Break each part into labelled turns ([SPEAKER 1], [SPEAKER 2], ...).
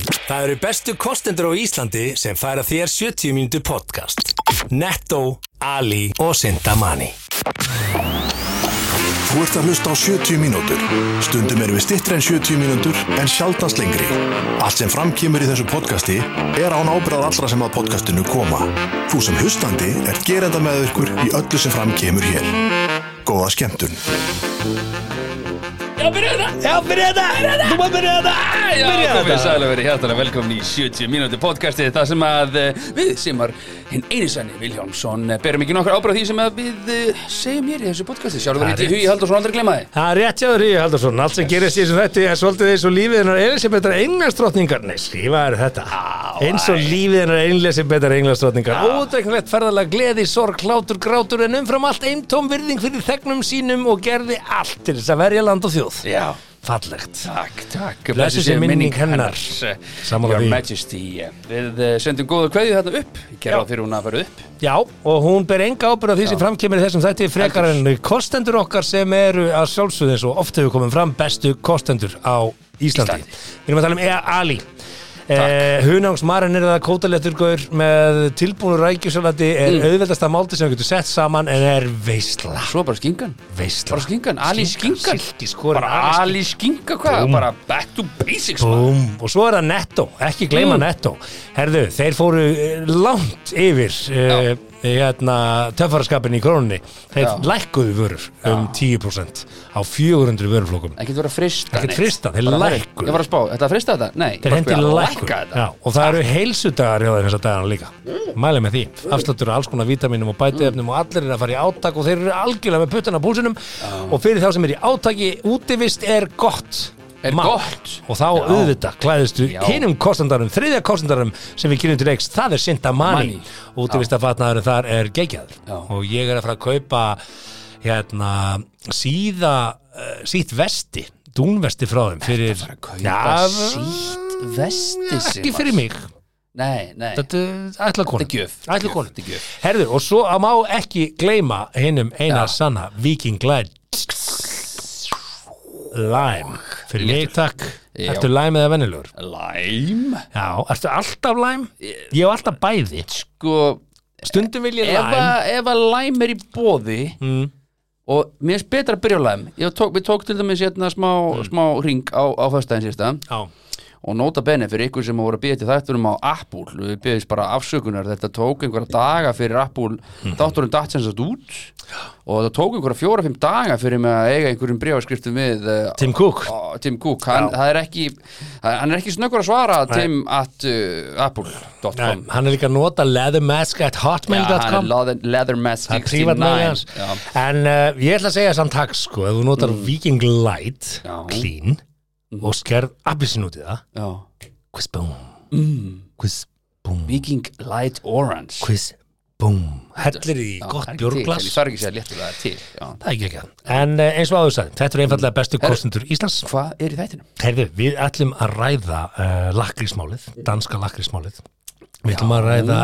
[SPEAKER 1] Það eru bestu kostendur á Íslandi sem færa þér 70 mínútu podcast. Netto, Ali og Sindamani.
[SPEAKER 2] Þú ert að hlusta á 70 mínútur. Stundum erum við stittri en 70 mínútur en sjaldast lengri. Allt sem framkýmur í þessu podcasti er án ábyrðað allra sem að podcastinu koma. Þú sem hlustandi er gerenda með ykkur í öllu sem framkýmur hér. Góða skemmtun.
[SPEAKER 3] Já, byrja þetta! Já, byrja þetta! Byrja þetta! Þú maður byrja þetta!
[SPEAKER 4] Já, komið sæl og verið hjartalega velkomin í 70 mínúti podcasti Það sem að eh, við sem var hinn einisanni Viljámsson eh, berum ekki nokkur ábráð því sem að við eh, segjum hér í þessu podcasti Sjálfur
[SPEAKER 1] Það er
[SPEAKER 4] í hugi Halldórsson aldrei glemma þið
[SPEAKER 3] Það er rétt hjá þér, Ríði Haldursson. Allt sem gerist í þessum þætti er svolítið eins og lífið hennar Elisabethar Englandsdrottningar. Nei, skrifa er þetta. Eins og lífið hennar Elisabethar Englandsdrottningar. Ódreiknilegt ferðalega gleði, sorg, hlátur, grátur en umfram allt eintóm virðing fyrir þegnum sínum og gerði allt til þess að verja land og þjóð.
[SPEAKER 4] Já,
[SPEAKER 3] Fallegt.
[SPEAKER 4] takk, takk
[SPEAKER 3] Blessuð sé minning hennar. Sammála
[SPEAKER 4] Sammála Your
[SPEAKER 3] því.
[SPEAKER 4] Majesty eh, Við eh, sendum góða kveðju þetta upp Ég gerði á fyrir hún að fara upp
[SPEAKER 3] Já, og hún ber enga ábyrgð á því sem framkemur í þessum þætti frekar en kostendur okkar sem eru að sjálfsögðu eins og oft hefur komið fram bestu kostendur á Íslandi.
[SPEAKER 4] Íslandi.
[SPEAKER 3] Við erum að tala um Ea Ali. Eh, Hunangsmaren er það kótaletturgaur með tilbúinu rækjusalati er
[SPEAKER 4] Mm.
[SPEAKER 3] auðveldasta máldi sem við getum sett saman en er veisla.
[SPEAKER 4] Svo bara skingan
[SPEAKER 3] Veisla.
[SPEAKER 4] Bara skingan, Ali skingan
[SPEAKER 3] Silti skorin,
[SPEAKER 4] Bara
[SPEAKER 3] Ali
[SPEAKER 4] Ali skinga hvað
[SPEAKER 3] Búmm.
[SPEAKER 4] Bara back to basics maður. Mm.
[SPEAKER 3] Búm, og svo er það netto, ekki gleyma netto Herðu, þeir fóru eh, langt yfir uh,
[SPEAKER 4] Já.
[SPEAKER 3] hérna, töffaraskapin í krónunni Þeir
[SPEAKER 4] Já.
[SPEAKER 3] lækkuðu vörur um 10% á 400 vöruflókum
[SPEAKER 4] Ekkert vera að frista
[SPEAKER 3] Ekkert
[SPEAKER 4] neitt.
[SPEAKER 3] frista, þeir
[SPEAKER 4] Bara, herri,
[SPEAKER 3] lækkuðu.
[SPEAKER 4] Ég var að spá, þetta að frista þetta? Nei
[SPEAKER 3] Þeir hendi
[SPEAKER 4] lækku
[SPEAKER 3] lækku
[SPEAKER 4] þetta Mm.
[SPEAKER 3] Já, Og það eru heilsudagar hjá þeir þessa dagana líka Mæli með því, afsláttur á alls konar vítaminum og bætiðefnum og allir eru að fara í átak og þeir eru algjörlega með puttana á púlsinum og fyrir þá sem er í átaki, útivist er gott
[SPEAKER 4] Er
[SPEAKER 3] mál.
[SPEAKER 4] gott.
[SPEAKER 3] og þá
[SPEAKER 4] Já.
[SPEAKER 3] auðvitað klæðistu
[SPEAKER 4] Já.
[SPEAKER 3] hinum kostandarum, þriðja kostandarum sem við kynum til leiks, það er Sinta Mani
[SPEAKER 4] Mani.
[SPEAKER 3] og útivist að fatnaðurinn þar er gegjað
[SPEAKER 4] Já.
[SPEAKER 3] og ég er að fara að kaupa hérna síða uh, sítt vesti, dúnvesti frá þeim fyrir,
[SPEAKER 4] Bara
[SPEAKER 3] Já,
[SPEAKER 4] kaupa sítt vesti sig
[SPEAKER 3] ekki
[SPEAKER 4] maður.
[SPEAKER 3] fyrir mig
[SPEAKER 4] Nei, nei
[SPEAKER 3] Þetta er ætla konu
[SPEAKER 4] Þetta er gjöf.
[SPEAKER 3] Ætla
[SPEAKER 4] Gjöf,
[SPEAKER 3] konu
[SPEAKER 4] þetta er gjöf.
[SPEAKER 3] Herður, og svo að má ekki gleyma hinnum eina sanna Viking Glide Lime Fyrir mig takk
[SPEAKER 4] Já.
[SPEAKER 3] Ertu lime eða vennilegur?
[SPEAKER 4] Læm
[SPEAKER 3] Já, ertu alltaf lime? Ég hef alltaf bæði
[SPEAKER 4] Sko,
[SPEAKER 3] Stundum vil ég
[SPEAKER 4] ef
[SPEAKER 3] lime
[SPEAKER 4] að- ef að læm er í bóði
[SPEAKER 3] Mm.
[SPEAKER 4] Og mér finnst betra að byrja á læm Ég tók, Við tók til dæmis hérna smá,
[SPEAKER 3] Mm.
[SPEAKER 4] smá ring á, á föstudaginn sérsta
[SPEAKER 3] Já,
[SPEAKER 4] Og nota bene fyrir ykkur sem voru að býja til þættunum á Apple Við býðist bara afsökunar Þetta tók einhverja daga fyrir Apple
[SPEAKER 3] Mhm.
[SPEAKER 4] Þátturinn datt sem sagt út Og þetta tók einhverja fjóra-fimm daga fyrir mig að eiga einhverjum bréfaskriftum við eh,
[SPEAKER 3] Tim Cook
[SPEAKER 4] Ó, Tim Cook, hann, það er ekki hann er ekki snöggur að svara Tim at uh,
[SPEAKER 3] Nei,
[SPEAKER 4] apple.com
[SPEAKER 3] Hann er líka að nota leathermask at
[SPEAKER 4] Já, hann er
[SPEAKER 3] hotmail.com
[SPEAKER 4] leather, Leatherman
[SPEAKER 3] Það er prívat
[SPEAKER 4] 69
[SPEAKER 3] með hans
[SPEAKER 4] Já. Mm.
[SPEAKER 3] En uh, ég ætla að segja samt takk sko Ef þú notar Viking Light
[SPEAKER 4] Já. Mm.
[SPEAKER 3] Clean Og skerð abbisin út í það
[SPEAKER 4] Já.
[SPEAKER 3] Quiz boom
[SPEAKER 4] Mm.
[SPEAKER 3] Quiz boom
[SPEAKER 4] Viking Light Orange
[SPEAKER 3] Quiz boom Hellir í
[SPEAKER 4] Já,
[SPEAKER 3] gott
[SPEAKER 4] það er ekki til,
[SPEAKER 3] björglas
[SPEAKER 4] ég þarf ekki að segja léttur það er til já.
[SPEAKER 3] Það er ekki ekki það En eh, eins og áður sagði, þetta eru einfallega bestu kostendur Íslands
[SPEAKER 4] Hvað er í þættinum?
[SPEAKER 3] Herðu, við ætlum að ræða uh, lakrísmálið, danska lakrísmálið Við ætlum að ræða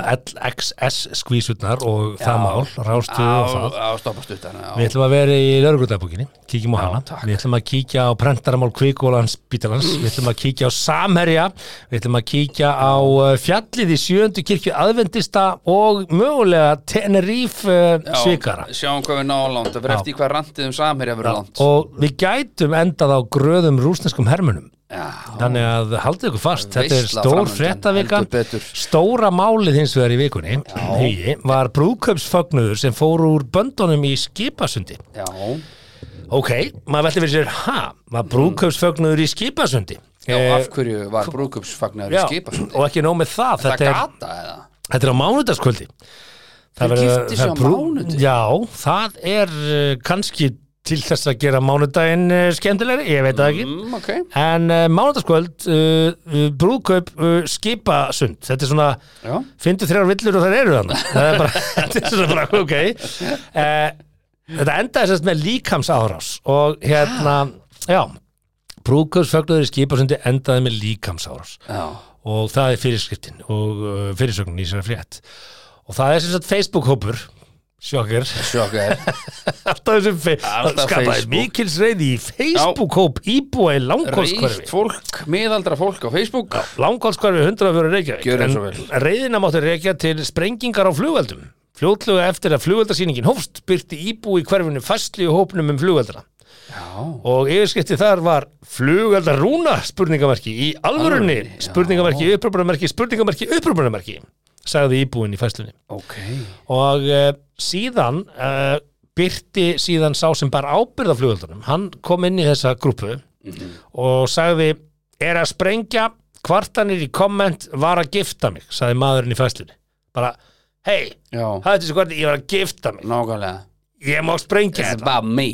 [SPEAKER 3] LXS skvísurnar og það mál, rástu og það
[SPEAKER 4] Á, á stoppa stuttan
[SPEAKER 3] Við ætlum að vera í lauruglutabukinni, kíkjum á hana,
[SPEAKER 4] takk.
[SPEAKER 3] við ætlum að kíkja á prentarmál kvikólans bítalans, við ætlum að kíkja á samherja, við ætlum að kíkja á uh, fjallið í sjöndu kirkju aðvendista og mögulega Teneríf uh, svikara.
[SPEAKER 4] Sjáum hvað við náum langt Það fyrir eftir í hvað randið um samherja verið langt
[SPEAKER 3] Og við gætum endað á gröðum rúsneskum hermunum.
[SPEAKER 4] Já,
[SPEAKER 3] Þannig að haldið ykkur fast, þetta er
[SPEAKER 4] Veisla
[SPEAKER 3] stór
[SPEAKER 4] framundan,
[SPEAKER 3] fréttavika,
[SPEAKER 4] heldur betur.
[SPEAKER 3] stóra málið hins vegar í vikunni, hugi, var brúköpsfögnuður sem fór úr böndunum í skipasundi.
[SPEAKER 4] já
[SPEAKER 3] Ok, maður veldi fyrir sér, ha, var brúkaupsfögnuður í skipasundi?
[SPEAKER 4] Mm. Já,
[SPEAKER 3] Eh,
[SPEAKER 4] af hverju var brúkupsfagnar í
[SPEAKER 3] já,
[SPEAKER 4] skipa
[SPEAKER 3] Og ekki nóg með það,
[SPEAKER 4] Það
[SPEAKER 3] þetta er,
[SPEAKER 4] gata eða?
[SPEAKER 3] þetta er á mánudagskvöldi.
[SPEAKER 4] Þeir
[SPEAKER 3] verður-
[SPEAKER 4] giftu sig
[SPEAKER 3] það er
[SPEAKER 4] á mánudegi?
[SPEAKER 3] Já, það er eh, kannski til þess að gera mánudaginn eh, skemmtilegri, ég veit það ekki.
[SPEAKER 4] Mm, ok
[SPEAKER 3] En uh, mánudagskvöld, uh, uh, brúkaup uh, skipasund, þetta er svona,
[SPEAKER 4] Já.
[SPEAKER 3] fyndu þrjár villur og þær eru þannig. Það er bara, þetta er svona bara, ok. Uh, þetta endaði sérst með líkams árás og hérna, já, brúkaupsfögnuður í skipasundi endaði með líkams árás
[SPEAKER 4] Já,
[SPEAKER 3] og eh, það er fyrirskriftin og uh, fyrirsögnin í sér frétt. Og það er sem sagt Facebook-hópur Sjokkir
[SPEAKER 4] Sjokkar
[SPEAKER 3] Alltaf þessum fe-
[SPEAKER 4] Alltaf
[SPEAKER 3] skapaði
[SPEAKER 4] Facebook.
[SPEAKER 3] mikilsreiði í Facebook-hóp íbúa í
[SPEAKER 4] Ríkt
[SPEAKER 3] langkólskverfi
[SPEAKER 4] fólk, miðaldra fólk á Facebook
[SPEAKER 3] Langkólskverfi 100 fyrir Reykjavík
[SPEAKER 4] Gjörið svo
[SPEAKER 3] En
[SPEAKER 4] vel.
[SPEAKER 3] reyðina mátti reykja til sprengingar á flugveldum Fljótlega eftir að flugveldarsýningin hófst byrti íbúi í hverfinu fastlu í hópnum um flugveldra
[SPEAKER 4] Já,
[SPEAKER 3] og yfirskrifti þar var flugveldar rúna spurningamarki í alvörunni
[SPEAKER 4] Alvörunni, já.
[SPEAKER 3] spurningamarki, uppröpunarmerki, spurningamarki, uppröpunarmerki sagði íbúin í fæslunni
[SPEAKER 4] ok
[SPEAKER 3] og uh, síðan uh, byrti síðan sá sem bara ábyrða flugöldunum, hann kom inn í þessa grúpu og sagði er að sprengja, kvartanir í komment var að gifta mig, sagði maðurinn í fæslunni bara, hei
[SPEAKER 4] Já,
[SPEAKER 3] hætti þessi kvartin, ég var að gifta mig
[SPEAKER 4] nákvæmlega
[SPEAKER 3] ég má sprengja
[SPEAKER 4] It's
[SPEAKER 3] þetta
[SPEAKER 4] about me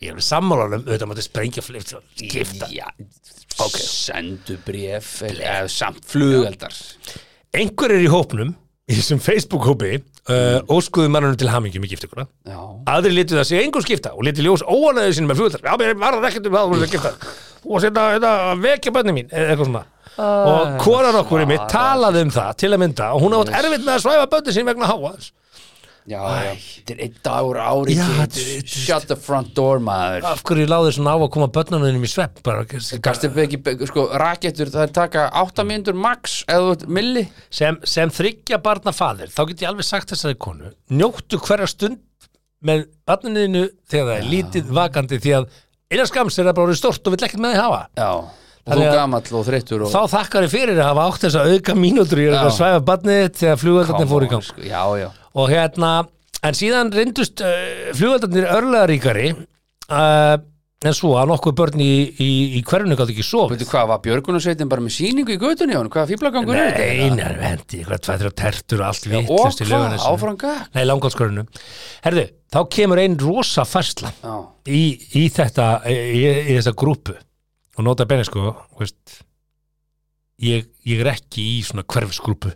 [SPEAKER 3] ég er sammálanum, auðvitað mátti sprengja flygt gifta,
[SPEAKER 4] Já, ok Sendu bréf eða samt flugeldar
[SPEAKER 3] einhver er í hópnum í þessum Facebook-hópi uh, óskuðu mannunum til hamingjum í giftinguna
[SPEAKER 4] Já,
[SPEAKER 3] aðri litu það sig engu skipta og litu ljós óanæðu sinni með flugvöldar já, mér var það ekkert um það voru skipta og setna þetta hérna, vekja bönni mín eða eitthvað svona og konan okkur í mig talaði um það til að mynda og hún átt erfitt með að svæfa bönni sín vegna háans
[SPEAKER 4] já, já Þetta er einn dagur ári
[SPEAKER 3] Já,
[SPEAKER 4] kid.
[SPEAKER 3] þetta er-
[SPEAKER 4] Shut the front door, maður
[SPEAKER 3] af hverju láði svona á að koma bönnunum í svepp bara,
[SPEAKER 4] Gastu ekki, sko, rakettur það er taka 8 mínútur max eða þú ert milli
[SPEAKER 3] sem, sem þryggja barna faðir þá get ég alveg sagt þessari konu njóttu hverja stund með barnininu þegar það er lítið vakandi því að innan skams er það bara orðið stórt og vill ekkert með því hafa
[SPEAKER 4] Já, og þú
[SPEAKER 3] Þannig að-
[SPEAKER 4] gamall og þreyttur og
[SPEAKER 3] þá þakkar ég fyrir að hafa átt þess að auka mínútur í að
[SPEAKER 4] Já.
[SPEAKER 3] svæfa barnið þitt þegar flugöldarnir
[SPEAKER 4] Come
[SPEAKER 3] fóru í
[SPEAKER 4] on,
[SPEAKER 3] gang
[SPEAKER 4] sko, Já, já,
[SPEAKER 3] og hérna, en síðan reyndust uh, flugöldarnir örlega ríkari uh, en svo að nokkuð börn í, í, í hverfinu gátt ekki sofið
[SPEAKER 4] veitu hvað, var Björgunarsveitin bara með sýningu í götunni á hann, hvað fýblagangur er þetta?
[SPEAKER 3] Nei, nei, hendi, hvað tvað þrjá tertur og allt
[SPEAKER 4] og
[SPEAKER 3] vittlust í
[SPEAKER 4] hvað,
[SPEAKER 3] lögarnesinu
[SPEAKER 4] áfram gag
[SPEAKER 3] Nei, langkvöldskörunum Herðu, þá kemur einn rosa færsla
[SPEAKER 4] Já,
[SPEAKER 3] í, í þetta í, í, í þessa grúpu og nota benni sko þú veist, ég, ég er ekki í svona hverfisgrúpu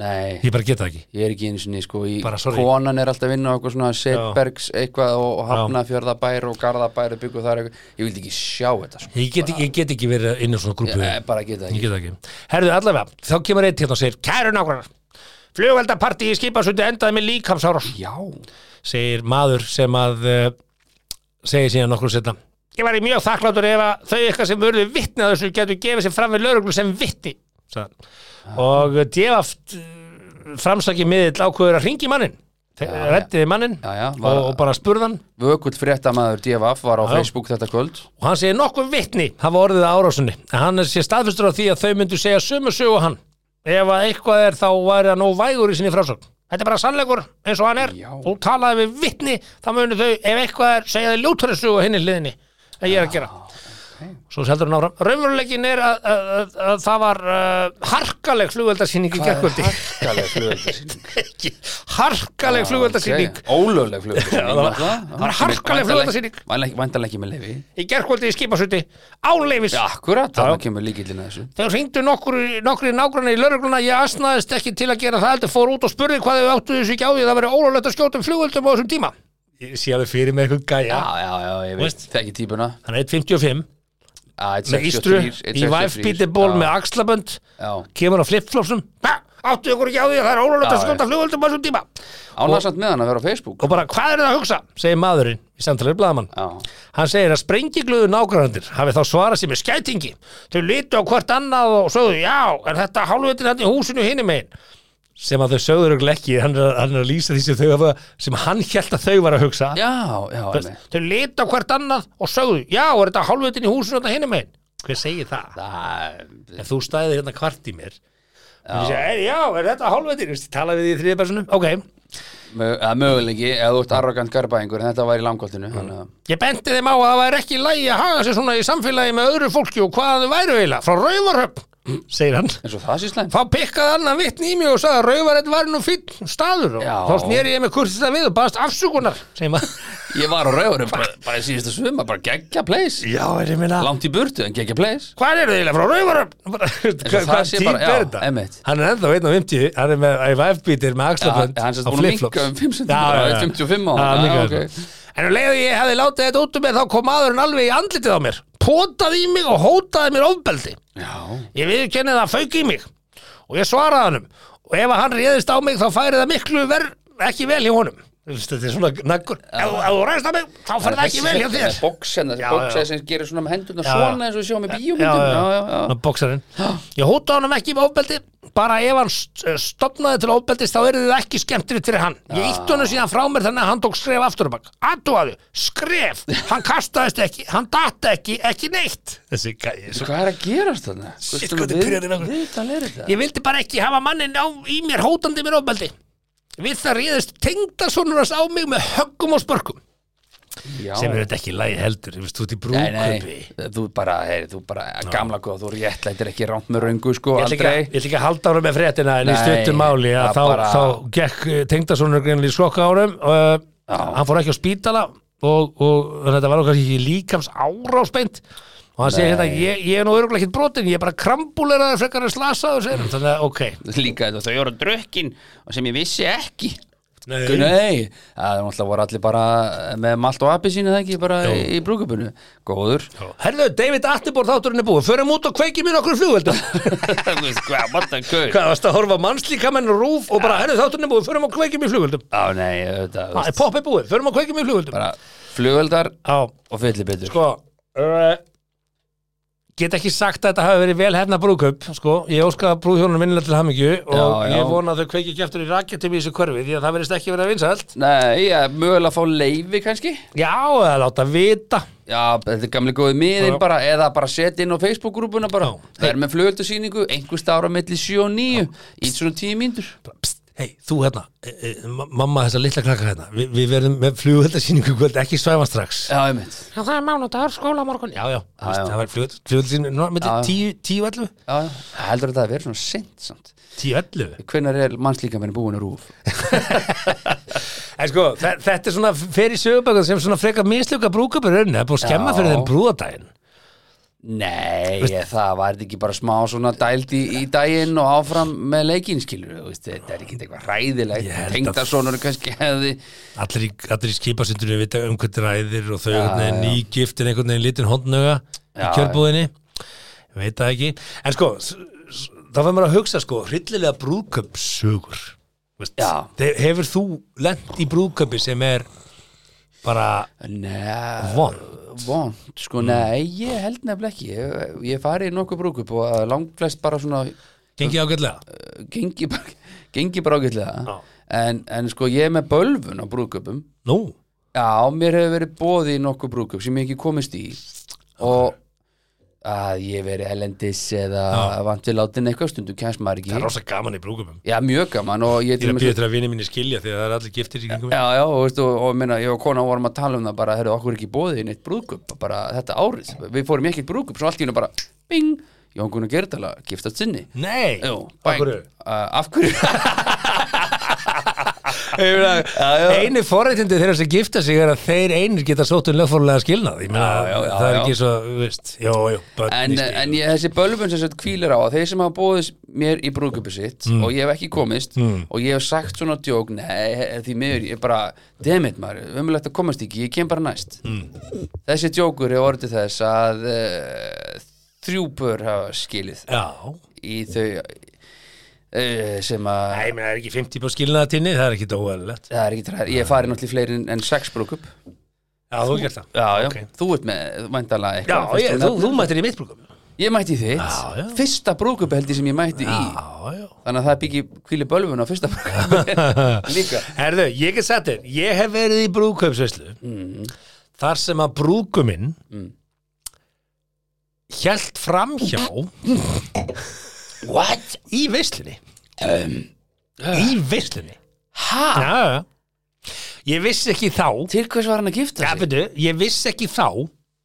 [SPEAKER 4] nei
[SPEAKER 3] ég bara geta það ekki
[SPEAKER 4] Ég er ekki einu sinni, sko, í
[SPEAKER 3] Bara, sorry.
[SPEAKER 4] konan er alltaf að vinna á eitthvað svona Setbergs eitthvað og og
[SPEAKER 3] Já.
[SPEAKER 4] Hafnafjörðabær og Garðabær og byggu þar eitthvað, ég vildi ekki sjá þetta sko.
[SPEAKER 3] ég get, ég get ekki verið inn á svona grúpu
[SPEAKER 4] ég, eh, bara geta
[SPEAKER 3] ég
[SPEAKER 4] ekki
[SPEAKER 3] get það ekki herðu allavega, þá kemur einn hérna og segir kæru nágrannar, flugveldapartí í skipasundi endaði með líkamsárás
[SPEAKER 4] Já,
[SPEAKER 3] segir maður sem að uh, segir síðan nokkur setna ég væri mjög þakkláttur ef að þau eitthvað sem vörðu vittni að þessu getur gefið sér fram við lögreglu sem vittni
[SPEAKER 4] Ah.
[SPEAKER 3] og eh, defaft framsaki miðill ákveður að ringi mannin reddiði mannin
[SPEAKER 4] Já, já,
[SPEAKER 3] og,
[SPEAKER 4] var-
[SPEAKER 3] og bara spurðan
[SPEAKER 4] vökull fréttamaður DFF var á Facebook þetta kvöld
[SPEAKER 3] og hann segir nokkur vittni hafa orðið að árásunni en hann er sér staðfustur á því að þau myndu segja sömu sögu hann ef að eitthvað er þá væri hann óvægur í sinni frásögn þetta er bara sannleikur eins og hann er
[SPEAKER 4] Já.
[SPEAKER 3] og talaði við vittni þá munu þau ef eitthvað er segja þau ljótari sögu á hinni hliðinni en ég er að gera svo heldur hann áfram raunveruleikin er að, að, að, að það var uh, harkaleg flugveldarsýning í gerkvöldi
[SPEAKER 4] Harkaleg flugöldarsýning
[SPEAKER 3] harkaleg flugveldarsýning
[SPEAKER 4] Ólögleg flugöldarsýning
[SPEAKER 3] það var- það var harkaleg flugeldasýning.
[SPEAKER 4] Væntalega ekki með leifi
[SPEAKER 3] í gerkvöldi í skipasuti áleifis
[SPEAKER 4] Akkurat, þannig kemur líkillin að þessu
[SPEAKER 3] Þegar hringdu nokkru- nokkri nágrannar í laurugluna, ég asnaðist ekki til að gera það heldur fór út og spurði hvað þau áttu þessu ekki á því það verið ólöflegt að skjóta um flugöldum á þessum tíma. Ég sé að þau fyrir með eitthvað gæja.
[SPEAKER 4] Já, já, já, ég veit,
[SPEAKER 3] Veist?
[SPEAKER 4] þekki típuna
[SPEAKER 3] Hann er 1.55
[SPEAKER 4] Ah, einn
[SPEAKER 3] með
[SPEAKER 4] 63,
[SPEAKER 3] ístru
[SPEAKER 4] einn
[SPEAKER 3] í
[SPEAKER 4] 63.
[SPEAKER 3] væfbíti ból
[SPEAKER 4] Já,
[SPEAKER 3] með axlabönd,
[SPEAKER 4] Já,
[SPEAKER 3] kemur á flipflopsum. Hva? Áttu ykkur ekki á því að það er ólöflegt
[SPEAKER 4] Já,
[SPEAKER 3] að skjóta flugöldum á þessum tíma.
[SPEAKER 4] ánarsamt með hann að vera á Facebook
[SPEAKER 3] Og bara hvað er það að hugsa, segir maðurinn í samtalið blaðamann.
[SPEAKER 4] Já,
[SPEAKER 3] Hann segir að sprengiglöðu nágræðandir hafi þá svarað sér með skætingi. Þau litu á hvort annað og sögðu, já, er þetta hálfvitin hann í húsinu hinum megin? Sem að þau sögður örugglega ekki, hann er, hann er að lýsa því sem, þau hafa, sem hann held að þau var að hugsa.
[SPEAKER 4] já, já, einmitt.
[SPEAKER 3] Þau litu á hvort annað og sögðu, já, er þetta hálfvitin í húsinu hann hinum megin? Hver segir það?
[SPEAKER 4] Það-
[SPEAKER 3] Ef þú stæðir hérna kvart í mér, já, segja, er, já er þetta hálfvitin? Þú veist, ég Tala við því í þriðja personum, ok.
[SPEAKER 4] mö- eða möguleiki, ef þú ert arrogant garbaðingur en þetta var í langoltinu mm.
[SPEAKER 3] Ég benti þeim á að það væri ekki lægi að haga sér svona í samfélagi með öðru fólki og hvað þau væru eiginlega, frá rauvarhöfn, segir hann.
[SPEAKER 4] eins og það sé slæmt
[SPEAKER 3] Þá pikkaði annan vittni í mig og sagði að rauvarhöfn var nú fínn staður og
[SPEAKER 4] Já.
[SPEAKER 3] þá sneri ég með kursista við og baðast afsökunar, segir maður.
[SPEAKER 4] ég var á rauðurum bara, bara í síðustu svima, bara geggja place
[SPEAKER 3] Já, er ég minna.
[SPEAKER 4] langt í burtu en geggja place
[SPEAKER 3] Hvað eru þau eiginlega frá rauvarhöfn? Bara,
[SPEAKER 4] það
[SPEAKER 3] Hvað hvað
[SPEAKER 4] sé
[SPEAKER 3] típ
[SPEAKER 4] bara-
[SPEAKER 3] er
[SPEAKER 4] já,
[SPEAKER 3] þetta?
[SPEAKER 4] einmitt.
[SPEAKER 3] Hann er ennþá 1.50, hann er með æfæfbítir með axlabönd
[SPEAKER 4] Já, hann er
[SPEAKER 3] á
[SPEAKER 4] sem sagt búinn að
[SPEAKER 3] flipflops.
[SPEAKER 4] minnka um 5 cm,
[SPEAKER 3] Já, já,
[SPEAKER 4] bara
[SPEAKER 3] já.
[SPEAKER 4] 55 á
[SPEAKER 3] Já,
[SPEAKER 4] hann.
[SPEAKER 3] hann
[SPEAKER 4] Já,
[SPEAKER 3] minnkaði
[SPEAKER 4] ok.
[SPEAKER 3] þetta. En um leiðu ég hefði látið þetta út um mér þá kom maðurinn alveg í andlitið á mér, potaði í mig og hótaði mér ofbeldi.
[SPEAKER 4] já,
[SPEAKER 3] Ég viðkennið að fauk í mig og ég svaraði honum og ef að hann réðist á mig þá færi það miklu verð ekki vel í honum. Þetta er svona naggur Ef ef þú ræðist að mig, þá fer það ekki vel hjá þér
[SPEAKER 4] Boksen,
[SPEAKER 3] Já,
[SPEAKER 4] boksen
[SPEAKER 3] já.
[SPEAKER 4] hérna, sem gerir svona með hendurna
[SPEAKER 3] Já,
[SPEAKER 4] svona eins og við sjáum í bíómyndum Já, já, já
[SPEAKER 3] Bóksarinn Ég hóta honum ekki með ofbeldi Bara ef hann st- eh, stofnaði til ofbeldist þá eru þið ekki skemmtrið fyrir hann Ég ítt honum síðan frá mér þannig að hann tók skref aftur á bak Aðdúaðu, skref Hann kastaðist ekki, hann data ekki, ekki neitt Þessi gæði er svo-
[SPEAKER 4] Hvað er að gerast þarna?
[SPEAKER 3] Shit, hvað þetta er pirrandi nokkuð.
[SPEAKER 4] Viðtal er þetta?
[SPEAKER 3] Ég vildi bara ekki hafa mannin á, í mér hótandi mér ofbeldi Við það réðist tengdasonur hans á mig með höggum og spörkum
[SPEAKER 4] Já.
[SPEAKER 3] Sem er þetta ekki lægi heldur, ég veist þú út í
[SPEAKER 4] Nei,
[SPEAKER 3] brúköpi
[SPEAKER 4] nei, þú bara, heyr, þú bara, gamla góð, þú réttlættir ekki rámt með röngu, sko,
[SPEAKER 3] Ég ætla ekki að-
[SPEAKER 4] aldrei.
[SPEAKER 3] ég ætla ekki að halda ára með fréttina en í
[SPEAKER 4] Nei,
[SPEAKER 3] stuttum máli að
[SPEAKER 4] það
[SPEAKER 3] þá,
[SPEAKER 4] bara-
[SPEAKER 3] þá gekk eh, tengdasonur greinlega í skokka árum uh, hann fór ekki á spítala og, og þannig að þetta var nú kannski ekki líkams árásbeint og hann segir hérna, ég, ég er nú öruglega ekkert brotin ég er bara krambuleraður frekar að slasa og segir hann, þannig að ok
[SPEAKER 4] Líka þetta, þau voru drukkin og sem ég vissi ekki.
[SPEAKER 3] Nei.
[SPEAKER 4] Nei, það er náttúrulega voru allir bara með malt og api sínu það ekki bara í, í brúkupinu. Góður.
[SPEAKER 3] Herðu, David Attenborough þátturinn er búið förum út og kveikjum í okkur flugveldum
[SPEAKER 4] Þú veist, Hvað, what the fuck?
[SPEAKER 3] hvað varst að horfa á mannslíkamenn og rúf og bara, herðu, þátturinn er búið, förum og kveikjum í flugveldum
[SPEAKER 4] Á, nei, þetta, þú
[SPEAKER 3] Ah,
[SPEAKER 4] veist,
[SPEAKER 3] popp er búið, förum og kveikjum í flugveldum
[SPEAKER 4] bara flugöldar
[SPEAKER 3] á,
[SPEAKER 4] og fyllibitur.
[SPEAKER 3] sko uh, get ekki sagt að þetta hafi verið vel hefna brúðkaup sko, ég óska brúðhjónunum minnilega til hamingju og
[SPEAKER 4] Já, já.
[SPEAKER 3] ég vona að þau kveiki ekki aftur í rakettum í þessu hverfi því að það verðist ekki verið vinsælt
[SPEAKER 4] Nei, já, mögulega að fá leifi kannski
[SPEAKER 3] já, eða láta vita
[SPEAKER 4] Já, þetta er gamli góði miðin
[SPEAKER 3] Já.
[SPEAKER 4] bara eða bara setja inn á Facebook-grúpuna bara
[SPEAKER 3] Já.
[SPEAKER 4] Það er með flugöldasýningu, einhver stára melli 7 og 9 í svona 10 mínútur
[SPEAKER 3] Psst, hei, þú hérna, e, e, ma- mamma þessa litla krakka hérna Vi, við verðum með flugöldarsýningu kvöld ekki svæma strax
[SPEAKER 4] Já, ég mynd
[SPEAKER 3] Já, það er mánudagur, skóla á morgun Já, já, já,
[SPEAKER 4] já.
[SPEAKER 3] það var flugöldarsýningu
[SPEAKER 4] Já, já.
[SPEAKER 3] millir 10, 10, 11
[SPEAKER 4] Já, já. heldur þetta að vera svona sent samt
[SPEAKER 3] 10, 11
[SPEAKER 4] Hvenær er mannslíkamenn búin að rúf?
[SPEAKER 3] En sko, þe- þetta er svona fer í sögubökun sem svona frekar misluga brúkupur raunin, það er búið að skemma
[SPEAKER 4] Já.
[SPEAKER 3] fyrir þeim brúðadaginn
[SPEAKER 4] Nei, ég, það var þetta ekki bara smá svona dælt í, í daginn og áfram með leikinn skilur þú veist, Þetta er ekki eitthvað ræðilegt
[SPEAKER 3] Ég held að-
[SPEAKER 4] Tengdasonur kannski hefði
[SPEAKER 3] allir í, allir í skipasundurinn vita um hvernig ræðir og þau einhvern veginn nýgiftin einhvern veginn lítinn hondnöga í
[SPEAKER 4] Já,
[SPEAKER 3] kjörbúðinni Ég veit það ekki en sko, s- s- þá fyrir maður að hugsa sko, hryllilega brúðköpsögur Veist,
[SPEAKER 4] Já.
[SPEAKER 3] þe- hefur þú lent í brúðköpi sem er bara
[SPEAKER 4] Nei,
[SPEAKER 3] von
[SPEAKER 4] vond, sko,
[SPEAKER 3] Mm.
[SPEAKER 4] nei, ég held nefnilega ekki ég, ég fari í nokkuð brúkup og að langflest bara svona uh,
[SPEAKER 3] gengið ágætlega
[SPEAKER 4] gengi bara, gengi bara ágætlega
[SPEAKER 3] Já.
[SPEAKER 4] en, en sko, ég er með bölvun á brúkupum
[SPEAKER 3] nú,
[SPEAKER 4] já, mér hefur verið bóði í nokkuð brúkup sem ég hef ekki komist í og að ég hef verið elendis eða vant við látin eitthvað stundum kæmst maður
[SPEAKER 3] það er
[SPEAKER 4] ekki
[SPEAKER 3] rosa gaman í brúðköpum
[SPEAKER 4] já, mjög gaman og ég
[SPEAKER 3] ég er að
[SPEAKER 4] dæmis-
[SPEAKER 3] býða til að vinni minni skilja því að það er allir giftir í kringum mig.
[SPEAKER 4] Já, já, og veistu, og, og minna, ég og kona vorum að tala um það bara, herru, okkur er ekki bóðið í neitt brúðkup bara þetta árið, við fórum í ekkert brúðkup svo allt í hennu bara, bing, Jón Gunnar Gerdala giftast sinni
[SPEAKER 3] nei,
[SPEAKER 4] Jú,
[SPEAKER 3] Mm. af
[SPEAKER 4] bang.
[SPEAKER 3] hverju
[SPEAKER 4] Uh, af hverju?
[SPEAKER 3] Ég meina,
[SPEAKER 4] Já, já.
[SPEAKER 3] einu forréttindi þeirra sem gifta sig er að þeir einir geta sótt um lögfórlega skilnað Ég meina,
[SPEAKER 4] Já, já, já,
[SPEAKER 3] það er
[SPEAKER 4] já.
[SPEAKER 3] ekki svo, þú veist já, já, börn
[SPEAKER 4] en,
[SPEAKER 3] í skilnaði.
[SPEAKER 4] en ég, þessi bölvun sem sett kvílir á að þeir sem hafa bóðið mér í brúðkupi sitt
[SPEAKER 3] Mm.
[SPEAKER 4] og ég hef ekki komist og ég hef sagt svona djók, nei, he- því miður ég bara, dammit maður, umulegt að komast ekki ég kem bara næst
[SPEAKER 3] Mm.
[SPEAKER 4] þessi djókur er orðið þess að uh, þrjúpur hafa skilið
[SPEAKER 3] já,
[SPEAKER 4] í þau uh, sem að
[SPEAKER 3] Nei, menn, það er ekki 50 på skilnaðatinni, það er ekki óæðilegt
[SPEAKER 4] það er ekki træð, ég fari náttúrulega í fleiri en, en sex brúkup
[SPEAKER 3] Já, þú gert það
[SPEAKER 4] já, já,
[SPEAKER 3] Ok.
[SPEAKER 4] þú ert með
[SPEAKER 3] Já,
[SPEAKER 4] væntalega eitthvað fyrst
[SPEAKER 3] ég,
[SPEAKER 4] og
[SPEAKER 3] þú,
[SPEAKER 4] nefnir.
[SPEAKER 3] þú mættir í mitt brúkum Já,
[SPEAKER 4] ég mætti í þitt,
[SPEAKER 3] Já, já.
[SPEAKER 4] fyrsta brúkup held ég sem ég mætti í
[SPEAKER 3] já
[SPEAKER 4] þannig að það byggir kvíli bölvun á fyrsta brúkup líka
[SPEAKER 3] Herðu, ég get sagt þér, ég hef verið í brúkaupsveislu
[SPEAKER 4] Mhm.
[SPEAKER 3] þar sem að brúkuminn mm. hjælt framhjá What? Í veislunni Í veislunni
[SPEAKER 4] Um, ah. ha,
[SPEAKER 3] Já, já, já Ég vissi ekki þá
[SPEAKER 4] til hvers var hann að gifta
[SPEAKER 3] ja,
[SPEAKER 4] sig?
[SPEAKER 3] byrju, Ég vissi ekki þá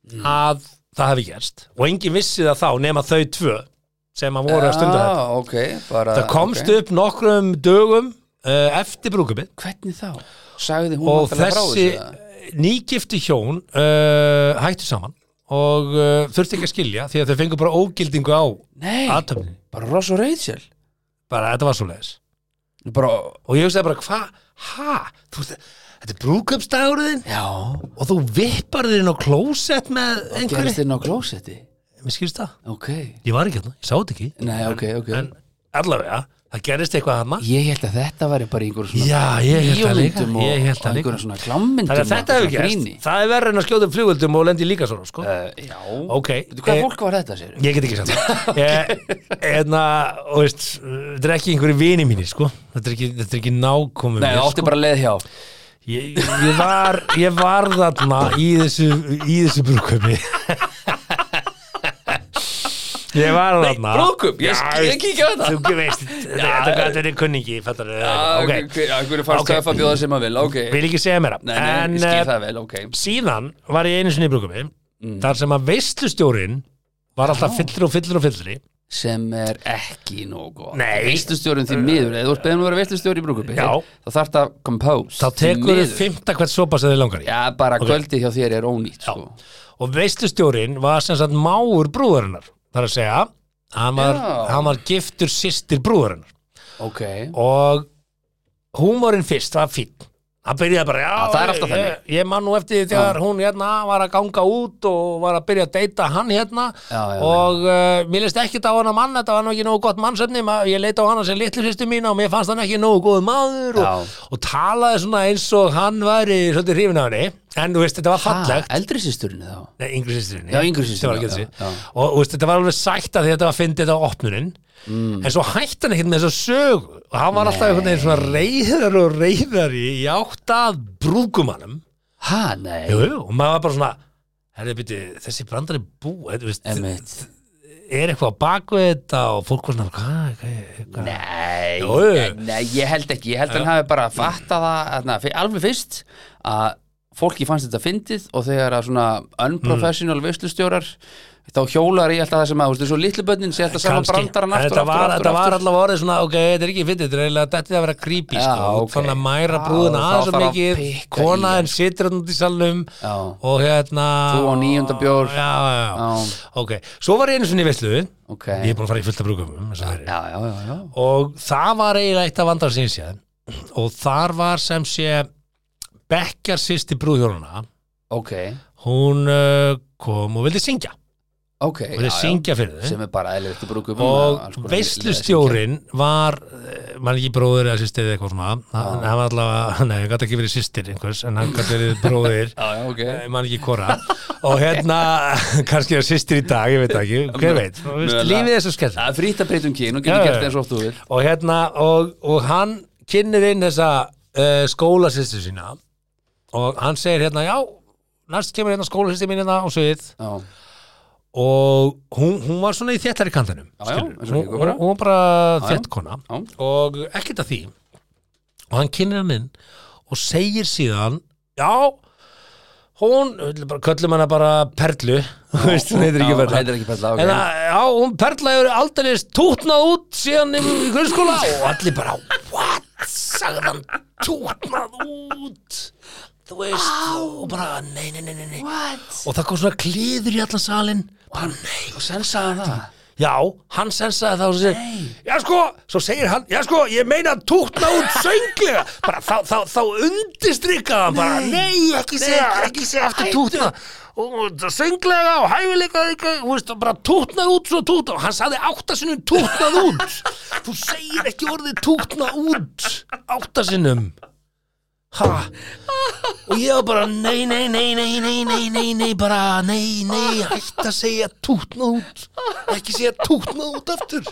[SPEAKER 4] Mm.
[SPEAKER 3] að það hafi gerst og enginn vissi það þá nema þau tvö sem að voru að stunda þetta
[SPEAKER 4] Já, ok, bara
[SPEAKER 3] Það komst
[SPEAKER 4] ok.
[SPEAKER 3] upp nokkrum dögum uh, eftir brúkupið
[SPEAKER 4] hvernig þá? sagði hún
[SPEAKER 3] og
[SPEAKER 4] náttúrulega frá
[SPEAKER 3] þessi
[SPEAKER 4] þessu, eða?
[SPEAKER 3] nýgifti hjón uh, hættu saman og uh, þurfti ekki að skilja því að þau fengu bara ógildingu á
[SPEAKER 4] nei,
[SPEAKER 3] aðtöfni
[SPEAKER 4] bara Ross og Rachel
[SPEAKER 3] bara þetta var svo leiðis
[SPEAKER 4] bara,
[SPEAKER 3] og ég hugsaði bara hva, ha þú veist, þetta er brúkupsdagurðin
[SPEAKER 4] já,
[SPEAKER 3] og þú vippar þér inn á klósett með
[SPEAKER 4] gerist
[SPEAKER 3] einhverju
[SPEAKER 4] þinn á klósetti
[SPEAKER 3] mér skilst það,
[SPEAKER 4] ok,
[SPEAKER 3] ég var ekki hérna, ég sá þetta ekki
[SPEAKER 4] nei, ok, ok
[SPEAKER 3] en allavega, það gerist eitthvað hana
[SPEAKER 4] Ég held að þetta væri bara í einhverjum svona
[SPEAKER 3] Já, ég held það líka,
[SPEAKER 4] bíómyndum og-
[SPEAKER 3] ég held það
[SPEAKER 4] og
[SPEAKER 3] líka.
[SPEAKER 4] einhverjum svona klammyndum
[SPEAKER 3] Þannig að þetta hefur gerst, það er verið en að skjóta um flugvöldum og lendi líka svona, sko
[SPEAKER 4] uh, Já,
[SPEAKER 3] Ok,
[SPEAKER 4] Veitu, Hvað
[SPEAKER 3] eh,
[SPEAKER 4] fólk var þetta, segir
[SPEAKER 3] Ég get ekki sagt það Eðna, og veist, þetta er ekki einhverju vini mínir, sko Þetta er ekki, þetta er ekki nákomum
[SPEAKER 4] Nei, það átti bara leið hjá
[SPEAKER 3] ég, ég, var, ég var þarna í þessu, í þessu brúköpi Ég var þarna
[SPEAKER 4] brúðkaup, ég-
[SPEAKER 3] Já,
[SPEAKER 4] ég kíkja á þetta.
[SPEAKER 3] Þú veist, þetta gæti verið kunningi fattar,
[SPEAKER 4] Já,
[SPEAKER 3] ok.
[SPEAKER 4] hver- já, Ah, Hverju fannst
[SPEAKER 3] Ok. eh,
[SPEAKER 4] það að bjóða sem að vil, ok
[SPEAKER 3] Vil ekki segja mér
[SPEAKER 4] Nei, nei, ég skil það Mm. vel, ok
[SPEAKER 3] síðan var ég einu sinni í brúkumi þar sem að veistlustjórin var alltaf fyllri og fyllri og fyllri
[SPEAKER 4] Sem er ekki nógu
[SPEAKER 3] Nei.
[SPEAKER 4] Veistustjórin því miður, eða þú ert beðin að vera veistustjóri í brúkupi
[SPEAKER 3] Já.
[SPEAKER 4] Það þarf það compose
[SPEAKER 3] þá tekur þau
[SPEAKER 4] miður.
[SPEAKER 3] fymta hvert sopa sem þau langar í
[SPEAKER 4] Já, bara kvöldið hjá þér er ónýtt, sko
[SPEAKER 3] og veistlustjórin var sem sagt máur brúðarinnar þar að segja hann var,
[SPEAKER 4] Já.
[SPEAKER 3] hann var giftur sýstir brúðarinnar
[SPEAKER 4] Ok
[SPEAKER 3] og húmorinn fyrst var fín hann byrjaði bara, já,
[SPEAKER 4] Já, það er alltaf
[SPEAKER 3] ég, ég man nú eftir því þegar hún hérna var að ganga út og var að byrja að deyta hann hérna
[SPEAKER 4] Já, já,
[SPEAKER 3] og uh, mér leist ekkit á hana mann, þetta var nú ekki nógu gott mannsefni ma- ég leita á hana sem litlu sýstu mína og mér fannst hann ekki nógu góð maður og,
[SPEAKER 4] Já.
[SPEAKER 3] og talaði svona eins og hann væri svolítið hrifin af henni, en þú veist, þetta var
[SPEAKER 4] Ha,
[SPEAKER 3] fallegt
[SPEAKER 4] Eldri sýsturinn þá
[SPEAKER 3] Nei, yngri sýsturinni
[SPEAKER 4] Já, yngri systirinni, já, já, já.
[SPEAKER 3] Og þú veist, þetta var alveg sætt að því þetta var fyndið á opnunin
[SPEAKER 4] Mm.
[SPEAKER 3] En svo hætti hann ekkert með þessu sög Og hann var alltaf einhvern veginn svona reyðar og reyðar í átt að brúkumannum
[SPEAKER 4] Ha, nei
[SPEAKER 3] Jú, jú, og maður var bara svona Herri, byrju, þessi brandari bú þetta, þú veist,
[SPEAKER 4] Emmett
[SPEAKER 3] Er eitthvað á baku þetta og fólk var svona Hvað, hvað, hvað
[SPEAKER 4] Nei,
[SPEAKER 3] Jú, jú.
[SPEAKER 4] ég- nei, ég held ekki, ég held að hann hafi bara fattað það þarna, fyr- alveg fyrst að fólki fannst þetta fyndið og þegar að svona unprofessional mm. veistustjórar þá hjólar ég alltaf það sem að, þú veist, þessu litlu bönnin sé alltaf saman
[SPEAKER 3] Kannski.
[SPEAKER 4] brandarann aftur,
[SPEAKER 3] þetta
[SPEAKER 4] aftur,
[SPEAKER 3] var,
[SPEAKER 4] aftur,
[SPEAKER 3] þetta var
[SPEAKER 4] aftur.
[SPEAKER 3] allavega orðið svona, ok, þetta er ekki fyndið, þetta er eiginlega þetta að vera creepy,
[SPEAKER 4] Já,
[SPEAKER 3] sko,
[SPEAKER 4] ok.
[SPEAKER 3] þannig að mæra
[SPEAKER 4] Já,
[SPEAKER 3] brúðuna
[SPEAKER 4] þá
[SPEAKER 3] aðeins og
[SPEAKER 4] þarf að
[SPEAKER 3] mikið,
[SPEAKER 4] pikka í
[SPEAKER 3] konaðin
[SPEAKER 4] hann.
[SPEAKER 3] situr hann út í salnum
[SPEAKER 4] Já.
[SPEAKER 3] og hérna
[SPEAKER 4] Þú á níunda bjór.
[SPEAKER 3] já, já, já.
[SPEAKER 4] Já.
[SPEAKER 3] ok, svo var ég einu sinni í veislu
[SPEAKER 4] Ok,
[SPEAKER 3] ég er búin að fara í fullt af brúkumum
[SPEAKER 4] já, já, já, já
[SPEAKER 3] og það var eiginlega eitt af vandar sinni séð og þar var sem sé bekkjar sýsti brúðhjóluna
[SPEAKER 4] Ok,
[SPEAKER 3] hún uh, kom og vildi syngja
[SPEAKER 4] ok,
[SPEAKER 3] og vildi syngja fyrir þau
[SPEAKER 4] sem er bara eðlilegt að brúka upp um
[SPEAKER 3] og veislustjórin var eh, maður ekki bróðir eða sýstir eða eitthvað svona hann hann var allavega, nei, hann gæti ekki verið sýstir einhvers, en hann gæti verið bróðir
[SPEAKER 4] Já, já, ok
[SPEAKER 3] ég man ekki hvora og hérna, kannski er sýstir í dag ég veit það ekki, hver veit Þú veist,
[SPEAKER 4] Mögulega.
[SPEAKER 3] lífið er svo skell
[SPEAKER 4] Það er frýtt að breytum kyn og
[SPEAKER 3] Já,
[SPEAKER 4] getur
[SPEAKER 3] já.
[SPEAKER 4] gert eins og oft þú vil
[SPEAKER 3] og hérna, og, og hann kynnir inn þessa uh, skólasýstir sína og hann segir hérna, já næst kemur hérna skólasýstir mín hérna á svið
[SPEAKER 4] Já,
[SPEAKER 3] og hún, hún var svona í þéttari kantinum
[SPEAKER 4] Já, já,
[SPEAKER 3] skilurðu.
[SPEAKER 4] eins og
[SPEAKER 3] hún,
[SPEAKER 4] gengur
[SPEAKER 3] hún,
[SPEAKER 4] bara.
[SPEAKER 3] hún var bara
[SPEAKER 4] já.
[SPEAKER 3] þéttkona
[SPEAKER 4] Já.
[SPEAKER 3] og ekkert að því og hann kynir hann inn og segir síðan já hún, bara, köllum hana bara Perlu þú veist, hún heitir
[SPEAKER 4] Já,
[SPEAKER 3] ekki
[SPEAKER 4] hún
[SPEAKER 3] Perla
[SPEAKER 4] heitir ekki Perla, ok.
[SPEAKER 3] En að- já, hún Perla hefur aldrei tútnað út síðan í í grunnskóla og allir bara, what, sagði hann tútnað út þú veist, og bara nei, nei, nei, nei, nei
[SPEAKER 4] What?
[SPEAKER 3] og það kom svona klíður í allan salin bara nei
[SPEAKER 4] og sensaði hann það
[SPEAKER 3] Já, hann sensaði þá og segir, já sko, svo segir hann, já sko, ég meina að túkna út sönglega, bara þá, þá, þá undistrykkaði hann bara, nei, ekki segja, ekki segja aftur túkna, og og það sönglega og hæfileika, eitthvað, þú veist, og bara túknað út svo túkna, og hann sagði áttasinnum túknað út, þú segir ekki orðið túkna út, áttasinnum, ha, og ég var bara, nei, nei, nei, nei, nei, nei, nei, nei, bara, nei, nei, hætt að segja tútna út, ekki segja tútna út aftur.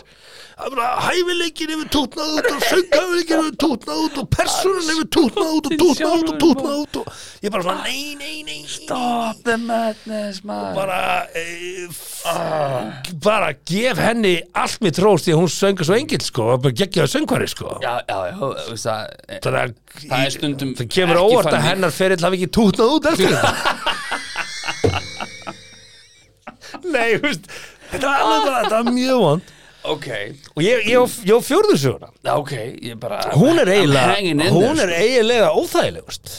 [SPEAKER 3] Það er bara, hæfileikin hefur tútnað út og söngahæfileikin hefur tútnað út og persónan hefur tútnað út og tútnað út og tútnað út og ég bara svona, nei, nei, nei,
[SPEAKER 4] Stop the madness, man
[SPEAKER 3] bara, e, bara gef henni allt mitt rós því að hún söngur svo engil, sko, og bara geggjaði söngvari, sko.
[SPEAKER 4] Já, já, já, þú veist að eh,
[SPEAKER 3] Það,
[SPEAKER 4] Það er stundum
[SPEAKER 3] það kemur
[SPEAKER 4] ekki
[SPEAKER 3] óvart að
[SPEAKER 4] þannig.
[SPEAKER 3] hennar ferill hafi ekki tútnað út eftir þetta Nei, þú veist þetta var alveg bara, þetta var mjög vond
[SPEAKER 4] Ok,
[SPEAKER 3] og ég, ég, á- ég fjörður söguna
[SPEAKER 4] já, ok, ég bara
[SPEAKER 3] hún er
[SPEAKER 4] I'm hanging
[SPEAKER 3] eiginlega
[SPEAKER 4] in
[SPEAKER 3] hún
[SPEAKER 4] there,
[SPEAKER 3] er eiginlega óþægilegust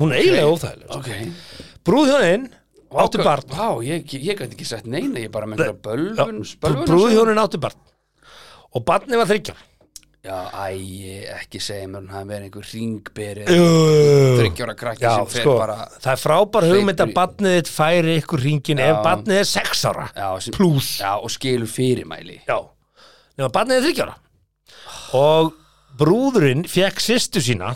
[SPEAKER 3] hún er eiginlega óþægilegust
[SPEAKER 4] Ok
[SPEAKER 3] brúðhjónin áttu
[SPEAKER 4] Vá,
[SPEAKER 3] barn
[SPEAKER 4] Vá, ég, ég gæti ekki sett neina, ég bara með einhverja bölvun bölvun-
[SPEAKER 3] brúðhjónin áttu barn og barni var þryggja
[SPEAKER 4] Já, æ, ég ekki segja mér hún hafi verið einhver ringberi
[SPEAKER 3] þryggjóra
[SPEAKER 4] Þryggjara krakki
[SPEAKER 3] Já,
[SPEAKER 4] sem fer
[SPEAKER 3] sko,
[SPEAKER 4] bara
[SPEAKER 3] það er frábær hugmynd
[SPEAKER 4] Hleypur
[SPEAKER 3] að
[SPEAKER 4] í-
[SPEAKER 3] barnið þitt færi ykkur ringin ef
[SPEAKER 4] Já.
[SPEAKER 3] barnið er sex ára
[SPEAKER 4] já, sem,
[SPEAKER 3] plús
[SPEAKER 4] Já, og skilur fyrirmæli
[SPEAKER 3] Já, nema barnið er þryggjára og brúðurinn fekk sýstu sína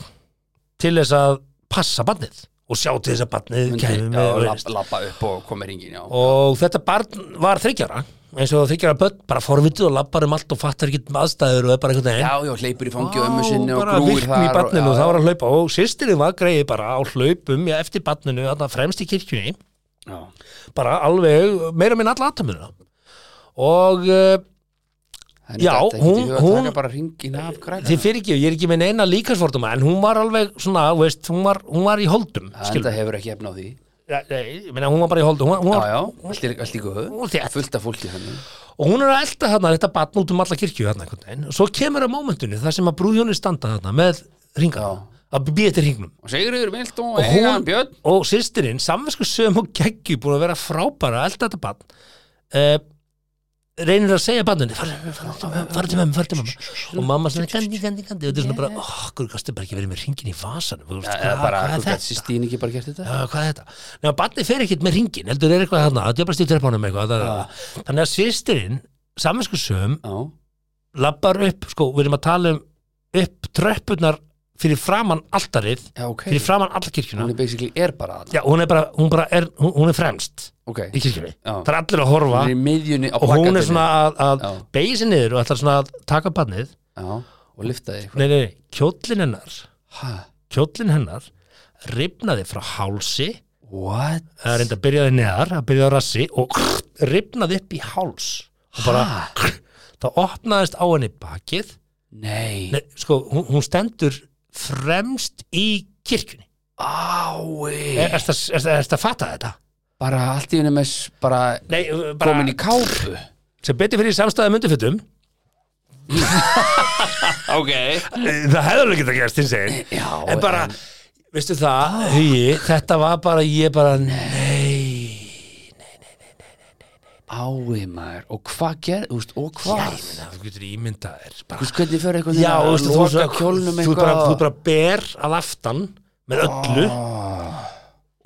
[SPEAKER 3] til þess að passa barnið og sjá til þess að barnið kæmi með og reynist.
[SPEAKER 4] Lappa upp og koma í ringin, já
[SPEAKER 3] og þetta barn var þryggjara eins og þryggjara börn, bara forvitið og lappar um allt og fattar ekki aðstæður og er bara einhvern veginn
[SPEAKER 4] Já, já, hleypur í fangi ömmu
[SPEAKER 3] Vá,
[SPEAKER 4] sinni og
[SPEAKER 3] bara
[SPEAKER 4] grúir
[SPEAKER 3] virkni í
[SPEAKER 4] þar og-
[SPEAKER 3] barninu og
[SPEAKER 4] já,
[SPEAKER 3] það var að hlaupa og sýstirinn var greið bara á hlaupum ja, eftir barninu, þarna fremst í kirkjunni
[SPEAKER 4] já.
[SPEAKER 3] bara alveg, meira minn alla aðtömmina og uh,
[SPEAKER 4] Henni
[SPEAKER 3] Já,
[SPEAKER 4] datt ekkert í
[SPEAKER 3] hún-
[SPEAKER 4] hug að
[SPEAKER 3] hún-
[SPEAKER 4] taka bara ringin af krakka
[SPEAKER 3] þið fyrir ekki, ég er ekki með neina líkansforduma en hún var alveg svona, þú veist, hún var, hún var í holdum skilur
[SPEAKER 4] Enda hefur ekki efna á því
[SPEAKER 3] Ja, nei, ég meina, hún var bara í holdum hún, hún
[SPEAKER 4] Já,
[SPEAKER 3] var,
[SPEAKER 4] já, allt í- allt í
[SPEAKER 3] Hún
[SPEAKER 4] góðu
[SPEAKER 3] er þétt.
[SPEAKER 4] Fullt af fólki þannig
[SPEAKER 3] og hún er að elda þarna þetta batn út um alla kirkju þarna einhvern veginn og svo kemur að mómentinu þar sem að brúðjónir standa þarna með ringa að býja til ringnum
[SPEAKER 4] Og Sigriður vilt og
[SPEAKER 3] Og
[SPEAKER 4] eiga
[SPEAKER 3] hún-
[SPEAKER 4] hann Björn
[SPEAKER 3] og sýstirinn, samvinsku sögum og geggju búin að vera frábæra að elda þetta batn uh, reynir að segja batninu fara til mömmu, fara til mömmu og mamma svona gandi, gandi, gandi og þetta er svona bara, oh, hverju gastu bara ekki verið með ringin í vasanum Þú veist,
[SPEAKER 4] Eða
[SPEAKER 3] hvað-
[SPEAKER 4] bara,
[SPEAKER 3] hvað er
[SPEAKER 4] þú gætt Sistín ekki bara gert þetta
[SPEAKER 3] Já, hvað er þetta? Nefnum, barnið fer ekkert með ringin, heldur er eitthvað þarna, það er bara stýttur upp honum eitthvað. það- það- það. Þannig að sýstirinn, saminsku söm,
[SPEAKER 4] Já,
[SPEAKER 3] labbar upp, sko, við erum að tala um upp tröppurnar fyrir framann altarið,
[SPEAKER 4] já, ok
[SPEAKER 3] fyrir framann
[SPEAKER 4] Hún
[SPEAKER 3] allakirkjuna.
[SPEAKER 4] er basically er bara þarna
[SPEAKER 3] Já, hún er bara, hún bara er, hún, hún er fremst
[SPEAKER 4] Ok,
[SPEAKER 3] í kirkjunni.
[SPEAKER 4] Já.
[SPEAKER 3] Það er allir að horfa
[SPEAKER 4] hún er í miðjunni á
[SPEAKER 3] og hún er
[SPEAKER 4] plakatinu.
[SPEAKER 3] svona að,
[SPEAKER 4] Já.
[SPEAKER 3] að beigja sér niður og ætlar svona að taka barnið.
[SPEAKER 4] Já, og lyftaði eitthvað
[SPEAKER 3] Nei, nei, nei, kjóllin hennar,
[SPEAKER 4] Ha,
[SPEAKER 3] kjóllin hennar, rifnaði frá hálsi,
[SPEAKER 4] what?
[SPEAKER 3] það er reynda að byrjaði neðar að byrjaði á rassi og ripnaði upp í háls og bara það opnaðist á henni bakið
[SPEAKER 4] Nei
[SPEAKER 3] Nei, sko, hún, hún stendur fremst í kirkjunni
[SPEAKER 4] Ái
[SPEAKER 3] er þetta að fatta þetta?
[SPEAKER 4] Bara allt í henni með s- bara
[SPEAKER 3] Nei, bara,
[SPEAKER 4] komin í kápu
[SPEAKER 3] sem betur fyrir samstæði myndufittum
[SPEAKER 4] Ok
[SPEAKER 3] það hefur alveg getað gerst, hins eginn
[SPEAKER 4] Já,
[SPEAKER 3] en bara, veistu það, hugi þetta var bara, ég bara, nei
[SPEAKER 4] Ái maður, og hvað gerði, úst, og
[SPEAKER 3] Já,
[SPEAKER 4] hvað?
[SPEAKER 3] ég meina, þú getur ímyndað þér bara
[SPEAKER 4] Þú veist hvernig fyrir eitthvað
[SPEAKER 3] Já, þú veist, þú
[SPEAKER 4] loka
[SPEAKER 3] ert bara,
[SPEAKER 4] kjólnum
[SPEAKER 3] þú ert
[SPEAKER 4] eitthvað Ah.
[SPEAKER 3] bara, þú ert bara ber að aftan með öllu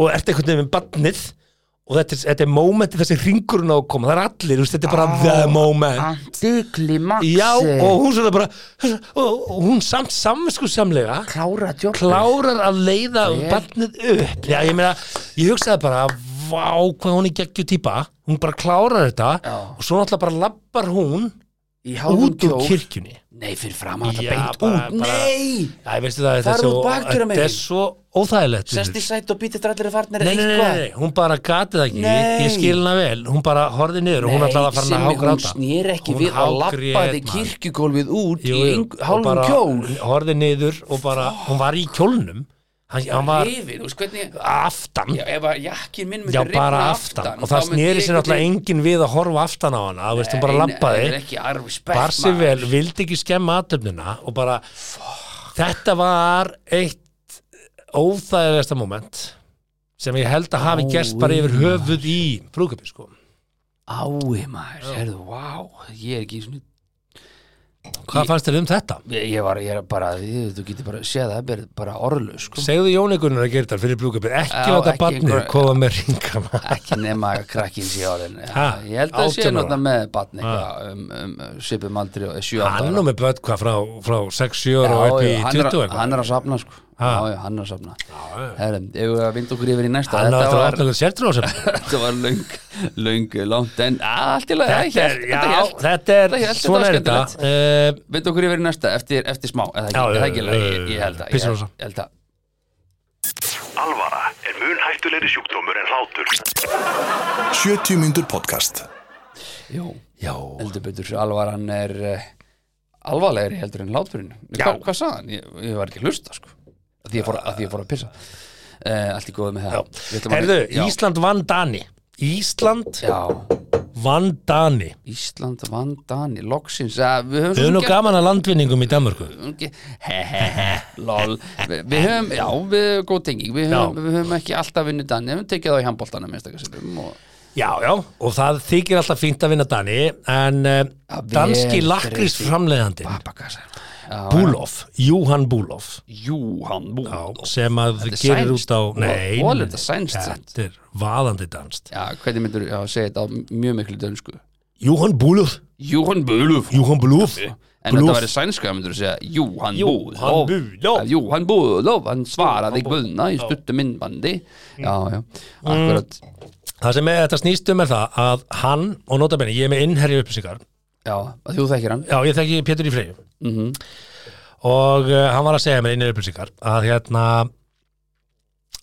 [SPEAKER 3] og ert einhvern veginn með barnið og þetta er, þetta er momentið þessi ringurinn á að koma, það er allir, þú veist, þetta er bara the moment.
[SPEAKER 4] Ah. Antiklimaxi
[SPEAKER 3] Já, og hún svona bara og og hún samt samvisku samlega
[SPEAKER 4] Klára djók
[SPEAKER 3] klárar að leiða barnið upp Já, ég meina, ég hugsaði bara vá, hvað hún er geggju típa hún bara klárar þetta og svo náttúrulega bara labbar hún
[SPEAKER 4] Í hálfum
[SPEAKER 3] út úr
[SPEAKER 4] kjól
[SPEAKER 3] kirkjunni
[SPEAKER 4] Nei, fyrir fram
[SPEAKER 3] Já,
[SPEAKER 4] að þetta beint
[SPEAKER 3] bara-
[SPEAKER 4] út
[SPEAKER 3] bara-
[SPEAKER 4] Nei,
[SPEAKER 3] Já, ég veistu það, þetta er
[SPEAKER 4] Farðu
[SPEAKER 3] svo,
[SPEAKER 4] út bakdyramegin.
[SPEAKER 3] þetta er svo óþægilegt
[SPEAKER 4] sest í
[SPEAKER 3] Nei,
[SPEAKER 4] sæti og býtir allir að farnir
[SPEAKER 3] nei, nei, nei, nei, hún bara gati það ekki,
[SPEAKER 4] Nei.
[SPEAKER 3] ég skil hana vel, hún bara horfði niður og hún ætlaði að fara að
[SPEAKER 4] hún
[SPEAKER 3] hágráta.
[SPEAKER 4] snýr ekki
[SPEAKER 3] Hún
[SPEAKER 4] við að
[SPEAKER 3] hágrét,
[SPEAKER 4] lappa þig
[SPEAKER 3] maður.
[SPEAKER 4] kirkjugólfið út
[SPEAKER 3] Jú,
[SPEAKER 4] í
[SPEAKER 3] jú,
[SPEAKER 4] yng-
[SPEAKER 3] og
[SPEAKER 4] hálfum
[SPEAKER 3] bara
[SPEAKER 4] kjól
[SPEAKER 3] Horfði niður og bara, hún var í kjólnum, hann, hann var
[SPEAKER 4] Yfir, þú veist hvernig
[SPEAKER 3] aftan,
[SPEAKER 4] Já,
[SPEAKER 3] já,
[SPEAKER 4] ef að jakkin minn myndi rifna
[SPEAKER 3] bara aftan, og
[SPEAKER 4] þá
[SPEAKER 3] það
[SPEAKER 4] myndi
[SPEAKER 3] snýri
[SPEAKER 4] ég
[SPEAKER 3] sér náttúrulega
[SPEAKER 4] einhvern
[SPEAKER 3] enginn við að horfa aftan á hana, þú veist, hún bara
[SPEAKER 4] veginn-
[SPEAKER 3] labbaði.
[SPEAKER 4] Nei, ekki arfi spett
[SPEAKER 3] bar sig
[SPEAKER 4] maður.
[SPEAKER 3] vel, um- vildi ekki skemma aðtöfnina og bara þetta var eitt óþægilegasta moment sem ég held að hafi gerst bara yfir höfuð í brúkupi sko
[SPEAKER 4] Ái maður, herðu, vá Ég er ekki svona
[SPEAKER 3] hvað fannst þér um þetta?
[SPEAKER 4] Ég, ég var, ég er bara, ég, þú getur bara séð það, bara, bara orðlaus, sko.
[SPEAKER 3] segðu Jóni Gunnar að gera þetta fyrir brúkupi ekki
[SPEAKER 4] Já,
[SPEAKER 3] láta
[SPEAKER 4] ekki
[SPEAKER 3] barnið
[SPEAKER 4] einhver-
[SPEAKER 3] koma með ringana
[SPEAKER 4] Ekki nema að krakkin sé orðin.
[SPEAKER 3] Ha,
[SPEAKER 4] Já, Ég held að það
[SPEAKER 3] 18
[SPEAKER 4] sé
[SPEAKER 3] ára.
[SPEAKER 4] náttúrulega með batni, eitthvað, um, um, um, svipum aldri og 7 ára.
[SPEAKER 3] hann og með börn hvað frá, frá 6-7 ára og upp í
[SPEAKER 4] hann,
[SPEAKER 3] 20
[SPEAKER 4] er,
[SPEAKER 3] eitthvað
[SPEAKER 4] hann er að safna, sko.
[SPEAKER 3] Ha.
[SPEAKER 4] Já, já, hann er að safna. Herðum, ef við að vinda okkur yfir í næsta,
[SPEAKER 3] hann á
[SPEAKER 4] þetta
[SPEAKER 3] eftir að
[SPEAKER 4] var,
[SPEAKER 3] opna einhvern sértrúðasöfn
[SPEAKER 4] þetta var löng, löng, langt, en að, allt í lagi, það
[SPEAKER 3] þetta er, já,
[SPEAKER 4] hélt, þetta hélt.
[SPEAKER 3] þetta er,
[SPEAKER 4] Þetta hélt, þetta
[SPEAKER 3] svona
[SPEAKER 4] var
[SPEAKER 3] er þetta Eh,
[SPEAKER 4] Vinda okkur yfir í næsta, eftir, eftir smá, eða ekki,
[SPEAKER 3] Já, já,
[SPEAKER 4] eða ekki,
[SPEAKER 3] já, já,
[SPEAKER 4] ég, ég, ég held að,
[SPEAKER 3] pissum
[SPEAKER 4] ég,
[SPEAKER 3] á þessu.
[SPEAKER 4] ég held að.
[SPEAKER 5] Alvara er mun hættulegri sjúkdómur en hlátur.
[SPEAKER 2] 70 mínútur podcast
[SPEAKER 4] Jó, já. heldur betur alvaran er uh, alvarlegri heldur en hláturinn Hva, hvað sagði hann? Ég, ég var ekki að hlusta sko. að því ég fór að, því ég fór að pissa uh, allt í góðu með það Við ætlum að-
[SPEAKER 3] herðu,
[SPEAKER 4] já,
[SPEAKER 3] Ísland vann Dani Ísland
[SPEAKER 4] já,
[SPEAKER 3] vann Dani
[SPEAKER 4] Ísland vann Dani loksins að við höfum
[SPEAKER 3] Við höfum
[SPEAKER 4] svo
[SPEAKER 3] nú gaman að landvinningum í Danmörku
[SPEAKER 4] gert- he, he, he, lol við, við höfum, já, við höfum góð tenging við höfum,
[SPEAKER 3] Já.
[SPEAKER 4] við höfum ekki alltaf vinnu Dani við höfum tekið það í handbóltanum og
[SPEAKER 3] Já, já, og það þykir alltaf fínt að vinna Dani En uh,
[SPEAKER 4] Að vel
[SPEAKER 3] danski
[SPEAKER 4] greið.
[SPEAKER 3] lakrísframleiðandi
[SPEAKER 4] pappakassa
[SPEAKER 3] Búlof, Júhan Búlof
[SPEAKER 4] Júhan Búl
[SPEAKER 3] Sem að
[SPEAKER 4] er
[SPEAKER 3] gerir út
[SPEAKER 4] sænskt.
[SPEAKER 3] á
[SPEAKER 4] Og-
[SPEAKER 3] Nei,
[SPEAKER 4] og
[SPEAKER 3] nei,
[SPEAKER 4] þetta er sænskt samt.
[SPEAKER 3] þetta er vaðandi danst
[SPEAKER 4] Já, hvernig myndur þú segja þetta á mjög miklu dönsku?
[SPEAKER 3] Júhan Búlof,
[SPEAKER 4] Júhan Búluf
[SPEAKER 3] Júhan Búlof
[SPEAKER 4] En
[SPEAKER 6] Blúff.
[SPEAKER 4] þetta væri sænska, ég myndur að segja Jú, hann
[SPEAKER 6] Jú,
[SPEAKER 4] búð
[SPEAKER 6] hann
[SPEAKER 4] lof.
[SPEAKER 6] búð lof.
[SPEAKER 4] Eh, Jú, hann búð lof Hann svaraði guðna í stuttu myndbandi Já, já, akkurat
[SPEAKER 3] Það sem er, þetta snýstum er það að hann, og nota benni, ég er með innherri upplýsingar
[SPEAKER 4] Já, að þú þekkir hann
[SPEAKER 3] Já, ég þekki Pétur í Freyju
[SPEAKER 4] Mhm.
[SPEAKER 3] Og uh, hann var að segja mér innherri upplýsingar að hérna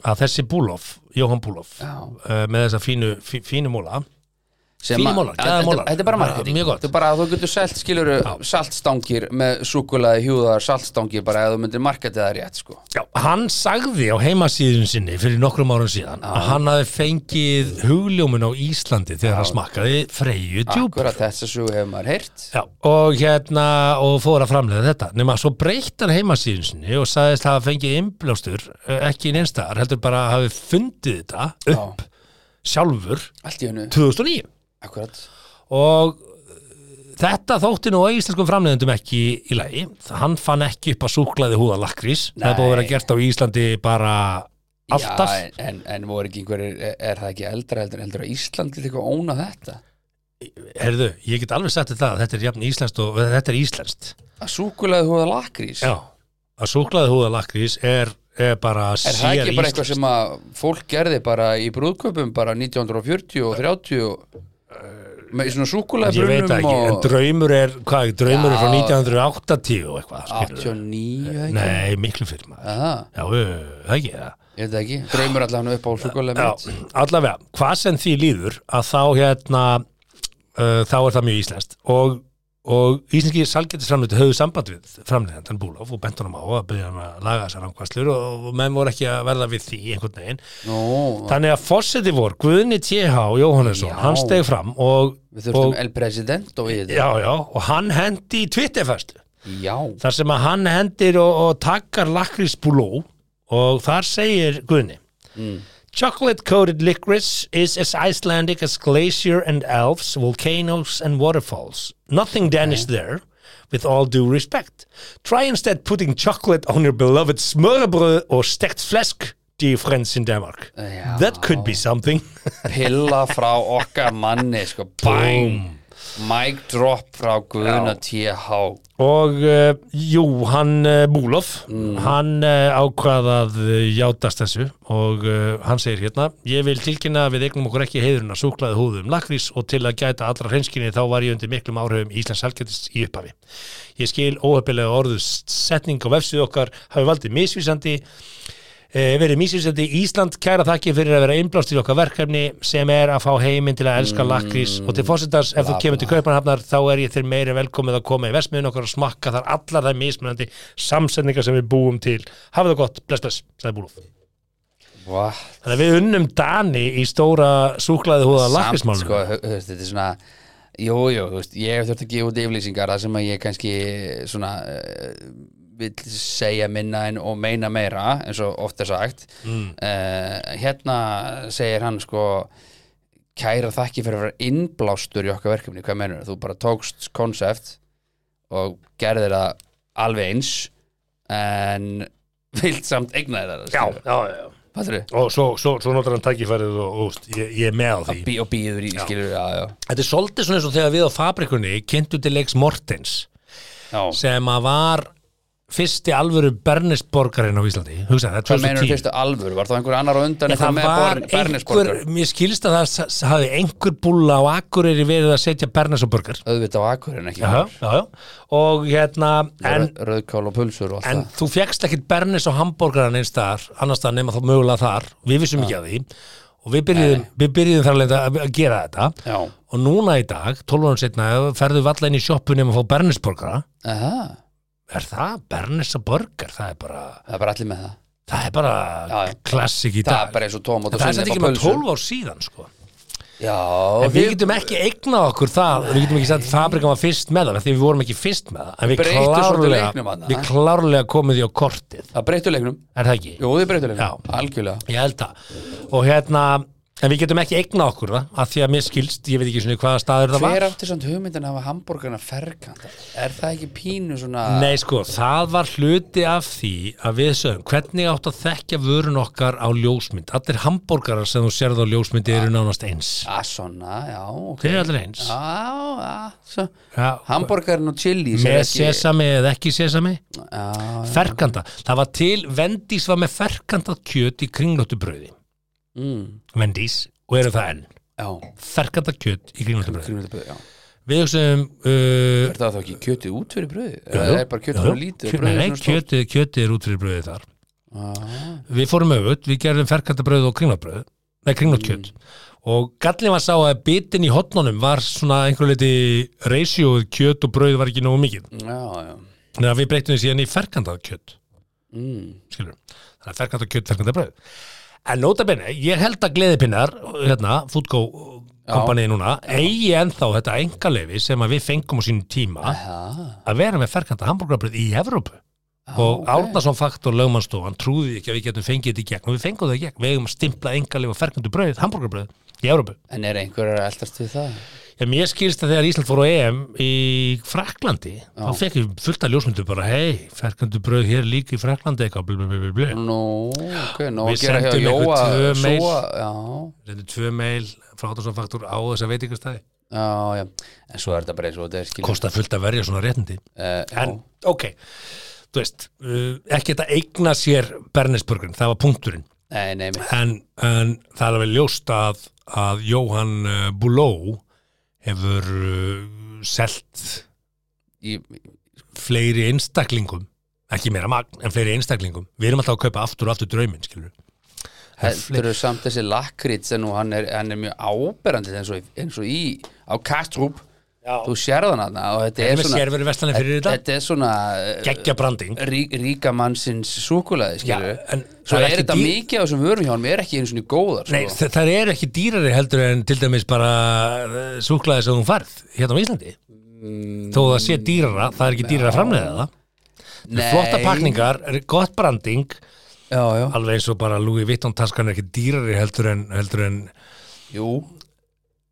[SPEAKER 3] að þessi Búlof, Jóhann Búlof
[SPEAKER 4] Já.
[SPEAKER 3] uh, með þessa fínu, fí, fínu múla
[SPEAKER 4] Sem
[SPEAKER 3] Fínir
[SPEAKER 4] að-
[SPEAKER 3] mólar,
[SPEAKER 4] Já,
[SPEAKER 3] gæða
[SPEAKER 4] þetta-
[SPEAKER 3] mólar.
[SPEAKER 4] Þetta er bara
[SPEAKER 3] Já,
[SPEAKER 4] marketing
[SPEAKER 3] mjög gott.
[SPEAKER 4] Þú bara, þú getur selt, skilur saltstangir með súkulaði hjúðar saltstangir bara ef þú myndir marketið það rétt, sko
[SPEAKER 3] Já, hann sagði á heimasíðun sinni fyrir nokkrum árum síðan að hann hafi fengið hugljómun á Íslandi þegar hann smakkaði Freyju djúpur
[SPEAKER 4] Akkurat þessa sögu hefur maður heyrt
[SPEAKER 3] Já, og hérna, og fór að framlega þetta nema svo breytt hann heimasíðun sinni og sagðist hafa fengið innblástur eh, ekki neinstaðar, heldur bara að hafi fundið þetta
[SPEAKER 4] Já,
[SPEAKER 3] sjálfur
[SPEAKER 4] allt í hennu,
[SPEAKER 3] 2009
[SPEAKER 4] akkurat
[SPEAKER 3] og eh, þetta þótti nú að íslenskum framleiðendum ekki í lagi, hann fann ekki upp að súklaði húða lakrís, það er búið að vera
[SPEAKER 4] Nei.
[SPEAKER 3] gert á Íslandi bara alltaf
[SPEAKER 4] Já, en, en, en voru ekki einhverjir, er, er það ekki eldra heldur, heldur að Ísland til eitthvað óna þetta?
[SPEAKER 3] Herðu, ég get alveg sagt þér það að þetta er jafn íslenskt og eða þetta er íslenskt
[SPEAKER 4] Að súkulaði þú að lakrís?
[SPEAKER 3] Já, að súklaði húða lakrís er, er bara
[SPEAKER 4] Er það ekki bara eitthvað sem að fólk gerði bara í brúðköpum bara 1940 og 30 og, með svona súkulaði
[SPEAKER 3] Eh, Ég veit það ekki, en
[SPEAKER 4] og
[SPEAKER 3] draumur er, hvað, draumur er frá
[SPEAKER 4] Já.
[SPEAKER 3] 1980 og eitthvað, skilur
[SPEAKER 4] 89 eða ekki?
[SPEAKER 3] Nei, miklu fyrir maður
[SPEAKER 4] Aha,
[SPEAKER 3] Já, ö, það ekki það
[SPEAKER 4] ég veit það ekki, draumur allan upp á súkulaði mitt
[SPEAKER 3] Já, allavega, hvað sem því líður að þá hérna uh, þá er það mjög íslenskt og, og íslenski salgætisframleitu höfðu samband við framleiðendan Búlof og bent honum á að byrja hann að laga þessar ánkvæslur og, og menn voru ekki að verða við því einhvern veginn.
[SPEAKER 4] Nú,
[SPEAKER 3] Þannig að fórseti vor, Guðni T.H. Jóhannesson,
[SPEAKER 4] Já.
[SPEAKER 3] hann steg fram og,
[SPEAKER 4] við þurftum
[SPEAKER 3] og,
[SPEAKER 4] El President og við
[SPEAKER 3] já, já, og hann hendi í Twitterfestu
[SPEAKER 4] já,
[SPEAKER 3] þar sem að hann hendir og, og takkar lakrís búló og þar segir Guðni Chocolate coated licorice is as Icelandic as glacier and elves, volcanoes and waterfalls. Nothing Danish there, with all due respect. Try instead putting chocolate on your beloved smørrebrød or stegt flesk, dear friends in Denmark.
[SPEAKER 4] Já.
[SPEAKER 3] That could be something.
[SPEAKER 4] pilla frá okkar manni, sko, bang mic drop frá Guðna TH
[SPEAKER 3] Og uh, jú, hann uh, Búlof, hann uh, ákvað að uh, játast þessu og uh, hann segir hérna, ég vil tilkynna að við eignum okkur ekki heiðurinn að súklaði húðum lakrís og til að gæta allra hreinskinni þá var ég undir miklum áhrifum Íslands helgættis í upphafi. Ég skil óhefilega orðu setning á vefsið okkar hafi valdið misvísandi, uh, verið misvísandi Ísland kæra þakki fyrir að vera innblást til okkar verkefni sem er að fá heiminn til að elska lakrís og til fórsetans ef þú kemur til Kaupanhafnar þá er ég þér meiri velkomið að koma í versmiðun okkar og smakka þar allar þær mismunandi samsetningar sem við búum til hafið það gott, bless bless, sagði Búlof
[SPEAKER 4] What?
[SPEAKER 3] þannig að við unnum Dani í stóra súklaði húða lakrismálum
[SPEAKER 4] sko, hu- þú veist, þetta er svona Jú, jú, þú veist, ég hef þurft að gefa út yfirlýsingar það sem að ég kannski eh, svona uh, vill segja minna en og meina meira eins og oft er sagt mm. Hérna segir hann sko kæra þakki fyrir að vera innblástur í okkar verkefni, hvað menur þú bara tókst konsept og gerðir það alveg eins en vilt samt eigna þér það
[SPEAKER 3] já, já, já, já.
[SPEAKER 4] Fattarðu?
[SPEAKER 3] og svo, svo, svo notar hann tækifærið og, og úst, ég, ég er með á því
[SPEAKER 4] Bí- og býður í, skilur, já, já,
[SPEAKER 3] þetta er svolítið svona eins og þegar við á fabrikunni kynntu til leiks Mortens
[SPEAKER 4] já.
[SPEAKER 3] sem að var fyrsti alvöru Bernesborgarinn á Íslandi hugsaði,
[SPEAKER 4] Hvað
[SPEAKER 3] það er
[SPEAKER 4] meinar
[SPEAKER 3] 2010
[SPEAKER 4] fyrstu alvöru? Var það einhver annar á undan
[SPEAKER 3] Nei,
[SPEAKER 4] eitthvað
[SPEAKER 3] það
[SPEAKER 4] með
[SPEAKER 3] var
[SPEAKER 4] born-
[SPEAKER 3] einhver,
[SPEAKER 4] Bernesborgar?
[SPEAKER 3] mér skilst að það s- s- hafi einhver búla á Akureyri verið að setja Bernes og Burger
[SPEAKER 4] Auðvitað á Akurinn ekki
[SPEAKER 3] já, já, já. og hérna en,
[SPEAKER 4] Rau- Rauðkál og pulsur og allt
[SPEAKER 3] en
[SPEAKER 4] það
[SPEAKER 3] þú fekkst ekkit Bernes og hambúrgaran eins þar, annars það nema þá mögulega þar við vissum ekki að því og við byrjuðum, við byrjuðum þar alveg að að gera þetta
[SPEAKER 4] Já,
[SPEAKER 3] og núna í dag, 12 árum setna ferðu valla inn í sjoppu nema að fá Bernesborgara
[SPEAKER 4] Aha.
[SPEAKER 3] er það Bernes og Burger, það er bara
[SPEAKER 4] það er bara allir með það
[SPEAKER 3] það er bara
[SPEAKER 4] Já, já.
[SPEAKER 3] klassik í
[SPEAKER 4] Það er
[SPEAKER 3] dag
[SPEAKER 4] bara eins og tómat
[SPEAKER 3] En
[SPEAKER 4] og
[SPEAKER 3] það er satt
[SPEAKER 4] sinnep
[SPEAKER 3] ekki
[SPEAKER 4] á
[SPEAKER 3] með
[SPEAKER 4] pulsum.
[SPEAKER 3] 12 ár síðan sko.
[SPEAKER 4] Já,
[SPEAKER 3] en við getum ekki eignað okkur það við getum ekki sagt að fabrikan var fyrst með það af því við vorum ekki fyrst með það en við
[SPEAKER 4] Breyttu svolítið leiknum
[SPEAKER 3] klárlega,
[SPEAKER 4] þarna.
[SPEAKER 3] við klárlega komum því á kortið
[SPEAKER 4] það breytur leiknum
[SPEAKER 3] er það ekki?
[SPEAKER 4] Jú, þið
[SPEAKER 3] Já.
[SPEAKER 4] breytur leiknum, algjörlega
[SPEAKER 3] ég held það og hérna En við getum ekki eigna okkur það Af því að mér skilst, ég veit ekki svona hvaða staður það
[SPEAKER 4] Hver
[SPEAKER 3] var
[SPEAKER 4] átti samt hugmyndin að hafa hambúrgarna ferkanta? Er það ekki pínu svona
[SPEAKER 3] Nei sko, það var hluti af því að við sögum, hvernig átt að þekkja vörun okkar á ljósmynd Allir hambúrgarar sem þú sérð á ljósmyndi eru nánast eins
[SPEAKER 4] Að Ah, svona, já ok.
[SPEAKER 3] Þeir eru allir eins
[SPEAKER 4] Já, já, svo
[SPEAKER 3] Já.
[SPEAKER 4] Hambúrgarinn og chili
[SPEAKER 3] Með sesami eða ekki sesami
[SPEAKER 4] Já,
[SPEAKER 3] Ferkanda, það var til Vendís var með ferkandað kjöt í kringlóttubröði
[SPEAKER 4] mm,
[SPEAKER 3] Vendís, og eru það enn
[SPEAKER 4] já,
[SPEAKER 3] Ferkandað kjöt í kringlóttubröði
[SPEAKER 4] kringlutabröð, já
[SPEAKER 3] Við hugsaðum uh,
[SPEAKER 4] Er það þá ekki kjötið út fyrir bröði?
[SPEAKER 3] jú,
[SPEAKER 4] Eða er bara kjötið
[SPEAKER 3] jú,
[SPEAKER 4] fyrir lítið
[SPEAKER 3] kjö-
[SPEAKER 4] og bröðið
[SPEAKER 3] Nei,
[SPEAKER 4] svona stórt? Ah,
[SPEAKER 3] kjötið, kjötið er út fyrir bröðið þar
[SPEAKER 4] Já,
[SPEAKER 3] Við fórum auðvöld, við gerðum ferkantabröð og kringlabröð Nei, kringlótkjöt Og gallin var sá að bitin í hotnunum var svona einhver leiti reisjóð kjöt og bröð var ekki nógu mikið
[SPEAKER 4] já, já
[SPEAKER 3] Þannig að við breytum því síðan í ferkantað kjöt
[SPEAKER 4] mm.
[SPEAKER 3] skilur Þannig að ferkantað kjöt, ferkantað bröð En nota bene, ég held að gleðipinnar hérna, Foodgo kompanið núna eigi ennþá þetta engaleifi sem að við fengum á sínum tíma
[SPEAKER 4] Já,
[SPEAKER 3] að vera með ferkantað hambúrgarbröð í Evrópu og
[SPEAKER 4] ok.
[SPEAKER 3] Árnason Faktor lögmannstofan trúði ekki að við getum fengið þetta í gegn og við fengum það í gegn, við eigum stimplað engalif og ferkandu brauðið, hambúrgarbrauðið í Európu
[SPEAKER 4] En er einhverjar að eldast við það?
[SPEAKER 3] en mér skilst að þegar Ísland fór á EM í Fraklandi, þá fekk við fullt af ljósmyndu bara, hei, ferkandu brauð hér líka í Fraklandi eitthvað, blub, blub, blub, blub
[SPEAKER 4] Nú, ok, nú
[SPEAKER 3] Við
[SPEAKER 4] að gera hjá
[SPEAKER 3] sendum ykkur
[SPEAKER 4] Jóa
[SPEAKER 3] tvö mail.
[SPEAKER 4] Sóa, já,
[SPEAKER 3] þetta er tvö meil frá Árnason Faktor á þess að veitingastæði
[SPEAKER 4] já, já En svo er þetta bara eins og þetta er skilur Eh,
[SPEAKER 3] kosta fullt að verja svona réttindi en,
[SPEAKER 4] En
[SPEAKER 3] ok, þú veist uh, ekki þetta eigna sér Bernesburgurinn, það var punkturinn
[SPEAKER 4] Nei, nei, nei,
[SPEAKER 3] en, en það er alveg ljóst að, að Jóhann eh, Boulou hefur uh, selt
[SPEAKER 4] ég,
[SPEAKER 3] fleiri einstaklingum ekki meira magn, en fleiri einstaklingum við erum alltaf að kaupa aftur og aftur drauminn skilur
[SPEAKER 4] heldur þau samt þessi lakrit sem nú hann er, hann er mjög áberandi eins og, eins og í, á Kastrup þú sérð hann hann og þetta er
[SPEAKER 3] við
[SPEAKER 4] svona Eh,
[SPEAKER 3] sérverið vestanlega fyrir þetta
[SPEAKER 4] þetta er svona eh,
[SPEAKER 3] geggja branding
[SPEAKER 4] rí, ríka mannsins súkulaði skilur
[SPEAKER 3] Já, en
[SPEAKER 4] svo
[SPEAKER 3] það er
[SPEAKER 4] er
[SPEAKER 3] ekki
[SPEAKER 4] þetta
[SPEAKER 3] dýr-
[SPEAKER 4] mikið sko. á þessum vörum hjá hann er ekki eins og niður góðar
[SPEAKER 3] Nei,
[SPEAKER 4] sko.
[SPEAKER 3] þa það eru ekki dýrari heldur en til dæmis bara súklaði sem hún farð hérna á Íslandi
[SPEAKER 4] Mm.
[SPEAKER 3] þó það sé dýrara, það er ekki dýrara að framleiða það
[SPEAKER 4] Nei.
[SPEAKER 3] flotta pakningar, er gott branding
[SPEAKER 4] já, já.
[SPEAKER 3] alveg eins og bara Louis Vuitton taskan er ekki dýrari heldur en, heldur en,
[SPEAKER 4] jú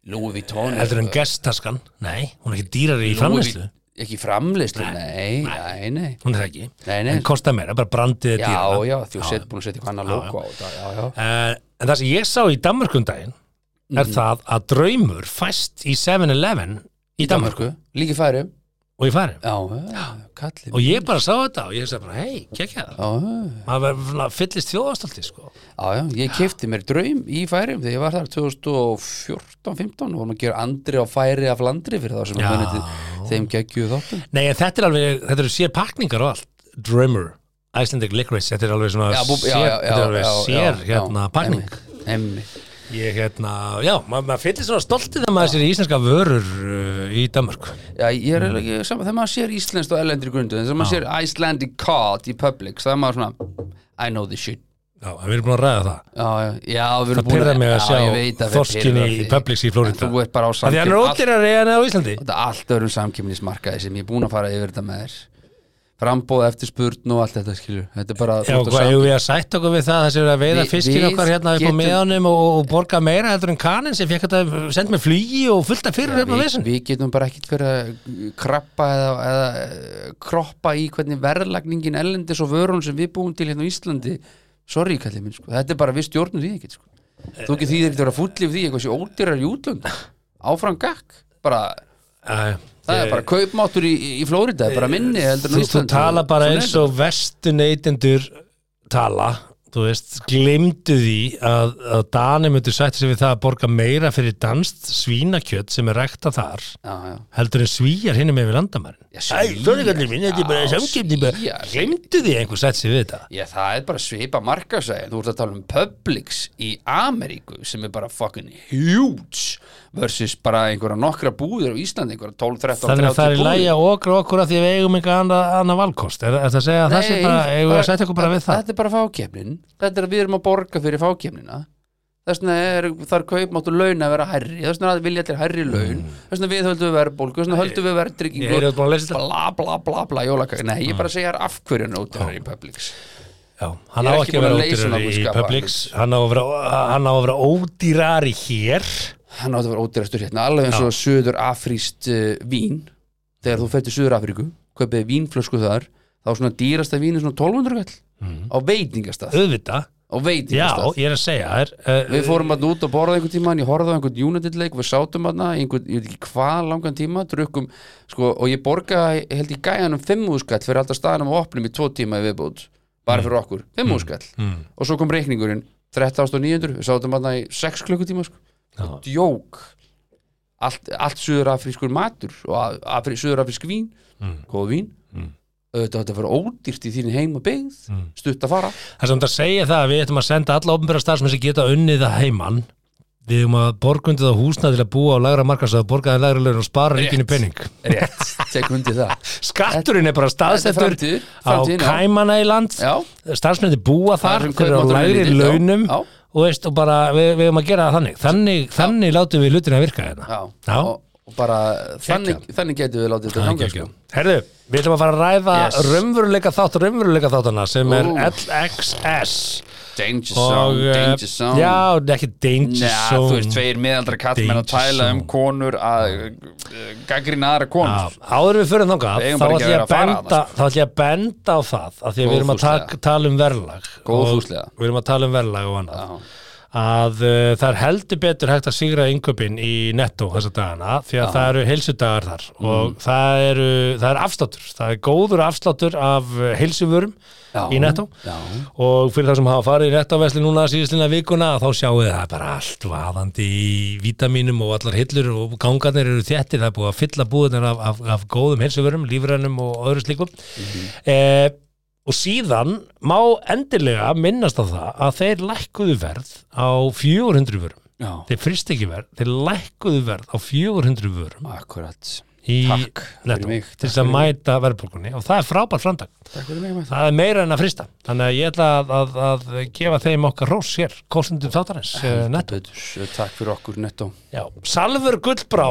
[SPEAKER 4] Louis Vuitton er-
[SPEAKER 3] heldur en guest taskan nei, hún er ekki dýrari í
[SPEAKER 4] Louis
[SPEAKER 3] framleyslu
[SPEAKER 4] Vu- ekki framleyslu, nei, nei, nei,
[SPEAKER 3] hún er það ekki,
[SPEAKER 4] Nei, nei.
[SPEAKER 3] en kostar meira, bara brandið er
[SPEAKER 4] já,
[SPEAKER 3] dýrara
[SPEAKER 4] já, þú sett búin að setja hann að logo á þetta já, já,
[SPEAKER 3] Eh, en það sem ég sá í Danmarkundaginn er
[SPEAKER 4] Mhm.
[SPEAKER 3] það að draumur fæst í 7-Eleven í Danmarku
[SPEAKER 4] Danmarku, líki færi já,
[SPEAKER 3] og í farin
[SPEAKER 4] já, kallið
[SPEAKER 3] og ég bara sá þetta og ég sagði bara hei, kekja það
[SPEAKER 4] já,
[SPEAKER 3] maður verður svona fyllist þjóðastolti sko.
[SPEAKER 4] Já, já, ég kefti mér draum í færiðum þegar ég var þar 2014-15 og vorum að gera andri á færi af landri fyrir þá sem
[SPEAKER 3] Já.
[SPEAKER 4] að munið þeim geggjuð þáttum
[SPEAKER 3] nei, en þetta er alveg, þetta eru sér pakningar og allt draumur, Icelandic Licorice þetta er alveg svona
[SPEAKER 4] Já, bú-
[SPEAKER 3] sér,
[SPEAKER 4] já, já, já,
[SPEAKER 3] þetta er alveg
[SPEAKER 4] já, já,
[SPEAKER 3] sér
[SPEAKER 4] já,
[SPEAKER 3] hérna
[SPEAKER 4] já,
[SPEAKER 3] pakning
[SPEAKER 4] einmitt, einmitt.
[SPEAKER 3] Ég hérna, já, ma maður fyllir svona stoltið þegar maður sér íslenska vörur uh, í Danmark.
[SPEAKER 4] Já,
[SPEAKER 3] Mm.
[SPEAKER 4] ég er eiginlega ekki saman, þegar maður sér íslenskt og ellendri grundu þegar maður sér Icelandic cod í Publix það er maður svona, I know this shit
[SPEAKER 3] Já, en við erum búin að ræða það.
[SPEAKER 4] Já, já, já, við erum
[SPEAKER 3] Það
[SPEAKER 4] búin
[SPEAKER 3] pyrra mig að
[SPEAKER 4] já, ég veit
[SPEAKER 3] sjá
[SPEAKER 4] að við
[SPEAKER 3] þorskinni
[SPEAKER 4] pirrar
[SPEAKER 3] í
[SPEAKER 4] þig.
[SPEAKER 3] Publix í Florida.
[SPEAKER 4] En Þú ert bara á
[SPEAKER 3] Það er hann
[SPEAKER 4] samkeppni- allt-
[SPEAKER 3] rótir að reyða neða á Íslandi.
[SPEAKER 4] þetta er allt öðrum samkjöfnismarkaði sem ég er búin að fara yfir þetta með þér frambóð eftir spurn og allt þetta skilur þetta er bara
[SPEAKER 3] Já,
[SPEAKER 4] þú ert að
[SPEAKER 3] hvað,
[SPEAKER 4] sam-
[SPEAKER 3] hefur við að sætt okkur við það að þessi eru að veiða
[SPEAKER 4] Við-
[SPEAKER 3] fiskin
[SPEAKER 4] við
[SPEAKER 3] okkar hérna upp á
[SPEAKER 4] getum-
[SPEAKER 3] meðanum og, og borga meira heldur en kanin sem fekk þetta send með flugi og fullt af fyrir upp á
[SPEAKER 4] við,
[SPEAKER 3] vissin.
[SPEAKER 4] við getum bara ekkert verið að krabba eða, eða eh, kroppa í hvernig verðlagningin ellendis og vörun sem við búum til hérna á Íslandi sorry kallið minn sko, þetta er bara við stjórnum því ekkert sko, þú ekki því þeir ekki að vera fúllið því eitthvað sé ódýrar í útlönd áfram gakk, bara það er bara kaupmáttur í, í Flórida það er bara minni heldur
[SPEAKER 3] Eh, Þú,
[SPEAKER 4] en á
[SPEAKER 3] þú
[SPEAKER 4] Íslandi
[SPEAKER 3] tala bara
[SPEAKER 4] Svona er
[SPEAKER 3] eins og vestu neytendur tala þú veist, glemdu því að, að Dani myndu sætti sig við það að borga meira fyrir danst svínakjöt sem er rækta þar
[SPEAKER 4] þetta. já, já.
[SPEAKER 3] heldur en svíjar hinum yfir landamærin
[SPEAKER 4] Já,
[SPEAKER 3] Æ,
[SPEAKER 4] svíjar.
[SPEAKER 3] þorðingarnir minn, þetta er bara
[SPEAKER 4] Já,
[SPEAKER 3] samkipni bara,
[SPEAKER 4] svíjar.
[SPEAKER 3] glemdu því að einhver sætti sig við þetta
[SPEAKER 4] Já, það er bara svipa markasæði Þú ert að tala um Publix í Ameríku sem er bara fucking huge versus bara einhverja nokkra búðir á Íslandi, einhverja 12, 13, 30
[SPEAKER 3] Þannig að það er
[SPEAKER 4] búðir
[SPEAKER 3] lægja okkur okkur að því að við eigum einhver annað, annað valkost er, er það að segja að það sé bara, eigum við að setja okkur bara við það
[SPEAKER 4] Þetta er bara fákefnin, þetta er að við erum að borga fyrir fákefnina Þess vegna er, þar kaupmáttu laun að vera herri Þess vegna vilja allir herri laun Þess vegna við höldum við verðbólgu, þess vegna höldum við
[SPEAKER 3] Mm. Ég Mm.
[SPEAKER 4] verðtryggingu
[SPEAKER 3] er búin að lesa þetta
[SPEAKER 4] Bla bla bla bla jólakaka Nei, ég bara segja þér af hverju nótar í Publix
[SPEAKER 3] Já, hann á
[SPEAKER 4] Ég er ekki
[SPEAKER 3] ekki að vera
[SPEAKER 4] búin að leysa
[SPEAKER 3] ódýrari
[SPEAKER 4] nokkuð
[SPEAKER 3] í
[SPEAKER 4] skapa.
[SPEAKER 3] Publix hann á að vera, hann á að vera ódýrari hér
[SPEAKER 4] hann átti að vera ódýrastur hérna alveg eins og söður afríst uh, vín þegar þú fætti söður Afríku kaupið vínflösku þar þá er svona dýrasta vín er svona 1200 kall á veitingastað
[SPEAKER 3] auðvitað,
[SPEAKER 4] á
[SPEAKER 3] Mhm. já,
[SPEAKER 4] veitingastað
[SPEAKER 3] ég er að segja þér uh,
[SPEAKER 4] við fórum að út og borða einhvern tíma ég horfði á einhvern United leik við sátum aðna einhvern, ég veit ekki hvað langan tíma drukkum, sko, og ég borgaði ég held ég gæjanum 5 úrskall fyrir alltaf staðanum og opnum í 2 tíma í viðbútt bara fyrir okkur, 5 úrskall og svo kom reikningurinn 13.900, við sátum aðna í 6 klukkutíma sko djók allt, allt suðurafrískur matur og afri, suðurafrísk vín mm. Mm. góð vín auðvitað þetta fyrir ódýrt í þín heima byggð stutt að fara
[SPEAKER 3] það sem þetta segja það að við ættum að senda alla ofnbæra starfsmenn sem geta unnið að heiman við höfum að borgundið á húsna til að búa á lagra markarsöðu, borgaði lagra lögur og spara ríkinu penning
[SPEAKER 4] rétt, tek hundi það
[SPEAKER 3] skatturinn er bara
[SPEAKER 4] Þetta
[SPEAKER 3] staðsettur
[SPEAKER 4] er framtíð,
[SPEAKER 3] á
[SPEAKER 4] framtíðin, já.
[SPEAKER 3] kæmana í land
[SPEAKER 4] já,
[SPEAKER 3] starfsmennir búa þar
[SPEAKER 4] Þar sem
[SPEAKER 3] þeir eru á
[SPEAKER 4] kaupmátturinn er
[SPEAKER 3] lægri
[SPEAKER 4] lítill, já,
[SPEAKER 3] launum
[SPEAKER 4] já.
[SPEAKER 3] og veist og bara við, við höfum að gera það þannig þannig, þannig látum við hlutina að virka
[SPEAKER 4] já.
[SPEAKER 3] hérna
[SPEAKER 4] Og, og bara þannig, þannig getum við látið þetta ganga sko.
[SPEAKER 3] Herðu, við ætlum að fara að ræða
[SPEAKER 4] Yes.
[SPEAKER 3] raunveruleika þátt raunveruleika þáttana sem er
[SPEAKER 4] Ú.
[SPEAKER 3] LXS
[SPEAKER 4] danger
[SPEAKER 3] og,
[SPEAKER 4] zone,
[SPEAKER 3] eh,
[SPEAKER 4] danger zone
[SPEAKER 3] Já, ekki Danger
[SPEAKER 4] Njá, þú
[SPEAKER 3] Zone
[SPEAKER 4] veist, tveir miðaldra kallmenn að
[SPEAKER 3] Danger
[SPEAKER 4] tæla um
[SPEAKER 3] zone.
[SPEAKER 4] konur að eh, gaggrina aðra konur
[SPEAKER 3] Já, áður en við förum þangað
[SPEAKER 4] Við eigum
[SPEAKER 3] þá
[SPEAKER 4] bara ekki
[SPEAKER 3] ætlum ég að
[SPEAKER 4] að vera að fara
[SPEAKER 3] benda
[SPEAKER 4] þarna, sko.
[SPEAKER 3] þá ætlum ég að benda á það af því að við erum að tak,
[SPEAKER 4] Góðfúslega.
[SPEAKER 3] tala um verðlag
[SPEAKER 4] Góðfúslega.
[SPEAKER 3] og við erum að tala um verðlag og annað
[SPEAKER 4] Já.
[SPEAKER 3] að uh, það er heldur betur hægt að sigra yngöpin í netto þessa dagana því að það eru heilsudagar þar
[SPEAKER 4] Mm.
[SPEAKER 3] og það, eru, það er afsláttur það er góður afsláttur af uh, heilsuvörum
[SPEAKER 4] Já,
[SPEAKER 3] í netto
[SPEAKER 4] já.
[SPEAKER 3] og fyrir það sem hafa farið í nettoversli núna síðustlina vikuna þá sjáu þið að það er bara allt vaðandi í vítaminum og allar hillur og gangarnir eru þéttir það er búið að fylla búðunar af, af, af góðum heilsuvörum, lífrænum og öðru slíkum
[SPEAKER 4] Mhm.
[SPEAKER 3] eh, og síðan má endilega minnast á það að þeir lækkuðu verð á 400 vörum
[SPEAKER 4] já,
[SPEAKER 3] þeir frist ekki verð, þeir lækkuðu verð á 400 vörum
[SPEAKER 4] akkurat
[SPEAKER 3] í
[SPEAKER 4] Takk fyrir
[SPEAKER 3] Netto
[SPEAKER 4] mig,
[SPEAKER 3] til
[SPEAKER 4] takk
[SPEAKER 3] þess að
[SPEAKER 4] fyrir mig.
[SPEAKER 3] mæta verðbólkunni og það er frábært framtak
[SPEAKER 4] Takk fyrir mig, maður.
[SPEAKER 3] það er meira en að frista þannig að ég ætla að, að, að gefa þeim okkar rós hér, kostundum þáttarins uh, netto.
[SPEAKER 4] Betur, takk fyrir okkur netto
[SPEAKER 3] Já. Salfur Gullbrá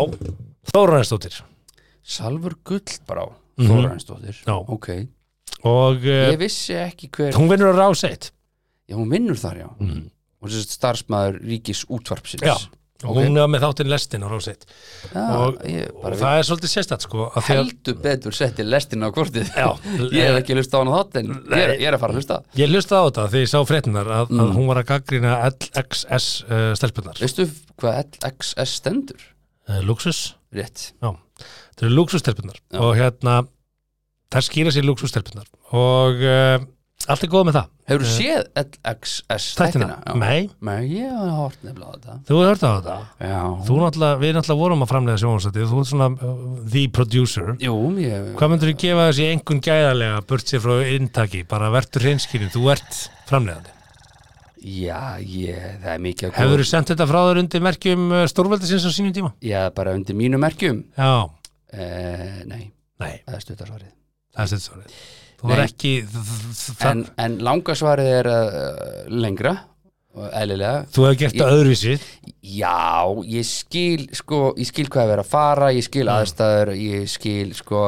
[SPEAKER 3] Þóraðinsdóttir
[SPEAKER 4] Salfur Gullbrá Þórainsdóttir
[SPEAKER 3] Mhm. Já. Eh,
[SPEAKER 4] ok,
[SPEAKER 3] og uh,
[SPEAKER 4] ég vissi ekki hver
[SPEAKER 3] hún vinnur að rása eitt
[SPEAKER 4] já, hún vinnur þar já mm. hún er sem sagt starfsmaður ríkis útvarpsins
[SPEAKER 3] Já.
[SPEAKER 4] Ok.
[SPEAKER 3] hún er með þáttinn lestin á rása eitt
[SPEAKER 4] Já,
[SPEAKER 3] og,
[SPEAKER 4] ég
[SPEAKER 3] og
[SPEAKER 4] bara
[SPEAKER 3] það er svolítið sérstætt sko að því að
[SPEAKER 4] heldur betur setti lestina á kortið
[SPEAKER 3] Já.
[SPEAKER 4] ég hef ekki hlusta á hana þátt en ég er,
[SPEAKER 3] Nei.
[SPEAKER 4] ég er að fara að hlusta
[SPEAKER 3] Ég hlusta á þetta því ég sá fréttinar að,
[SPEAKER 4] Mm.
[SPEAKER 3] að hún var að gaggrina LXS uh, stelpunar.
[SPEAKER 4] veistu hvað LXS stendur?
[SPEAKER 3] Uh, luxus?
[SPEAKER 4] rétt
[SPEAKER 3] Já. Þetta eru luxus stelpunar og hérna, það skýra sér luxus stelpunar og uh, allt er góð með það.
[SPEAKER 4] hefur séð LXS
[SPEAKER 3] Eh. Þættina?
[SPEAKER 4] Já.
[SPEAKER 3] Nei.
[SPEAKER 4] nei, ég hef hort nefnilega á þetta
[SPEAKER 3] Þú hefur hört á þetta?
[SPEAKER 4] já,
[SPEAKER 3] Þú náttúrulega, við náttúrulega vorum að framlega sjónvarsætið, þú ert svona uh, the producer.
[SPEAKER 4] jú, ég
[SPEAKER 3] Hvað myndur þú gefa þessi einhvern gæðarlega burt sér frá inntaki, bara verður hreinskýrin, þú ert framlegandi.
[SPEAKER 4] já, ég, það er mikið að
[SPEAKER 3] Hefur þú sendt þetta frá þér undir merkjum uh, stórveldisins á sínum tíma?
[SPEAKER 4] Já, bara undir mínu merkjum
[SPEAKER 3] Já,
[SPEAKER 4] eh, Nei,
[SPEAKER 3] nei.
[SPEAKER 4] það er stuttarsvarið
[SPEAKER 3] Það er stuttsvarið. Þú var
[SPEAKER 4] Nei.
[SPEAKER 3] ekki þ- þ- þ-
[SPEAKER 4] en,
[SPEAKER 3] það-
[SPEAKER 4] en langasvarið er uh, lengra og eðlilega
[SPEAKER 3] Þú hefur gert það öðruvísi
[SPEAKER 4] Já, ég skil sko, ég skil hvað er verið að fara ég skil aðstæður, ég skil sko,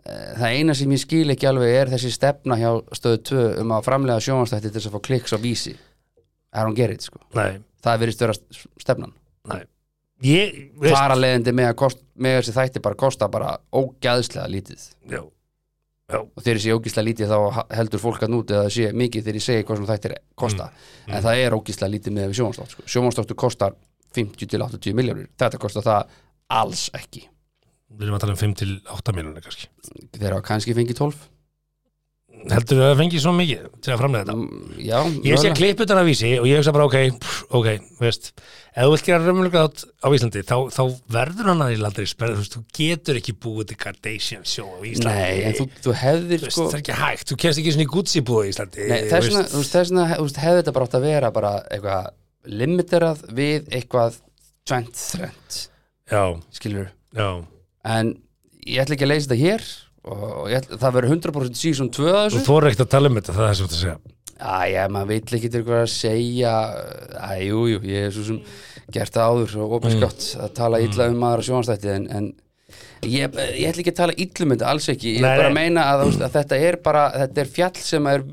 [SPEAKER 4] eh, það eina sem ég skil ekki alveg er þessi stefna hjá stöðu 2 um að framlega sjónastætti til þess að fá klikks á vísi I don't get it sko,
[SPEAKER 3] Nei,
[SPEAKER 4] það verðist vera s- stefnan
[SPEAKER 3] nei Ég, veist
[SPEAKER 4] Fara leiðindi með að kost, með þessi þætti bara kosta bara ógæðslega lítið
[SPEAKER 3] já,
[SPEAKER 4] og þegar ég sé ógísla lítið þá ha- heldur fólk að núti að það sé mikið þegar ég segi hvað svona þættir
[SPEAKER 3] Mm,
[SPEAKER 4] kosta en það er ógísla lítið með sjónvarsdótt sko. sjónvarsdóttur kostar 50 til 80 miljónir þetta kostar það alls ekki
[SPEAKER 3] Við erum að tala um 5 til 8 miljonir kannski
[SPEAKER 4] þeir hafa kannski fengið 12
[SPEAKER 3] Heldur þú að það fengið svo mikið til að framlega þetta?
[SPEAKER 4] mm, já,
[SPEAKER 3] Ég sé
[SPEAKER 4] mögulega.
[SPEAKER 3] klipputana vísi og ég hugsa bara ok, pff, ok, veist Ef þú vilt gera raunmjöluga þátt á Íslandi þá, þá verður hann að ég aldrei spenna þú, veist, þú getur ekki búið til Kardashian show á Íslandi
[SPEAKER 4] nei, en þú, þú hefðir
[SPEAKER 3] Þú veist,
[SPEAKER 4] sko
[SPEAKER 3] Það er ekki hægt, þú kemst ekki svona í Gucci búið á Íslandi
[SPEAKER 4] nei,
[SPEAKER 3] þú
[SPEAKER 4] þess vegna-
[SPEAKER 3] veist.
[SPEAKER 4] þú veist, þess vegna þú veist, hefði þetta bara átt að vera bara eitthvað limiterað við eitthvað 20-30
[SPEAKER 3] Já,
[SPEAKER 4] skilur
[SPEAKER 3] já,
[SPEAKER 4] en ég ætla ekki að leysa þetta hér og ég ætla, það verður 100% season 2 að þessu
[SPEAKER 3] þú þorir ekkert að tala um þetta það er það sem þú ert að segja
[SPEAKER 4] Æja, maður vill ekki til hvað að segja Æjú, jú, ég er svo sem gert það áður og
[SPEAKER 3] Mm.
[SPEAKER 4] opinskátt að tala illa um maður og sjónastætti en, en ég, ég ætla ekki að tala illa um þetta alls ekki, ég
[SPEAKER 3] Nei,
[SPEAKER 4] er bara að
[SPEAKER 3] nei.
[SPEAKER 4] meina að, þú veist, að þetta er bara, þetta er fjall sem er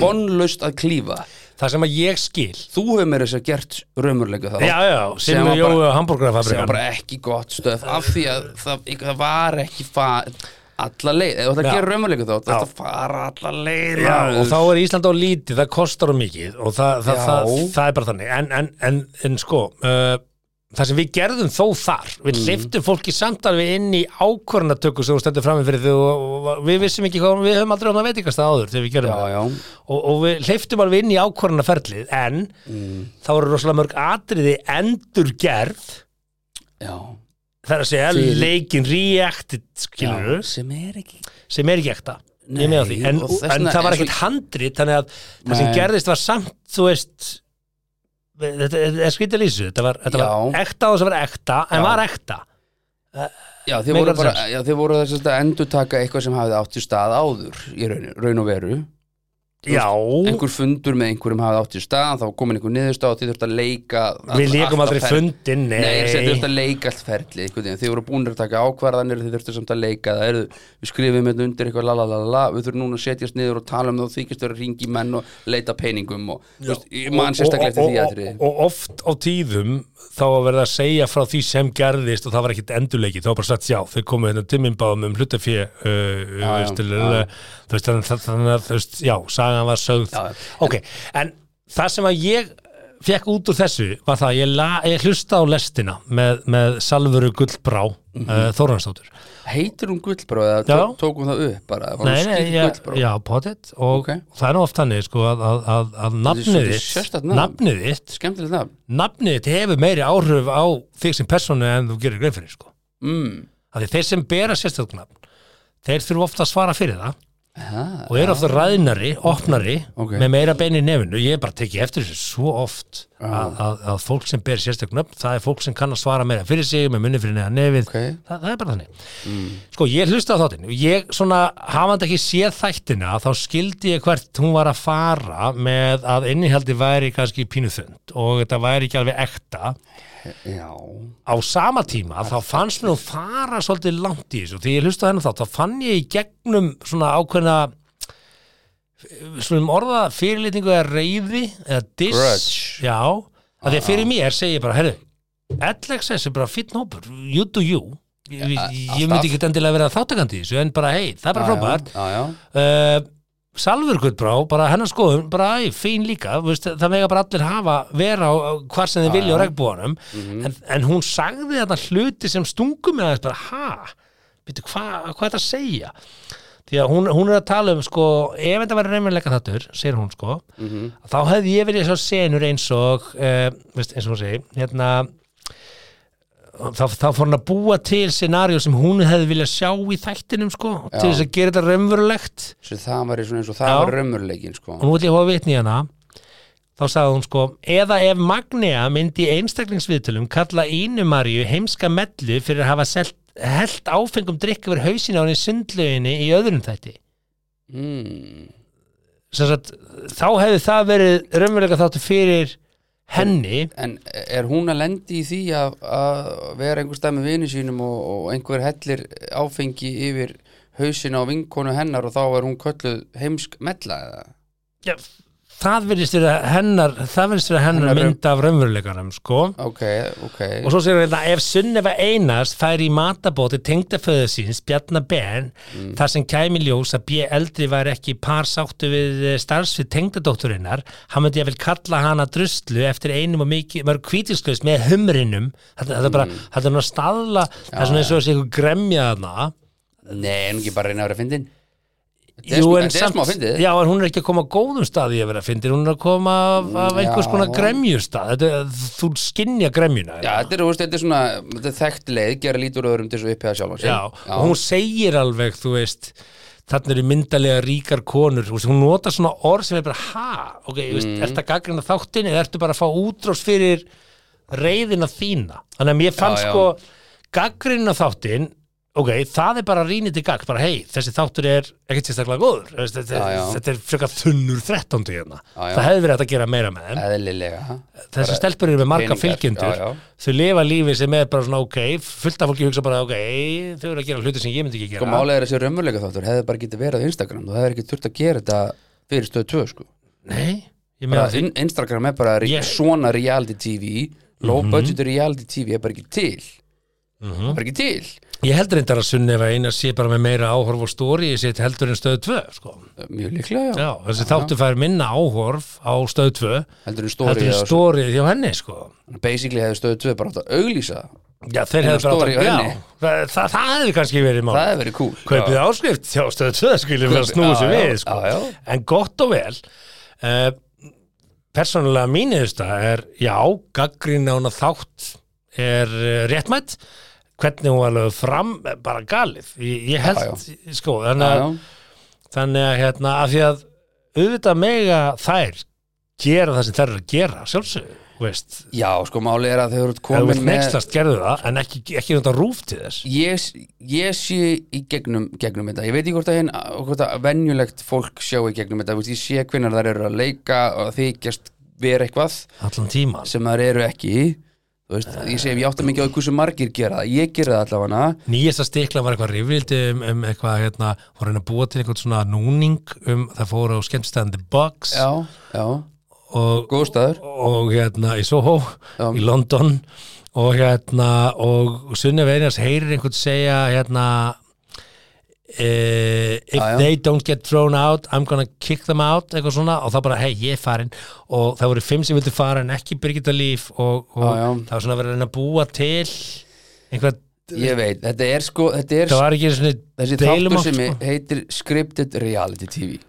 [SPEAKER 4] vonlaust að klífa
[SPEAKER 3] það sem að ég skil
[SPEAKER 4] þú hefur mér þess að segja gert raumurleika þá
[SPEAKER 3] já, já, sem
[SPEAKER 4] var
[SPEAKER 3] við
[SPEAKER 4] bara-
[SPEAKER 3] jóu að
[SPEAKER 4] sem var
[SPEAKER 3] hambúrgarafabrikan
[SPEAKER 4] bara ekki gott stöf af því að það, það var ekki fa alla leið, ef þú ætla að
[SPEAKER 3] Já.
[SPEAKER 4] gera raumurleika þá þetta
[SPEAKER 3] Já.
[SPEAKER 4] að fara alla leið
[SPEAKER 3] Já, og þá er Ísland á lítið, það kostar á mikið og það, það,
[SPEAKER 4] Já.
[SPEAKER 3] það, það er bara þannig en, en, en, en sko uh, það sem við gerðum þó þar við mm. liftum fólki samt alveg inn í ákvörnatöku sem þú stendur frammi fyrir því og, og, og við vissum ekki hvað, við höfum aldrei ofna veitingast það áður þegar við gerðum
[SPEAKER 4] já,
[SPEAKER 3] það
[SPEAKER 4] já,
[SPEAKER 3] og, og við hleyftum alveg inn í ákvörnaferlið en
[SPEAKER 4] Mm.
[SPEAKER 3] þá eru rosalega mörg atriði endurgerð
[SPEAKER 4] já,
[SPEAKER 3] þar að segja
[SPEAKER 4] Fyrir-
[SPEAKER 3] leikin reacted skilur
[SPEAKER 4] já sem er ekki
[SPEAKER 3] sem er ekki ekta Ég er með á því.
[SPEAKER 4] Nei,
[SPEAKER 3] en,
[SPEAKER 4] og þess
[SPEAKER 3] en
[SPEAKER 4] vegna
[SPEAKER 3] það var
[SPEAKER 4] er svo-
[SPEAKER 3] ekkert handrit þannig að það sem
[SPEAKER 4] Nei.
[SPEAKER 3] gerðist var samt þú veist þetta þetta er skrítið lýsu þetta var, þetta var
[SPEAKER 4] Já.
[SPEAKER 3] ekta og þess að vera ekta en
[SPEAKER 4] Já.
[SPEAKER 3] var ekta
[SPEAKER 4] já, þið
[SPEAKER 3] Megar
[SPEAKER 4] voru bara,
[SPEAKER 3] sens.
[SPEAKER 4] já, þið voru þess að endurtaka eitthvað sem hafði átt í stað áður í raun, raun og veru
[SPEAKER 3] já,
[SPEAKER 4] einhver fundur með einhverjum hafði átt í stað þá komin einhver niðurstað og þið þurft að leika
[SPEAKER 3] við líkum
[SPEAKER 4] allt
[SPEAKER 3] aldrei
[SPEAKER 4] að fer-
[SPEAKER 3] fundin nei,
[SPEAKER 4] Nei, þið þurftu að leika allt ferli einhvern veginn. Þið voru búinir að taka ákvarðanir Þið þurftu samt að leika það eru, Við skrifum hérna undir eitthvað la, la, la, la. Við þurfum núna að setjast niður og tala um það og þykist vera að ringi menn og leita peningum og, þú veist, Ég man sérstaklega eftir því
[SPEAKER 3] og,
[SPEAKER 4] aðri
[SPEAKER 3] og, og oft á tíðum þá að verða að segja frá því sem gerðist og það var ekkit endurleikið, þá var bara sagt já þau komu hérna timmimbáðum um hlutafjö uh, þú veist, til-
[SPEAKER 4] já.
[SPEAKER 3] þú veist, þannig að- þannig að þú veist, já, sagan var sögð
[SPEAKER 4] Já, já.
[SPEAKER 3] ok, en það sem að ég fekk út úr þessu var það að ég, la, ég hlusta á lestina með, með Salvöru Gullbrá mm
[SPEAKER 4] Mhm.
[SPEAKER 3] Þórhansdóttur
[SPEAKER 4] Heitir hún gullbrá eða
[SPEAKER 3] Já.
[SPEAKER 4] tó- tókum það upp bara Var hún skýrt
[SPEAKER 3] já,
[SPEAKER 4] gullbrá
[SPEAKER 3] já, pottet og
[SPEAKER 4] Ok.
[SPEAKER 3] það er nú oft þannig sko, að, að, að, að nafnið
[SPEAKER 4] svolítið
[SPEAKER 3] þitt
[SPEAKER 4] sérstakt nafn.
[SPEAKER 3] nafnið þitt
[SPEAKER 4] Skemmtilegt nafn
[SPEAKER 3] nafnið þitt hefur meiri áhrif á þig sem persónu en þú gerir grein fyrir sko.
[SPEAKER 4] mm.
[SPEAKER 3] Af því þeir sem bera sérstöknafn þeir þurfa ofta að svara fyrir það
[SPEAKER 4] ha,
[SPEAKER 3] og eru ofta ræðnari, opnari
[SPEAKER 4] Ok.
[SPEAKER 3] með meira bein í nefnu, ég er bara tekið eftir þessu svo oft að, að, að fólk sem ber sérstöknafn, það er fólk sem kann að svara meira fyrir sig, með munni fyrir neða nefið
[SPEAKER 4] Ok.
[SPEAKER 3] Þa, það er bara þannig sko ég hlusta á þáttinn ég svona hafandi ekki séð þættina þá skildi ég hvert hún var að fara með að innihaldi væri kannski pínu þund og þetta væri ekki alveg ekta
[SPEAKER 4] Já
[SPEAKER 3] á sama tíma þá fannst mér hún fara svolítið langt í þessu því ég hlusta á hennar þátt þá fann ég í gegnum svona ákveðna svona orða fyrirlitningu eða reyði eða diss
[SPEAKER 4] Grudge. Ah.
[SPEAKER 3] já, að því að fyrir mér segi ég bara herru, LXS er bara fýtt hópur you do you ég, ég myndi
[SPEAKER 4] Ah, alltaf.
[SPEAKER 3] ekki endilega vera þáttakandi í þessu en bara hei, það er bara frábært
[SPEAKER 4] Já, já
[SPEAKER 3] uh, Salfur Guðbrá, bara hennar skoðum bara æ, fín líka, þú veist, það mega bara allir hafa vera á á hvar sem þið vilja á regnbúanum,
[SPEAKER 4] Mhm.
[SPEAKER 3] en, en hún sagði þetta hluti sem stungum með aðeins bara, ha, veitu, hvað hva er þetta að segja? Því að hún, hún er að tala um, sko, ef þetta var reyminleika þáttur, segir hún, sko þá hefði ég verið svo senur eins og uh, veist, eins og hún segir, hérna þá, þá fór hann að búa til scenarió sem hún hefði viljað sjá í þættinum, sko, til
[SPEAKER 4] Já.
[SPEAKER 3] þess að gera þetta raunverulegt
[SPEAKER 4] Svo það var eins og
[SPEAKER 3] Já.
[SPEAKER 4] það var raumurleikin sko.
[SPEAKER 3] og nú ætlum ég að hafa vitni í hana þá sagði hún sko eða ef Magnea myndi í einstaklingsviðtölum kalla Ínumarju heimska mellu fyrir að hafa selt, held áfengum drikk yfir hausin á henni í sundlauginni í öðrum þætti
[SPEAKER 4] mm.
[SPEAKER 3] Sem sagt, þá hefði það verið raunverulega þáttu fyrir henni
[SPEAKER 4] En er hún að lendi í því að, að vera einhver stað með vini sínum og, og einhver hellir áfengi yfir hausin á vinkonu hennar og þá er hún kölluð heimsk mella eða?
[SPEAKER 3] já, það verðist vera hennar það verðist vera hennar,
[SPEAKER 4] Hennar raun-
[SPEAKER 3] mynd af raunveruleganum sko
[SPEAKER 4] Ok, ok.
[SPEAKER 3] Og svo segir hann að ef Sunnefa Einars færi í matabóti tengdaföðu síns Bjarna Ben,
[SPEAKER 4] Mm.
[SPEAKER 3] þar sem kæmi í ljós að B. Eldri var ekki í par sáttu við eh, starfsvið tengdadótturinnar hann myndi ég vel kalla hana druslu eftir einum og mikið, mörg kvítilsklaus með humrinum, þetta, þetta er
[SPEAKER 4] Mm.
[SPEAKER 3] bara þetta er nú að staðla, það er svona eins og þessi einhver gremja þarna
[SPEAKER 4] Nei, en ekki bara reyna að vera fyndin. Þetta er
[SPEAKER 3] Jú,
[SPEAKER 4] smá-
[SPEAKER 3] en
[SPEAKER 4] þetta er smá
[SPEAKER 3] samt,
[SPEAKER 4] fyndið.
[SPEAKER 3] já, en hún er ekki að koma á góðum stað í að vera fyndin, hún er að koma af, af einhvers
[SPEAKER 4] Mm, Já.
[SPEAKER 3] konar gremjustað þetta, er- þú skinnja gremjuna
[SPEAKER 4] Já, þetta er, þú veist, þetta er svona þetta er þekkt leið, gera lítur öðrum til svo upphæða sjálf
[SPEAKER 3] já, og hún segir alveg þú veist, þarna eru myndalega ríkar konur, þú veist, hún notar svona orð sem er bara, ha, ok, mm. veist, ertu að gaggrina þáttin eða ertu bara að fá útrás fyrir reyðina þína þannig að mér fannst
[SPEAKER 4] Já, já.
[SPEAKER 3] sko gaggrina þáttin, ok, það er bara rýnið til gagg, bara hei, þessi þáttur er ekkert sérstaklega góður, þú veist, þetta,
[SPEAKER 4] Já,
[SPEAKER 3] já,
[SPEAKER 4] já.
[SPEAKER 3] þetta er frekar þunnur 13. hérna,
[SPEAKER 4] Já, já.
[SPEAKER 3] það hefði verið hægt að gera meira með þeim
[SPEAKER 4] Eðlilega.
[SPEAKER 3] þessi stelpur eru með marga
[SPEAKER 4] peningar,
[SPEAKER 3] fylgjendur
[SPEAKER 4] já, já.
[SPEAKER 3] þau lifa lífi sem er bara svona ok fullt af fólki hugsa bara ok þau eru að gera hluti sem ég myndi ekki
[SPEAKER 4] Sko
[SPEAKER 3] gera
[SPEAKER 4] málega er þessi raumurleika þáttur hefði bara getið verið á Instagram og hefði ekki þurft að gera þetta fyrir stöð 2 sko
[SPEAKER 3] Nei, ég meina
[SPEAKER 4] bara,
[SPEAKER 3] því
[SPEAKER 4] in, Instagram er bara
[SPEAKER 3] Ég-
[SPEAKER 4] yeah. svona reality TV low
[SPEAKER 3] Mhm.
[SPEAKER 4] budget reality TV er bara ekki til það er bara ekki til
[SPEAKER 3] Ég heldur reyndar að Sunnefa eina sé bara með meira áhorf og stóri ég set heldur en stöð 2 sko.
[SPEAKER 4] mjög líklega, já,
[SPEAKER 3] Já, þessi þáttu fær minna áhorf á stöð 2
[SPEAKER 4] heldur en
[SPEAKER 3] heldur
[SPEAKER 4] stóri
[SPEAKER 3] en stórið hjá henni sko.
[SPEAKER 4] basically hefði stöðu 2 bara átt að auglýsa
[SPEAKER 3] Já, þeir
[SPEAKER 4] En
[SPEAKER 3] hefur bara
[SPEAKER 4] story
[SPEAKER 3] átt að-
[SPEAKER 4] hjá
[SPEAKER 3] Já,
[SPEAKER 4] henni.
[SPEAKER 3] það, það, það hefði kannski verið mál
[SPEAKER 4] það hefði verið cool
[SPEAKER 3] Kaupið
[SPEAKER 4] Já.
[SPEAKER 3] áskrift hjá stöð 2 skilum við að
[SPEAKER 4] Kaupið-
[SPEAKER 3] snúa sér
[SPEAKER 4] já,
[SPEAKER 3] við
[SPEAKER 4] já,
[SPEAKER 3] sko.
[SPEAKER 4] já, já.
[SPEAKER 3] En gott og vel uh, Persónulega mín eðusta er Já, gaggrín á hana þátt er uh, réttmætt hvernig hún var lögð fram eh, bara galið, ég, ég held sko, þannig
[SPEAKER 4] Já,
[SPEAKER 3] að
[SPEAKER 4] já.
[SPEAKER 3] þannig að hérna, af því að auðvitað mega þær gera það sem þær eru að gera, sjálfsög veist,
[SPEAKER 4] já, sko máli er að þau eru
[SPEAKER 3] ef þú
[SPEAKER 4] komin
[SPEAKER 3] ert
[SPEAKER 4] með
[SPEAKER 3] nextast gerðu það en ekki, ekki þetta rúf til þess
[SPEAKER 4] ég, ég sé í gegnum, gegnum þetta, ég veit ekki hvort að, hinn, hvort að venjulegt fólk sjá í gegnum þetta Þú veist, ég sé hvenær þær eru að leika og þykjast vera eitthvað
[SPEAKER 3] allan tíman,
[SPEAKER 4] sem þær eru ekki Þú veist, ég segi, ég átta mikið á hversu margir gera það ég gera það allavega
[SPEAKER 3] nýjasta stikla var eitthvað rifrildi um, um eitthvað hérna, voru henni að búa til eitthvað svona núning um það fóru á skemmtstæðan The Box
[SPEAKER 4] já, já,
[SPEAKER 3] og,
[SPEAKER 4] góðstæður
[SPEAKER 3] og hérna í Soho
[SPEAKER 4] Já.
[SPEAKER 3] í London og hérna og Sunnef Einars heyrir einhvern segja hérna uh, if
[SPEAKER 4] Já, já.
[SPEAKER 3] they don't get thrown out I'm gonna kick them out eitthvað svona og það bara hei ég er farin og það voru fimm sem vildu fara en ekki Birgitta Líf og, og
[SPEAKER 4] Já, já.
[SPEAKER 3] það var svona verið að reyna að búa til einhver,
[SPEAKER 4] ég veit, þetta er sko þetta er
[SPEAKER 3] það var ekki svona
[SPEAKER 4] þessi
[SPEAKER 3] deilum
[SPEAKER 4] þáttur
[SPEAKER 3] átt,
[SPEAKER 4] sem
[SPEAKER 3] sko.
[SPEAKER 4] heitir Scripted Reality TV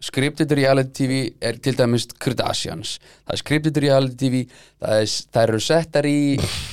[SPEAKER 4] Scripted Reality TV er til dæmis Kardashians, það er Scripted Reality TV það, er, það eru settar í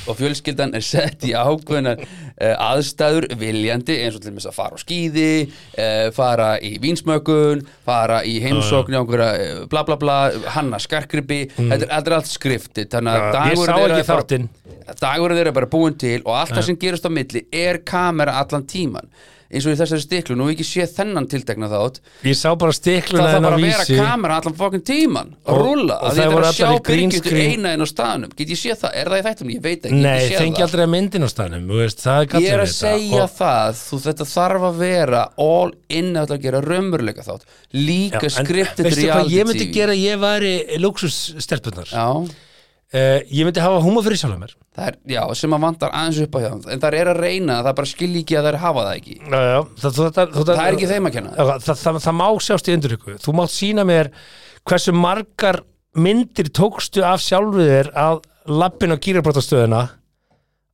[SPEAKER 4] og fjölskyldan er sett í ákveðnar uh, aðstæður viljandi eins og til dæmis að fara á skíði uh, fara í vinsmökun fara í heimsókn í einhverja uh, bla bla bla, hanna skarkrippi
[SPEAKER 3] Mm.
[SPEAKER 4] þetta er aldrei allt skriftið þannig að
[SPEAKER 3] ég sá
[SPEAKER 4] dagurinn þeirra
[SPEAKER 3] ekki
[SPEAKER 4] er bara-
[SPEAKER 3] þáttinn
[SPEAKER 4] dagurinn þeirra er bara búin til og allt það sem gerist á milli er kamera allan tíman eins og í þessari stiklu, nú hef ég ekki séð þennan tiltekna þátt,
[SPEAKER 3] ég sá bara
[SPEAKER 4] það
[SPEAKER 3] stikluna
[SPEAKER 4] þarf
[SPEAKER 3] þennan
[SPEAKER 4] bara að vera
[SPEAKER 3] vísi
[SPEAKER 4] kamera allan fokkin tíman og
[SPEAKER 3] Og-
[SPEAKER 4] rúlla,
[SPEAKER 3] og
[SPEAKER 4] að
[SPEAKER 3] þær
[SPEAKER 4] ég
[SPEAKER 3] voru
[SPEAKER 4] þarf að
[SPEAKER 3] allar
[SPEAKER 4] sjá
[SPEAKER 3] í green
[SPEAKER 4] Birgittu
[SPEAKER 3] screen.
[SPEAKER 4] eina inn á staðnum, get ég séð það, er það í þættum ég veit ekki,
[SPEAKER 3] nei,
[SPEAKER 4] ég
[SPEAKER 3] fengi
[SPEAKER 4] séð það
[SPEAKER 3] aldrei að myndin á staðnum þú veist, það er
[SPEAKER 4] ég
[SPEAKER 3] gallinn
[SPEAKER 4] er að
[SPEAKER 3] við þetta.
[SPEAKER 4] segja
[SPEAKER 3] Og-
[SPEAKER 4] það, þú þetta þarf að vera all in að þetta gera raumurleika þátt
[SPEAKER 3] Já,
[SPEAKER 4] líka
[SPEAKER 3] en
[SPEAKER 4] skriptið
[SPEAKER 3] veistu hvað ég myndi
[SPEAKER 4] reality TV
[SPEAKER 3] gera ef ég væri luxusstelpunar ja.
[SPEAKER 4] já,
[SPEAKER 3] ég myndi hafa húma fyrir sjálfum mér
[SPEAKER 4] það er, já, sem að vantar aðeins upp á hjá þeim. en það er að reyna, það bara skilji ekki að það hafa það ekki
[SPEAKER 3] já, já. Það, það, það, það,
[SPEAKER 4] Það er ekki þeim að kenna.
[SPEAKER 3] Já, það, það, það, má sjást í undurrykku þú mátt sína mér hversu margar myndir tókstu af sjálfu þér að lappin á kýrabrótastöðuna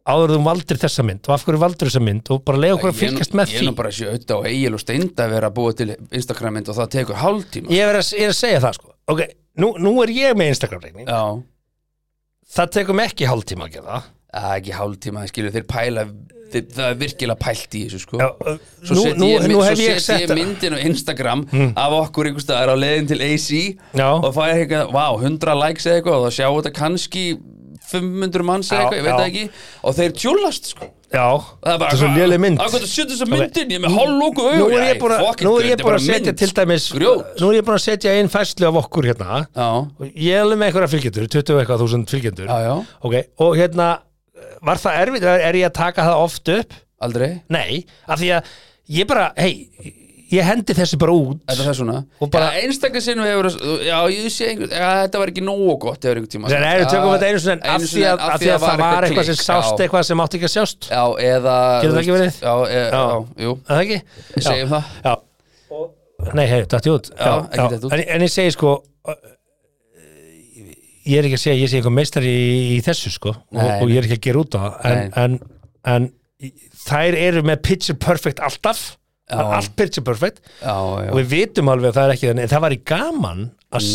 [SPEAKER 3] áður en þú valdir þessa mynd og af hverju valdir þessa mynd og bara leiða okkur að
[SPEAKER 4] Ég er nú-
[SPEAKER 3] fylgjast með
[SPEAKER 4] Ég er
[SPEAKER 3] því
[SPEAKER 4] nú bara að sé auðvitað og Egil og Steinda vera að búa til Instagram mynd og það tekur hálftíma
[SPEAKER 3] ég er að, ég er að segja það sko ok, nú, nú er ég með Instagram reikning
[SPEAKER 4] Já,
[SPEAKER 3] það tekur mig ekki hálftíma að gera það
[SPEAKER 4] það er ekki hálftíma, það skilur þeir pæla þeir, það er virkilega pælt í þessu sko
[SPEAKER 3] Já, uh,
[SPEAKER 4] Svo
[SPEAKER 3] nú,
[SPEAKER 4] set
[SPEAKER 3] nú,
[SPEAKER 4] ég,
[SPEAKER 3] nú
[SPEAKER 4] svo
[SPEAKER 3] hef ég
[SPEAKER 4] set
[SPEAKER 3] sett Hmm.
[SPEAKER 4] ég myndin á Instagram af okkur einhvers staðar á leiðin til AC
[SPEAKER 3] Já.
[SPEAKER 4] og fæ eitthvað, vá, 100 likes eða eitthvað og það sjá þetta kannski 500 manns eða
[SPEAKER 3] Já,
[SPEAKER 4] eitthvað, ég veit
[SPEAKER 3] já.
[SPEAKER 4] það ekki og þeir tjúlast sko
[SPEAKER 3] Já,
[SPEAKER 4] Það er bara
[SPEAKER 3] svo léleg mynd
[SPEAKER 4] Akkur það sjötu þessa myndin, ég er með hálflóku augun
[SPEAKER 3] Nú er ég búin að, nú er ég búin að setja til dæmis
[SPEAKER 4] Grjót.
[SPEAKER 3] Nú er ég búin að setja einn fæslu af okkur hérna
[SPEAKER 4] Já,
[SPEAKER 3] Og Ég er alveg með einhverja fylgjendur, 20 og eitthvað þúsund fylgjendur
[SPEAKER 4] já, já,
[SPEAKER 3] Ok, og hérna Var það erfitt, er ég að taka það oft upp?
[SPEAKER 4] aldrei
[SPEAKER 3] Nei, af því að ég bara, hei Ég hendi þessu bara út
[SPEAKER 4] Þetta er svona
[SPEAKER 3] Og bara-
[SPEAKER 4] Já, einstaka sinnum hefur Já, ég sé einhver Já, þetta var ekki nógu gott Hefur einhver tíma
[SPEAKER 3] Þegar erum tökum við þetta einu sinni en af því að, af því að það var eitthvað sem sást
[SPEAKER 4] Já,
[SPEAKER 3] eitthvað sem átti ekki að sjást
[SPEAKER 4] já eða
[SPEAKER 3] Getur það ekki verið?
[SPEAKER 4] Já, e,
[SPEAKER 3] Já.
[SPEAKER 4] já, jú
[SPEAKER 3] Er Það ekki?
[SPEAKER 4] Við segjum
[SPEAKER 3] Já.
[SPEAKER 4] það.
[SPEAKER 3] Já. Nei, hei, dætti út. Já,
[SPEAKER 4] ekki datt út.
[SPEAKER 3] En, en ég segi sko, uh, ég er ekki að segja, ég sé eitthvað meistari í, í þessu sko og,
[SPEAKER 4] Nei,
[SPEAKER 3] og ég er ekki að gera út á það. En, en, en í- þær eru með picture perfect alltaf, það er
[SPEAKER 4] Já.
[SPEAKER 3] allt picture perfect
[SPEAKER 4] Já,
[SPEAKER 3] og
[SPEAKER 4] já
[SPEAKER 3] við vitum alveg að það er ekki þannig, en það var í gaman að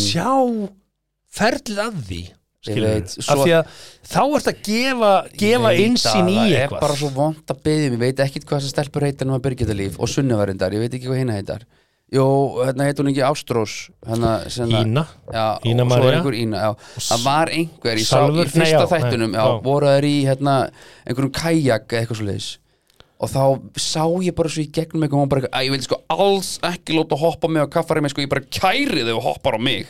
[SPEAKER 3] sjá ferlið að því.
[SPEAKER 4] Ég
[SPEAKER 3] skilurðu.
[SPEAKER 4] veit,
[SPEAKER 3] af
[SPEAKER 4] svo-
[SPEAKER 3] því að þá ert að gefa, gefa
[SPEAKER 4] Ég veit
[SPEAKER 3] einsýn
[SPEAKER 4] að
[SPEAKER 3] í
[SPEAKER 4] Það er
[SPEAKER 3] eitthvað
[SPEAKER 4] bara svo vond að beðið Ég veit ekkit hvað þessar stelpur heitar Nú að Birgitta líf Og sunnuvarindar Ég veit ekki hvað hina heitar Jó, hérna heit hún ekki Ástrós Hérna hérna-
[SPEAKER 3] Ína.
[SPEAKER 4] Já,
[SPEAKER 3] Ína
[SPEAKER 4] og svo
[SPEAKER 3] María.
[SPEAKER 4] er einhver Ína já. Það var einhver Ég sá í
[SPEAKER 3] Salvör-
[SPEAKER 4] fyrsta
[SPEAKER 3] Nei, já, nei,
[SPEAKER 4] þættunum Já,
[SPEAKER 3] já.
[SPEAKER 4] voru þær í hérna Einhverjum kajak eða eitthvað svo leiðis Og þá sá ég bara svo í gegnum eitthvað og hún bara, eitthvað, "Æ, Ég vil sko alls ekki láta hoppa á mig og kaffari mig sko, Ég bara kæri þau og hoppar á mig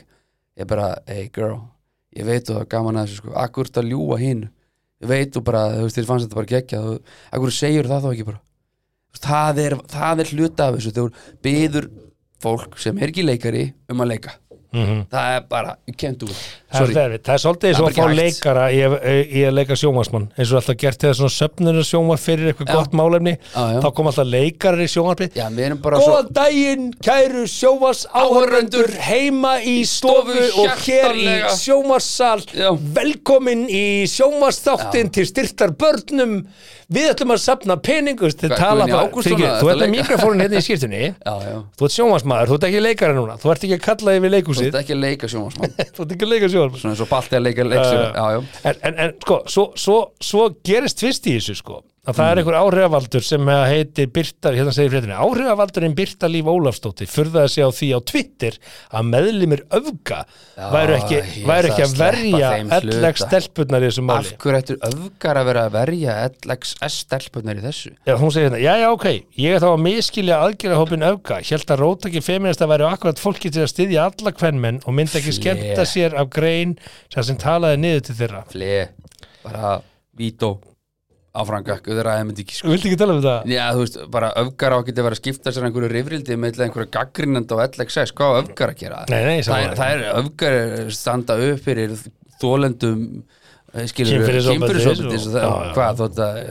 [SPEAKER 4] Ég bara, hey girl Ég veit þú það er gaman að þessu sko Akkur ert að ljúa hinn Ég veit þú bara, þú veist, þér fannst þetta bara gekkja Akkur segir það þá ekki bara Þú veist, Það er, það er hluta af þessu Þegar hún byður fólk sem er ekki leikari um að leika
[SPEAKER 3] Mhm.
[SPEAKER 4] það er bara, you can't do it
[SPEAKER 3] Það er,
[SPEAKER 4] Sorry.
[SPEAKER 3] erfitt. það er svolítið eins
[SPEAKER 4] Það
[SPEAKER 3] og
[SPEAKER 4] er
[SPEAKER 3] að
[SPEAKER 4] bara
[SPEAKER 3] fá
[SPEAKER 4] ekki hægt.
[SPEAKER 3] leikara í að- í að leika sjónvarsmann eins og er alltaf gert til það svona söfnurinn sjónvarp fyrir eitthvað
[SPEAKER 4] Já.
[SPEAKER 3] gott málefni
[SPEAKER 4] Já, já.
[SPEAKER 3] þá kom alltaf leikarar í sjónvarpi
[SPEAKER 4] Já, við erum bara
[SPEAKER 3] Góðan daginn kæru sjónvars áhörendur heima í stofu og hér í
[SPEAKER 4] Hjartanlega.
[SPEAKER 3] sjónvarssal
[SPEAKER 4] Já.
[SPEAKER 3] velkomin í sjónvarsþáttin til styrtar börnum við ætlum að safna peningust þið
[SPEAKER 4] Hvað,
[SPEAKER 3] tala
[SPEAKER 4] Guðni
[SPEAKER 3] bara
[SPEAKER 4] Ágústsson
[SPEAKER 3] Fyrirgefðu,
[SPEAKER 4] að
[SPEAKER 3] þú ert
[SPEAKER 4] þetta
[SPEAKER 3] með
[SPEAKER 4] leika?
[SPEAKER 3] mikrofónin hérna í skýrtunni
[SPEAKER 4] Já, já.
[SPEAKER 3] þú ert sjónvarsmaður, þú ert ekki leikara núna þú ert ekki að kalla yfir
[SPEAKER 4] Þú
[SPEAKER 3] leikhúsið
[SPEAKER 4] ert ekki að leika sjónvarsmann
[SPEAKER 3] þú ert ekki að leika sjónvarsmann
[SPEAKER 4] Svona eins og balti að leika leikstjóra Já, já,
[SPEAKER 3] Eh, en, en, en sko, svo, svo, svo gerist tvist í þessu sko að það
[SPEAKER 4] Mm.
[SPEAKER 3] er einhver áhrifavaldur sem að heitir Birta, hérna segir fréttinni, áhrifavaldurinn Birta Líf Ólafstótti furðaði sig á því á Twitter að meðlimir öfga væru ekki,
[SPEAKER 4] ég
[SPEAKER 3] væru
[SPEAKER 4] ætla
[SPEAKER 3] ekki
[SPEAKER 4] að
[SPEAKER 3] að
[SPEAKER 4] sleppa
[SPEAKER 3] verja
[SPEAKER 4] þeim
[SPEAKER 3] elleg
[SPEAKER 4] hluta.
[SPEAKER 3] stelpurnar í þessu
[SPEAKER 4] af
[SPEAKER 3] máli
[SPEAKER 4] hverju ættir öfgar að vera að verja LXS stelpunar í þessu
[SPEAKER 3] Já, hún segir hérna, já, já, ok, ég er þá að miskilja aðgerðahópin öfga, held að rótaki feminista væri akkurat fólki til að styðja alla kvenmenn og myndi ekki
[SPEAKER 4] Flé.
[SPEAKER 3] skemmta sér af grein sem, sem talaði niður til þeirra.
[SPEAKER 4] Fle, bara vító áfrangak, auðvitað myndi ekki sko
[SPEAKER 3] Vildi ekki tala um það?
[SPEAKER 4] Já, þú veist, bara öfgar á að geta verið að skipta sér einhverju rifrildi með einhverju gaggrinnandi á LXS, hvað á öfgar að gera?
[SPEAKER 3] Nei, nei,
[SPEAKER 4] það,
[SPEAKER 3] sammála.
[SPEAKER 4] er, það er öfgar standa upp fyrir þólendum eh, skilur
[SPEAKER 3] Kynferðisofbeldis
[SPEAKER 4] kynfyrirsopendis
[SPEAKER 3] og-
[SPEAKER 4] og það,
[SPEAKER 3] Já, já.
[SPEAKER 4] hvað þótt að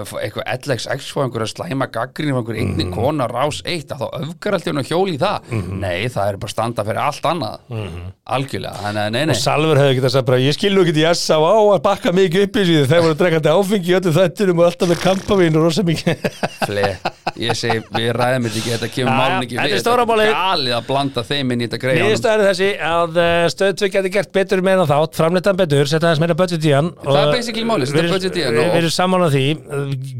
[SPEAKER 4] ef eitthvað LXX fá einhverja slæma gaggrinni af einhverju
[SPEAKER 3] Mhm.
[SPEAKER 4] einni kona á rás eitt að þá öfgar alltaf hún að hjóli í það nei, það er bara standa fyrir allt annað algjörlega, þannig að nei, nei
[SPEAKER 3] Mhm. og Salver hefði getað sagt bara ég skil nú ekki jassa á að bakka mikið upp í síðu þeir voru drekandi áfengi í öllum þættinum og alltaf með kampavín og rosa mikið
[SPEAKER 4] Fle, ég segi, við ræðum þetta ekki, þetta
[SPEAKER 3] Já,
[SPEAKER 4] kemur
[SPEAKER 3] já,
[SPEAKER 4] málun ekki
[SPEAKER 3] þetta er
[SPEAKER 4] við
[SPEAKER 3] stóra málið.
[SPEAKER 4] galið að blanda þeim inn í þetta greið
[SPEAKER 3] Niðurstaðan er þessi að stöðtvi geti gert betur meðan þátt, framleitan betur, setja aðeins meira budget í hann
[SPEAKER 4] Það er
[SPEAKER 3] og
[SPEAKER 4] basically málið, setja
[SPEAKER 3] við-
[SPEAKER 4] budget í hann og-
[SPEAKER 3] Við erum saman að því,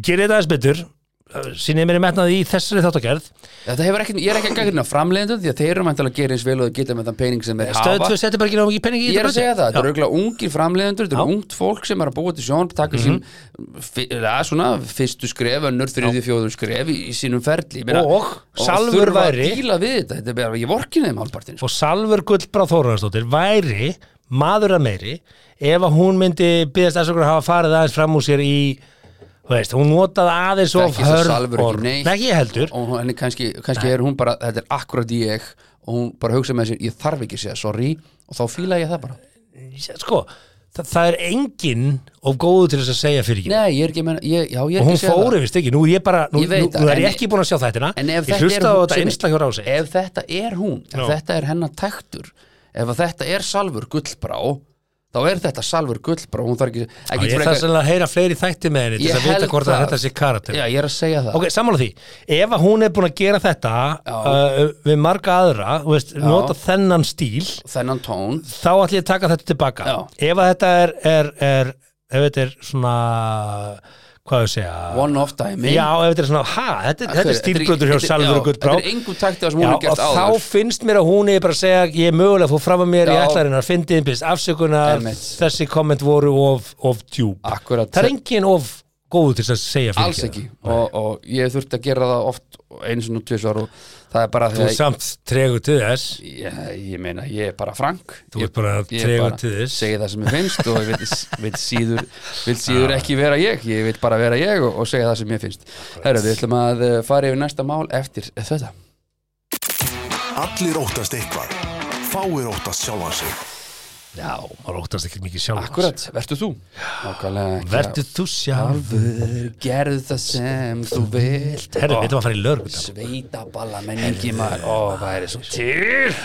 [SPEAKER 3] gerir þetta aðeins betur sínið mér í metnaði í þessari þáttagerð
[SPEAKER 4] Þetta hefur ekki, ég er ekki að gagna framleiðendur því að þeir eru mæntalega að gera eins vel og þeir geta með þann pening sem þeir hafa
[SPEAKER 3] Stöðtvi setja bara ekki náðum ekki peningi í
[SPEAKER 4] Ég er að
[SPEAKER 3] budget.
[SPEAKER 4] segja það,
[SPEAKER 3] Já.
[SPEAKER 4] þetta eru auðvitað ungir framleiðendur, þetta eru ungt fólk sem er að búa til sjón taka
[SPEAKER 3] Mhm.
[SPEAKER 4] sín, fi- eða svona fyrstu skref, önnur, þriðju, fjóðu skref í, í sínum ferli Ég
[SPEAKER 3] Og Salvör
[SPEAKER 4] þurfa að
[SPEAKER 3] væri-
[SPEAKER 4] díla við þetta, þetta er bara, ég vorkin þeim halvpartin sko.
[SPEAKER 3] og Salver Gullbrá Þóraðarsdóttir væri maður að meiri ef að hún myndi byggðast aðsökur að hafa farið aðeins fram úr sér í þú veist, hún notaði aðeins
[SPEAKER 4] Það er
[SPEAKER 3] of
[SPEAKER 4] ekki svo
[SPEAKER 3] hörð
[SPEAKER 4] Salvör ekki
[SPEAKER 3] orð.
[SPEAKER 4] neitt
[SPEAKER 3] Nei, ekki ég heldur
[SPEAKER 4] og hún- henni kannski, kannski er hún bara, þetta er akkurat ég og hún bara hugsa með sér, ég þarf ekki að segja sorry og þá fíla ég það bara
[SPEAKER 3] sko, það, það er enginn of góðu til þess að segja fyrir ekki
[SPEAKER 4] Nei, ég er ekki að menna, ég, já, ég er
[SPEAKER 3] og
[SPEAKER 4] ekki
[SPEAKER 3] hún
[SPEAKER 4] að segja það
[SPEAKER 3] fór yfir stikki, nú er ég bara nú,
[SPEAKER 4] Ég veit
[SPEAKER 3] nú,
[SPEAKER 4] það,
[SPEAKER 3] nú er ég
[SPEAKER 4] en-
[SPEAKER 3] ekki búin að sjá þættina
[SPEAKER 4] En ef
[SPEAKER 3] ég
[SPEAKER 4] þetta er
[SPEAKER 3] hlusta á
[SPEAKER 4] hún
[SPEAKER 3] þetta
[SPEAKER 4] sem-
[SPEAKER 3] einstakjur á sig
[SPEAKER 4] Ef þetta er hún, ef
[SPEAKER 3] Já.
[SPEAKER 4] þetta er hennar taktur Ef að þetta er Salvur Gullbrá Þá er þetta Salvur Gullbrá Hún þarf ekki, ekki
[SPEAKER 3] ég þarf sem að heyra fleiri þætti með henni til
[SPEAKER 4] Ég
[SPEAKER 3] þess að vita
[SPEAKER 4] held
[SPEAKER 3] hvort að
[SPEAKER 4] það.
[SPEAKER 3] þetta sé karakter
[SPEAKER 4] Já, ég er að segja það
[SPEAKER 3] Ok, sammála því, ef að hún er búin að gera þetta uh, við marga aðra þú veist, nota þennan stíl
[SPEAKER 4] Þennan tón
[SPEAKER 3] þá ætlum ég að taka þetta tilbaka
[SPEAKER 4] Já.
[SPEAKER 3] ef að þetta er, er, er ef þetta er svona hvað ég segja
[SPEAKER 4] One off dæmi
[SPEAKER 3] Já, ef þetta er svona, ha, þetta,
[SPEAKER 4] Af
[SPEAKER 3] þetta er
[SPEAKER 4] hverju?
[SPEAKER 3] stílbrotur
[SPEAKER 4] Þetta
[SPEAKER 3] hjá
[SPEAKER 4] er-
[SPEAKER 3] Salvur og
[SPEAKER 4] já,
[SPEAKER 3] Guttbrá
[SPEAKER 4] þetta er engu takti á sem hún hefur gert
[SPEAKER 3] og
[SPEAKER 4] áður.
[SPEAKER 3] þá finnst mér að hún er bara að segja ég er mögulega að fó fram að mér í
[SPEAKER 4] Já.
[SPEAKER 3] ætlarinnar fyndið innbyrst afsökunar,
[SPEAKER 4] Einmitt.
[SPEAKER 3] þessi komment voru of, of djúb
[SPEAKER 4] Akkurat.
[SPEAKER 3] Það er engin of góð til þess að segja fyrir
[SPEAKER 4] Alls ekki og, og ég hef þurft að gera það oft Einu svona tvisvar og það er bara
[SPEAKER 3] Þú
[SPEAKER 4] þegar-
[SPEAKER 3] samt tregur til þess
[SPEAKER 4] Ég, ég meina, ég er bara frank
[SPEAKER 3] Þú
[SPEAKER 4] Ég-
[SPEAKER 3] ert bara
[SPEAKER 4] ég
[SPEAKER 3] tregur
[SPEAKER 4] bara
[SPEAKER 3] til þess.
[SPEAKER 4] segi það sem ég finnst og ég vil, vil síður, vil síður ekki vera ég ég vil bara vera ég og, og segja það sem ég finnst Herra, við ætlum að eh, fara yfir næsta mál eftir þetta
[SPEAKER 2] Allir óttast eitthvað. Fáir óttast sjálfan sig.
[SPEAKER 4] Já,
[SPEAKER 3] og róttast ekki mikið sjálf
[SPEAKER 4] akkurat, verður þú Nákvæmlega ekki
[SPEAKER 3] Vertu þú sjálf
[SPEAKER 4] Alvör, gerðu það sem þú vilt
[SPEAKER 3] Herri,
[SPEAKER 4] Ó,
[SPEAKER 3] við erum að fara í lörg
[SPEAKER 4] Sveitaballa menningi maður Ó, það er svo til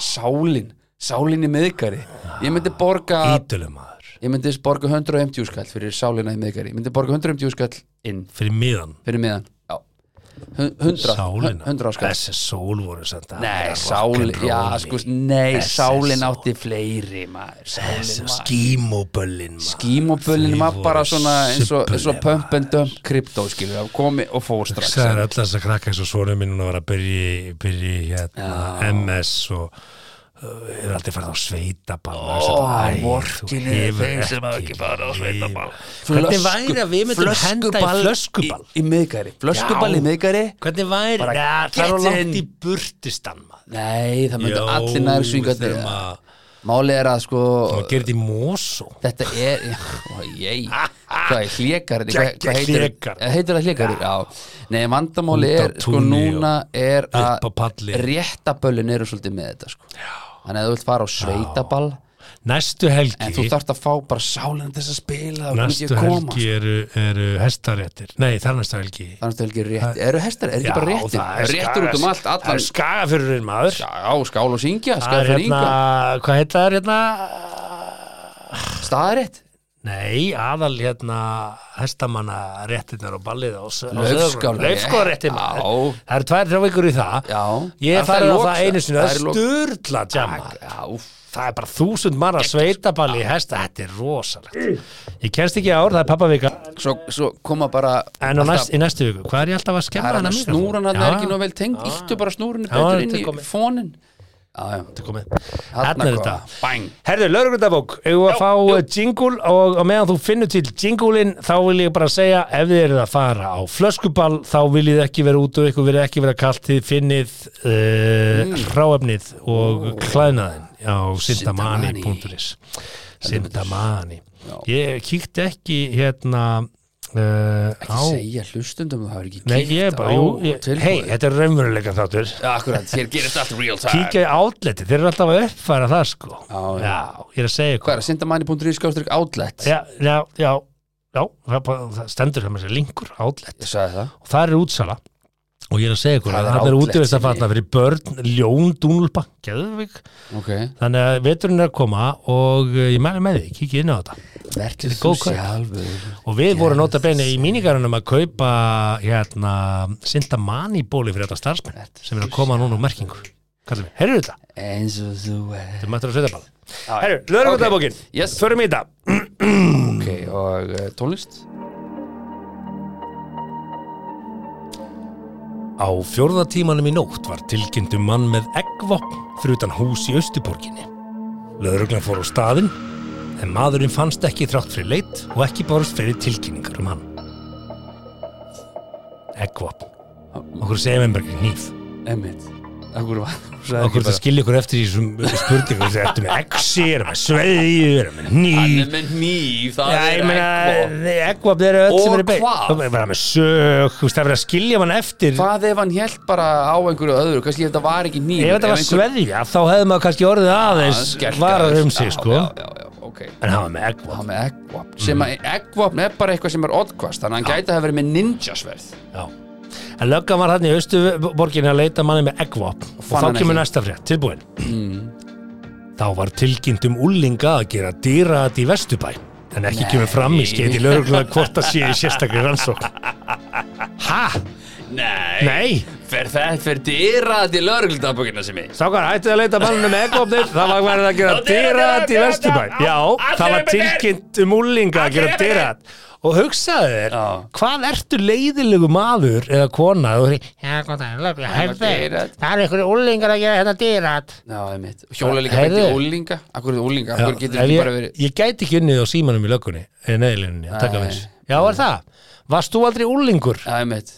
[SPEAKER 4] Sálin, sálin í miðgari Ég myndi borga
[SPEAKER 3] Ídölum maður
[SPEAKER 4] Ég myndi borga 150 skall fyrir sálina í miðgari Ég myndi borga 150 skall inn
[SPEAKER 3] Fyrir miðan
[SPEAKER 4] fyrir miðan Já. Hun- 100
[SPEAKER 3] Sálina
[SPEAKER 4] 100 skall
[SPEAKER 3] Þessi sól voru senda
[SPEAKER 4] Nei, sálin Já, sko, nei, sálin átti fleiri maður Sálin var
[SPEAKER 3] Skímóböllin maður
[SPEAKER 4] Skímobölin
[SPEAKER 3] Þau
[SPEAKER 4] var bara
[SPEAKER 3] voru
[SPEAKER 4] svona eins
[SPEAKER 3] subbulin,
[SPEAKER 4] og, eins og pump and dump kryptó skilur, það komi og fór strax
[SPEAKER 3] Það er öll þess að krakka eins og svonu minn hún var að byrja, í- byrja í, hérna, MS og uh, er aldrei farið á sveitaball Ó,
[SPEAKER 4] vorkenið þeim sem hafa ekki farið á sveitaball.
[SPEAKER 3] Hvernig væri að við myndum henda í flöskuball?
[SPEAKER 4] Í, í miðgari, flöskuball í
[SPEAKER 3] Já.
[SPEAKER 4] miðgari
[SPEAKER 3] Hvernig væri?
[SPEAKER 4] Bara
[SPEAKER 3] Nei, það er á
[SPEAKER 4] get
[SPEAKER 3] langt
[SPEAKER 4] in.
[SPEAKER 3] í burtistan maður
[SPEAKER 4] Nei, það myndi
[SPEAKER 3] Jó,
[SPEAKER 4] allir nær svinga
[SPEAKER 3] við þurfum að
[SPEAKER 4] Málið er að sko
[SPEAKER 3] Það gerir þetta í moso
[SPEAKER 4] Þetta er, ó, ég, hvað er hlékarinn, hvað, hvað heitir
[SPEAKER 3] Hlékar.
[SPEAKER 4] Eh, heitir það hlékarinn, já, nei vandamáli
[SPEAKER 3] Út á
[SPEAKER 4] er, sko
[SPEAKER 3] túni
[SPEAKER 4] núna er
[SPEAKER 3] upp á palli.
[SPEAKER 4] réttaböllin eru svolítið með þetta, sko, þannig að þú vilt fara á sveitaball,
[SPEAKER 3] Næstu
[SPEAKER 4] en þú
[SPEAKER 3] helgi
[SPEAKER 4] þarft að fá bara sálinn til þess að spila, og
[SPEAKER 3] Næstu helgi
[SPEAKER 4] sko.
[SPEAKER 3] eru, eru hestaréttir Nei, þar næstu helgi
[SPEAKER 4] þannig að helgi rétt, eru hestar,
[SPEAKER 3] Já,
[SPEAKER 4] er ekki bara réttin,
[SPEAKER 3] það er
[SPEAKER 4] réttur út um
[SPEAKER 3] Skaga-
[SPEAKER 4] allt,
[SPEAKER 3] Það
[SPEAKER 4] allan,
[SPEAKER 3] er skagafyrurinn maður
[SPEAKER 4] já, skál og syngja,
[SPEAKER 3] Það
[SPEAKER 4] skál
[SPEAKER 3] er
[SPEAKER 4] fyrir
[SPEAKER 3] hérna,
[SPEAKER 4] yngan,
[SPEAKER 3] hvað heit það er hérna
[SPEAKER 4] staðarétt,
[SPEAKER 3] Nei, aðal hérna hestamanna réttinnar og ballið á
[SPEAKER 4] Laufskálarétt.
[SPEAKER 3] Laufskálaréttin
[SPEAKER 4] Já.
[SPEAKER 3] Það eru tvær, þrjá vikur í það
[SPEAKER 4] já,
[SPEAKER 3] Ég
[SPEAKER 4] Er
[SPEAKER 3] er farin á
[SPEAKER 4] í lok-
[SPEAKER 3] það einu sinni, það
[SPEAKER 4] er í
[SPEAKER 3] er
[SPEAKER 4] lok-
[SPEAKER 3] sturla tjama
[SPEAKER 4] já, úff.
[SPEAKER 3] Það er bara þúsund marra sveitaballi í hesta, þetta er rosalegt Ég kenst ekki í ár, það er pappavika
[SPEAKER 4] svo, svo koma bara
[SPEAKER 3] En á
[SPEAKER 4] alltaf-
[SPEAKER 3] næst, í næstu viku, hvað er ég alltaf að
[SPEAKER 4] Það
[SPEAKER 3] skemma
[SPEAKER 4] er hann
[SPEAKER 3] hana
[SPEAKER 4] að
[SPEAKER 3] mikið?
[SPEAKER 4] snúran hann er ekki
[SPEAKER 3] Já,
[SPEAKER 4] nóg vel tengd Íttu bara snúrinu
[SPEAKER 3] Já,
[SPEAKER 4] betur
[SPEAKER 3] þetta
[SPEAKER 4] inn
[SPEAKER 3] er
[SPEAKER 4] í
[SPEAKER 3] komið.
[SPEAKER 4] fónin Já, já
[SPEAKER 3] þetta er komið. Þarna
[SPEAKER 4] Þarna
[SPEAKER 3] er
[SPEAKER 4] kom-
[SPEAKER 3] þetta
[SPEAKER 4] Bang.
[SPEAKER 3] Herðu, lögreglundabók, eigum við að fá uh, jingle og á meðan þú finnur til jingulinn þá vil ég bara segja, ef þið eruð að fara á flöskuball, þá viljið þið ekki vera út og ykkur verið ekki vera kalt, þið finnið uh,
[SPEAKER 4] Mm.
[SPEAKER 3] hráefnið og klæðnaðin á sindamani.is Sindamani Ég kíkti ekki hérna uh,
[SPEAKER 4] Ekki segja hlustundum það er ekki
[SPEAKER 3] Nei, ég er bara, jú, ég- hei, þetta er raunveruleika þáttur
[SPEAKER 4] Akkurat, hér gerist allt real time
[SPEAKER 3] Kíkja í átleti, þeir eru alltaf að uppfæra það sko
[SPEAKER 4] Já, já.
[SPEAKER 3] ég er að segja
[SPEAKER 4] Hvað
[SPEAKER 3] ykkur
[SPEAKER 4] er að sindamæni.ri skástrík outlet
[SPEAKER 3] Já, já, já, já það, er bara- það stendur sem þessi linkur átleti
[SPEAKER 4] Ég sagði það
[SPEAKER 3] og það er útsala og ég er að segja ykkur
[SPEAKER 4] Það
[SPEAKER 3] að
[SPEAKER 4] er
[SPEAKER 3] það er
[SPEAKER 4] outlet,
[SPEAKER 3] útivist að fatna fyrir börn, ljón, dúnulpa, geðvik
[SPEAKER 4] Ok
[SPEAKER 3] Þannig að veturinn er að koma og eh, ég mæli með því, kíkja inn á þetta
[SPEAKER 4] Vertu þú
[SPEAKER 3] góð kaup.
[SPEAKER 4] sjálfur
[SPEAKER 3] og við vorum nota bene í mínigarunum að kaupa hérna Sintamani bóli fyrir þetta starfsmenn sem er að koma núna úr merkingu Kallum, heyrðu þetta,
[SPEAKER 4] Eins og þú er
[SPEAKER 3] þetta er mættur að sveita bara
[SPEAKER 4] já.
[SPEAKER 3] Herru, lögur þetta bókin,
[SPEAKER 4] Yes.
[SPEAKER 3] förum í þetta
[SPEAKER 4] Ok, og eh, tónlist
[SPEAKER 1] Á fjórða tímanum í nótt var tilkynntu mann með eggvopn fyrir utan hús í Östuborginni.
[SPEAKER 3] Lögreglan fór á staðin en maðurinn fannst ekki þrátt fyrir leit og ekki bárst fyrir tilkynningar um hann Eggvopn Okkur segja með mörgir hníf
[SPEAKER 4] Emmitt Akkur var
[SPEAKER 3] Okkur það skilja ykkur eftir í þessum spurningum Þegar ertu með exi, erum með sveði, erum með hníf
[SPEAKER 4] Hann er með nýf Það
[SPEAKER 3] Já, ég
[SPEAKER 4] er ekkvop
[SPEAKER 3] meina, eggvopn eru öll sem
[SPEAKER 4] Og
[SPEAKER 3] eru beitt
[SPEAKER 4] hvað?
[SPEAKER 3] Það er bara með sög, þú veist, það er verið að skilja mann eftir
[SPEAKER 4] Hvað ef hann held bara á einhverju öðru Kannski ef þetta var ekki nýr
[SPEAKER 3] Ef þetta var sveðja, þá hefði maður kannski orðið aðeins varar um sig, sko
[SPEAKER 4] Já, já, já, ok
[SPEAKER 3] En hann var með eggvopn
[SPEAKER 4] Hann með eggvopn Sem
[SPEAKER 3] Mm.
[SPEAKER 4] að eggvopn er bara eitthvað sem er oddkvast Þannig að hann gæti að hafa verið með ninjasverð
[SPEAKER 3] Já. En löggan var hann í austuborginni að leita manni með eggvop og
[SPEAKER 4] Fann
[SPEAKER 3] þá
[SPEAKER 4] hann
[SPEAKER 3] kemur
[SPEAKER 4] ekki. Mm.
[SPEAKER 3] næsta frétt, tilbúin. Þá var tilkynnt um úlinga að gera dýraðat í Vesturbæ en ekki kemur fram í skeiti lögregluna hvort að sé í sérstakri rannsókn. Ha?
[SPEAKER 4] Nei,
[SPEAKER 3] Nei!
[SPEAKER 4] Fer þetta fyrir dýra til lögreglundabökinna sem ég
[SPEAKER 3] Sákar, hættið að leita manninu með eggvopnir, það var verið að gera
[SPEAKER 4] Og dýraat,
[SPEAKER 3] dýraðat í
[SPEAKER 4] dýraat,
[SPEAKER 3] Vesturbæ.
[SPEAKER 4] já.
[SPEAKER 3] Já,
[SPEAKER 4] Allir
[SPEAKER 3] það var
[SPEAKER 4] upp í þér.
[SPEAKER 3] tilkynnt um úlinga að
[SPEAKER 4] Allir
[SPEAKER 3] gera
[SPEAKER 4] upp í þér.
[SPEAKER 3] dýraðat. Og hugsaðu þér,
[SPEAKER 4] Já.
[SPEAKER 3] hvað ertu leiðilegu maður eða kona og þú hefði, já, hvað það er, lögregla,
[SPEAKER 4] Það var
[SPEAKER 3] herðu,
[SPEAKER 4] dýraat.
[SPEAKER 3] það er einhverju úlingar að gera hérna þetta dýraðat.
[SPEAKER 4] Já, einmitt Hjóla líka beint í
[SPEAKER 3] Heyrðu.
[SPEAKER 4] úlinga Akkur er úlinga,
[SPEAKER 3] Já,
[SPEAKER 4] akkur getur
[SPEAKER 3] ef
[SPEAKER 4] ekki
[SPEAKER 3] ég,
[SPEAKER 4] bara verið
[SPEAKER 3] ég gæti ekki unnið á símanum í löggunni eða neðlinni að taka
[SPEAKER 4] Nei.
[SPEAKER 3] veins já, er það? Varst þú aldrei úlingur?
[SPEAKER 4] Já, einmitt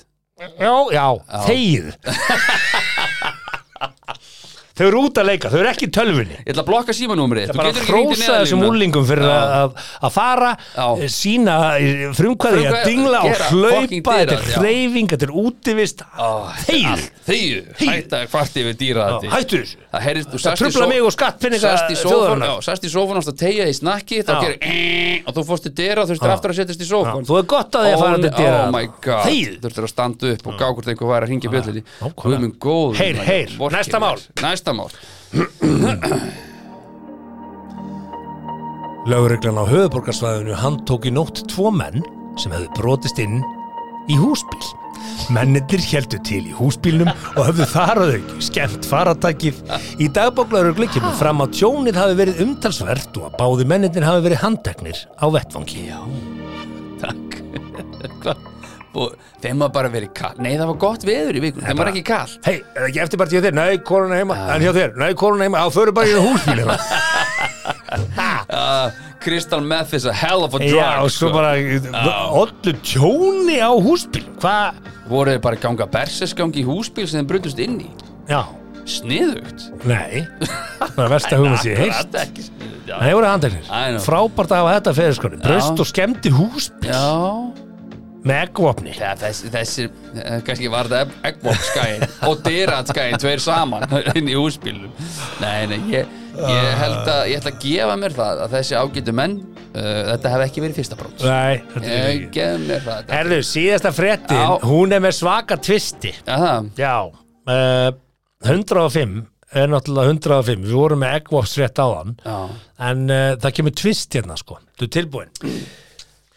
[SPEAKER 3] Já, já, þegið Þau eru út að leika, þau eru ekki í tölvunni
[SPEAKER 4] Ég ætla að blokka símanúmerið
[SPEAKER 3] Það
[SPEAKER 4] Þú
[SPEAKER 3] bara að
[SPEAKER 4] getur ekki hringt í
[SPEAKER 3] frósa þessum
[SPEAKER 4] Neyðarlínuna.
[SPEAKER 3] úlingum fyrir að- að að fara,
[SPEAKER 4] Já.
[SPEAKER 3] sína frumkvæði að
[SPEAKER 4] Frumkvæði,
[SPEAKER 3] dingla og
[SPEAKER 4] gera fucking
[SPEAKER 3] hlaupa þetta
[SPEAKER 4] dyrar,
[SPEAKER 3] er
[SPEAKER 4] já.
[SPEAKER 3] hreyfing, þetta er útivist
[SPEAKER 4] Ó, þetta er
[SPEAKER 3] þegið,
[SPEAKER 4] allt. Þegju, hætta að kvarti yfir dýra
[SPEAKER 3] hættu þessu
[SPEAKER 4] Það heyrðist, þú
[SPEAKER 3] það
[SPEAKER 4] sast í
[SPEAKER 3] trubla
[SPEAKER 4] só-
[SPEAKER 3] mig og skattfinninga
[SPEAKER 4] sast í sófan, já, sast í sófan ást að tegja í snakki þá
[SPEAKER 3] Já.
[SPEAKER 4] gerir eh, og þú fórst til dyra og þú þurftir aftur að setjast í sófan
[SPEAKER 3] þú er gott að því að fara til dyra
[SPEAKER 4] oh my god,
[SPEAKER 3] Þegið.
[SPEAKER 4] þurftir að standa upp og gá hvort einhver væri að ringja bjöldinni
[SPEAKER 3] nákvæmlega.
[SPEAKER 4] guð minn góð
[SPEAKER 3] Heyr, heyr, næsta mál.
[SPEAKER 4] næsta mál
[SPEAKER 1] Lögreglan á höfuborgarsvæðinu handtók í nótt tvo menn sem hefðu brotist inn í húsbíl.
[SPEAKER 3] Mennirnir heldu til í húsbílnum og höfðu þar að auki skemmt faratækið. Í dagbóklauruglu kemur fram að tjónið hafi verið umtalsvert og að báði mennirnir hafi verið handteknir á vettvangi. Já.
[SPEAKER 4] takk Hvað? Og þeim var bara verið kall nei það var gott veður í vikun, þeim var ekki kall
[SPEAKER 3] Hei, er ekki eftirbart hjá þér? Nei, koruna heima. En hjá þér? Nei, koruna heima. Á, förum bara í húsbílina.
[SPEAKER 4] Uh, Crystal meth is a hell of a drug
[SPEAKER 3] Já, og svo
[SPEAKER 4] sko.
[SPEAKER 3] bara ollu tjóni á húsbíl. Hvað?
[SPEAKER 4] voru þeir bara að ganga bersesgang í húsbíl sem þeim brutust inn í
[SPEAKER 3] Já,
[SPEAKER 4] sniðugt
[SPEAKER 3] nei. Það er versta hugmynd sem ég heilt
[SPEAKER 4] Akkurat ekki sniðugt, já.
[SPEAKER 3] Þeir voru
[SPEAKER 4] I
[SPEAKER 3] handteknir
[SPEAKER 4] know.
[SPEAKER 3] Frábært að hafa þetta fyrir sko Braust og skemmti hús
[SPEAKER 4] Já,
[SPEAKER 3] með eggvopni
[SPEAKER 4] það, þessi, þessi eh, kannski var þetta Eggbox-skæin og Dyrat-skæin tveir saman inn í húsbílum Nei, nei, ég, ég held að ég ætla að gefa mér það að þessi ágætu menn uh, þetta hef ekki verið fyrsta brót
[SPEAKER 3] Nei, þetta er
[SPEAKER 4] Ég
[SPEAKER 3] ekki
[SPEAKER 4] gef mér það þetta-
[SPEAKER 3] Herðu, síðasta frettin
[SPEAKER 4] Já.
[SPEAKER 3] Hún er með svaka tvisti
[SPEAKER 4] Já, það,
[SPEAKER 3] Já uh, 105 er náttúrulega 105 Við vorum með eggvops rétt á hann
[SPEAKER 4] já
[SPEAKER 3] En uh, það kemur tvist hérna sko Þú er tilbúin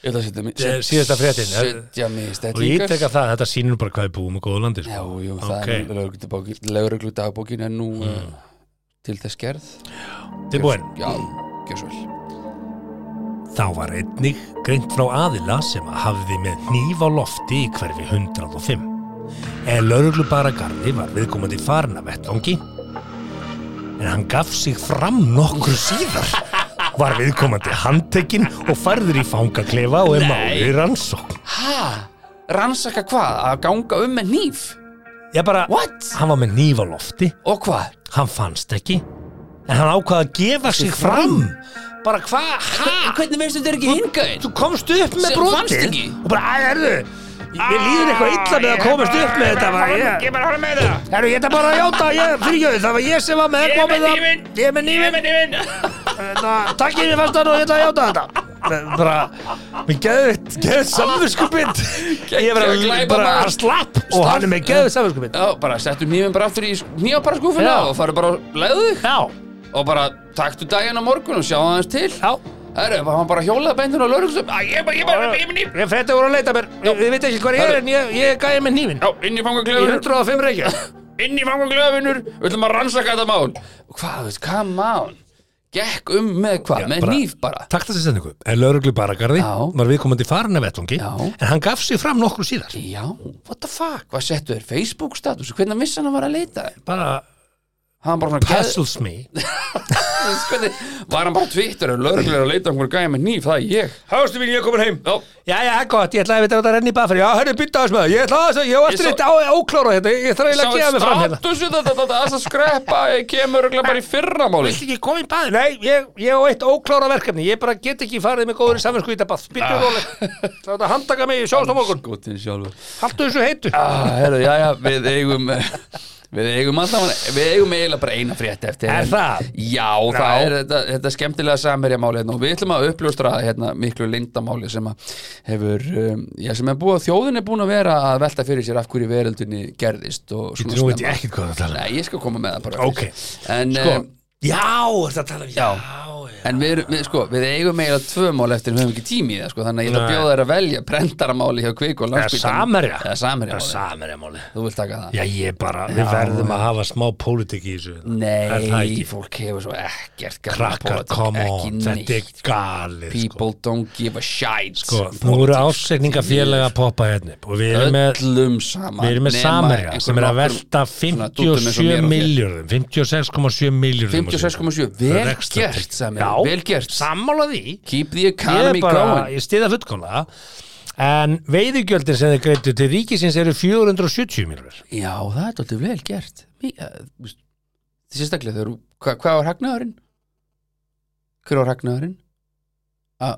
[SPEAKER 4] Ég ætla að setja mig
[SPEAKER 3] Eh, síðasta fréttin.
[SPEAKER 4] Setja
[SPEAKER 3] Og
[SPEAKER 4] mig í
[SPEAKER 3] ég
[SPEAKER 4] stellingar
[SPEAKER 3] tek að það, þetta sýnir bara hvað við búum í góðu landi
[SPEAKER 4] Já,
[SPEAKER 3] sko.
[SPEAKER 4] jú,
[SPEAKER 3] Ok.
[SPEAKER 4] það er lögreglu dagbókin er nú mm. til þess gerð
[SPEAKER 3] Tilbúin
[SPEAKER 4] Já, gjör svo vel
[SPEAKER 3] Þá var einnig greint frá aðila sem að hafði með hníf á lofti í hverfi 105. En lauruglu bara garði var viðkomandi farin af vettvangi. En hann gaf sig fram nokkru síðar. Var viðkomandi handtekinn og færður í fangaklefa og er máli rannsókn.
[SPEAKER 4] Hæ? Rannsaka hvað? Að ganga um með nýf?
[SPEAKER 3] Ég bara,
[SPEAKER 4] What?
[SPEAKER 3] hann var með hníf á lofti,
[SPEAKER 4] Og hvað?
[SPEAKER 3] hann fannst ekki. En hann ákvaði að gefa sig fram. Bara hvað, hæ?
[SPEAKER 4] Hvernig veistu þetta er ekki hingaðin?
[SPEAKER 3] þú komst upp með
[SPEAKER 4] Sem fannst
[SPEAKER 3] brotið
[SPEAKER 4] ekki.
[SPEAKER 3] og bara, æ, herðu mér líður eitthvað illa með að komast upp með þetta bara, ég,
[SPEAKER 6] bara horfði með það
[SPEAKER 3] herru, ég ætla bara að játa ég, fyrirgjöðu, það var ég sem var með
[SPEAKER 6] Ég er með
[SPEAKER 3] eggvopnið þar.
[SPEAKER 6] hnífinn.
[SPEAKER 3] ég er með nývin
[SPEAKER 6] Nývin
[SPEAKER 3] takk ég fastan og ég ætla að játa þetta bara, mér geðið geðið samfélskupind ég er bara,
[SPEAKER 4] Glæpamaður.
[SPEAKER 3] bara að slapp og hann er með geðið samfélskupind
[SPEAKER 4] Já, bara settu nýfin bara aftur í nýja bara skúfuna
[SPEAKER 3] Já.
[SPEAKER 4] og farðu bara og leiðu þig
[SPEAKER 3] já,
[SPEAKER 4] og bara taktu daginn á morgun og sjáðu aðeins til
[SPEAKER 3] já
[SPEAKER 4] Herru, bara hann bara hjólaði bændinu á lögreglum Æ, ég bara, ég bara, ég með nýf
[SPEAKER 3] ég fætti voru að leita mér, ég, ég veit ekki hvað ég er en ég, ég gæði með nývin
[SPEAKER 4] Já, inn í
[SPEAKER 3] í
[SPEAKER 4] fangaglöfunur
[SPEAKER 3] 105 reykja
[SPEAKER 4] inn í fangaglöfunur Við ætlum að rannsaka þetta mál Hvað, veist, come on Gekk um með hvað? Með
[SPEAKER 3] bara-
[SPEAKER 4] nýf bara
[SPEAKER 3] Takta þessi sendingu, en lauruglu baragarði
[SPEAKER 4] Já.
[SPEAKER 3] var viðkomandi farin af vettungi
[SPEAKER 4] Já.
[SPEAKER 3] en hann gaf sig fram nokkru síðar
[SPEAKER 4] Já, what the fuck? Hvað settu þér Facebook status? Hvernig vissi hann að var að leita?
[SPEAKER 3] bara
[SPEAKER 4] Hann bara svona geð-
[SPEAKER 3] puzzles me
[SPEAKER 4] Þú veist hvernig, var hann bara tvittur og lögreglega að leita okkur gæja með nýf, það er ég
[SPEAKER 3] Hástu mín, ég er komin heim
[SPEAKER 4] Já,
[SPEAKER 3] Já, já, gott, ég ætlaði að við þetta renni í baðferð Já, hörru, býta þess maður, ég ætlaði að þessu, ég var
[SPEAKER 4] Ég
[SPEAKER 3] eftir
[SPEAKER 4] sá-
[SPEAKER 3] þetta á- óklárað þetta Ég þarf eiginlega að gefa mig fram hérna
[SPEAKER 4] statusu þetta, þetta, þetta skreppa ég kemur örugglega bara í fyrramáli
[SPEAKER 3] Viltu ekki koma í baði? Nei, ég, ég á eitt óklára verkefni Ég bara get ekki farið með góður í samverku í þetta bað Býttu ah. róleg, þá þetta handtaka mig, sjáumst á morgun
[SPEAKER 4] Skotin sjálfur
[SPEAKER 3] Haltu þessu heitu
[SPEAKER 4] ah, heru, já, já, Við eigum Við eigum alltaf Við eigum eiginlega bara eina frétt eftir
[SPEAKER 3] Er það?
[SPEAKER 4] Já, það er þetta, þetta skemmtilega samverjamáli hérna, og við ætlum að uppljóstra hérna, miklu lindamáli sem að hefur um, já, sem er búið að þjóðin er búin að vera að velta fyrir sér af hverju veröldunni gerðist og svona
[SPEAKER 3] Nú veit ég
[SPEAKER 4] snemma.
[SPEAKER 3] ekkert hvað það tala um.
[SPEAKER 4] Nei, ég skal koma með það bara
[SPEAKER 3] Ok.
[SPEAKER 4] fyrst. En,
[SPEAKER 3] Sko,
[SPEAKER 4] um,
[SPEAKER 3] Já, ertu að tala um
[SPEAKER 4] Já.
[SPEAKER 3] já, já.
[SPEAKER 4] En við, erum- við, sko, við eigum eiginlega tvö mál eftir en við höfum ekki tími í það sko, þannig að ég ætla að
[SPEAKER 3] Nei.
[SPEAKER 4] bjóða þær að velja brendaramáli hjá Kvik og
[SPEAKER 3] Eða
[SPEAKER 4] Landsbítanum
[SPEAKER 3] Samherja
[SPEAKER 4] Eða Samherjamáli,
[SPEAKER 3] Samherjamáli
[SPEAKER 4] þú vilt taka það
[SPEAKER 3] Já, ég bara, við verðum að hafa smá pólitik í þessu Er það
[SPEAKER 4] Nei,
[SPEAKER 3] ekki?
[SPEAKER 4] fólk hefur svo ekkert gaman að
[SPEAKER 3] Krakkar,
[SPEAKER 4] pólitík,
[SPEAKER 3] come
[SPEAKER 4] ekki
[SPEAKER 3] on, þetta er
[SPEAKER 4] neitt.
[SPEAKER 3] galið sko.
[SPEAKER 4] People don't give a shit
[SPEAKER 3] sko, nú eru ásegningarfélaga að poppa hérna upp og við erum með,
[SPEAKER 4] Öllum saman
[SPEAKER 3] við erum með
[SPEAKER 4] nema
[SPEAKER 3] Samerja sem er að
[SPEAKER 4] einhverjum
[SPEAKER 3] velta
[SPEAKER 4] svona dúttum eins og
[SPEAKER 3] 57
[SPEAKER 4] mér og þér.
[SPEAKER 3] miljörðum 56,7 miljörðum
[SPEAKER 4] 56,7,
[SPEAKER 3] Það
[SPEAKER 4] vel
[SPEAKER 3] er rekstrartekjur.
[SPEAKER 4] gert Samherja,
[SPEAKER 3] Já,
[SPEAKER 4] vel gert
[SPEAKER 3] sammála því
[SPEAKER 4] Keep the
[SPEAKER 3] ég er
[SPEAKER 4] economy
[SPEAKER 3] bara,
[SPEAKER 4] going
[SPEAKER 3] ég stiða fullkomlega en veiðugjöldin sem þeir greittu til ríkisins eru 470 miljörður
[SPEAKER 4] Já, það er dóttir vel gert Mí- eh, þú veist, Sérstaklega þegar þú- hva, Hvað var hagnaðurinn? Hver var hagnaðurinn? A,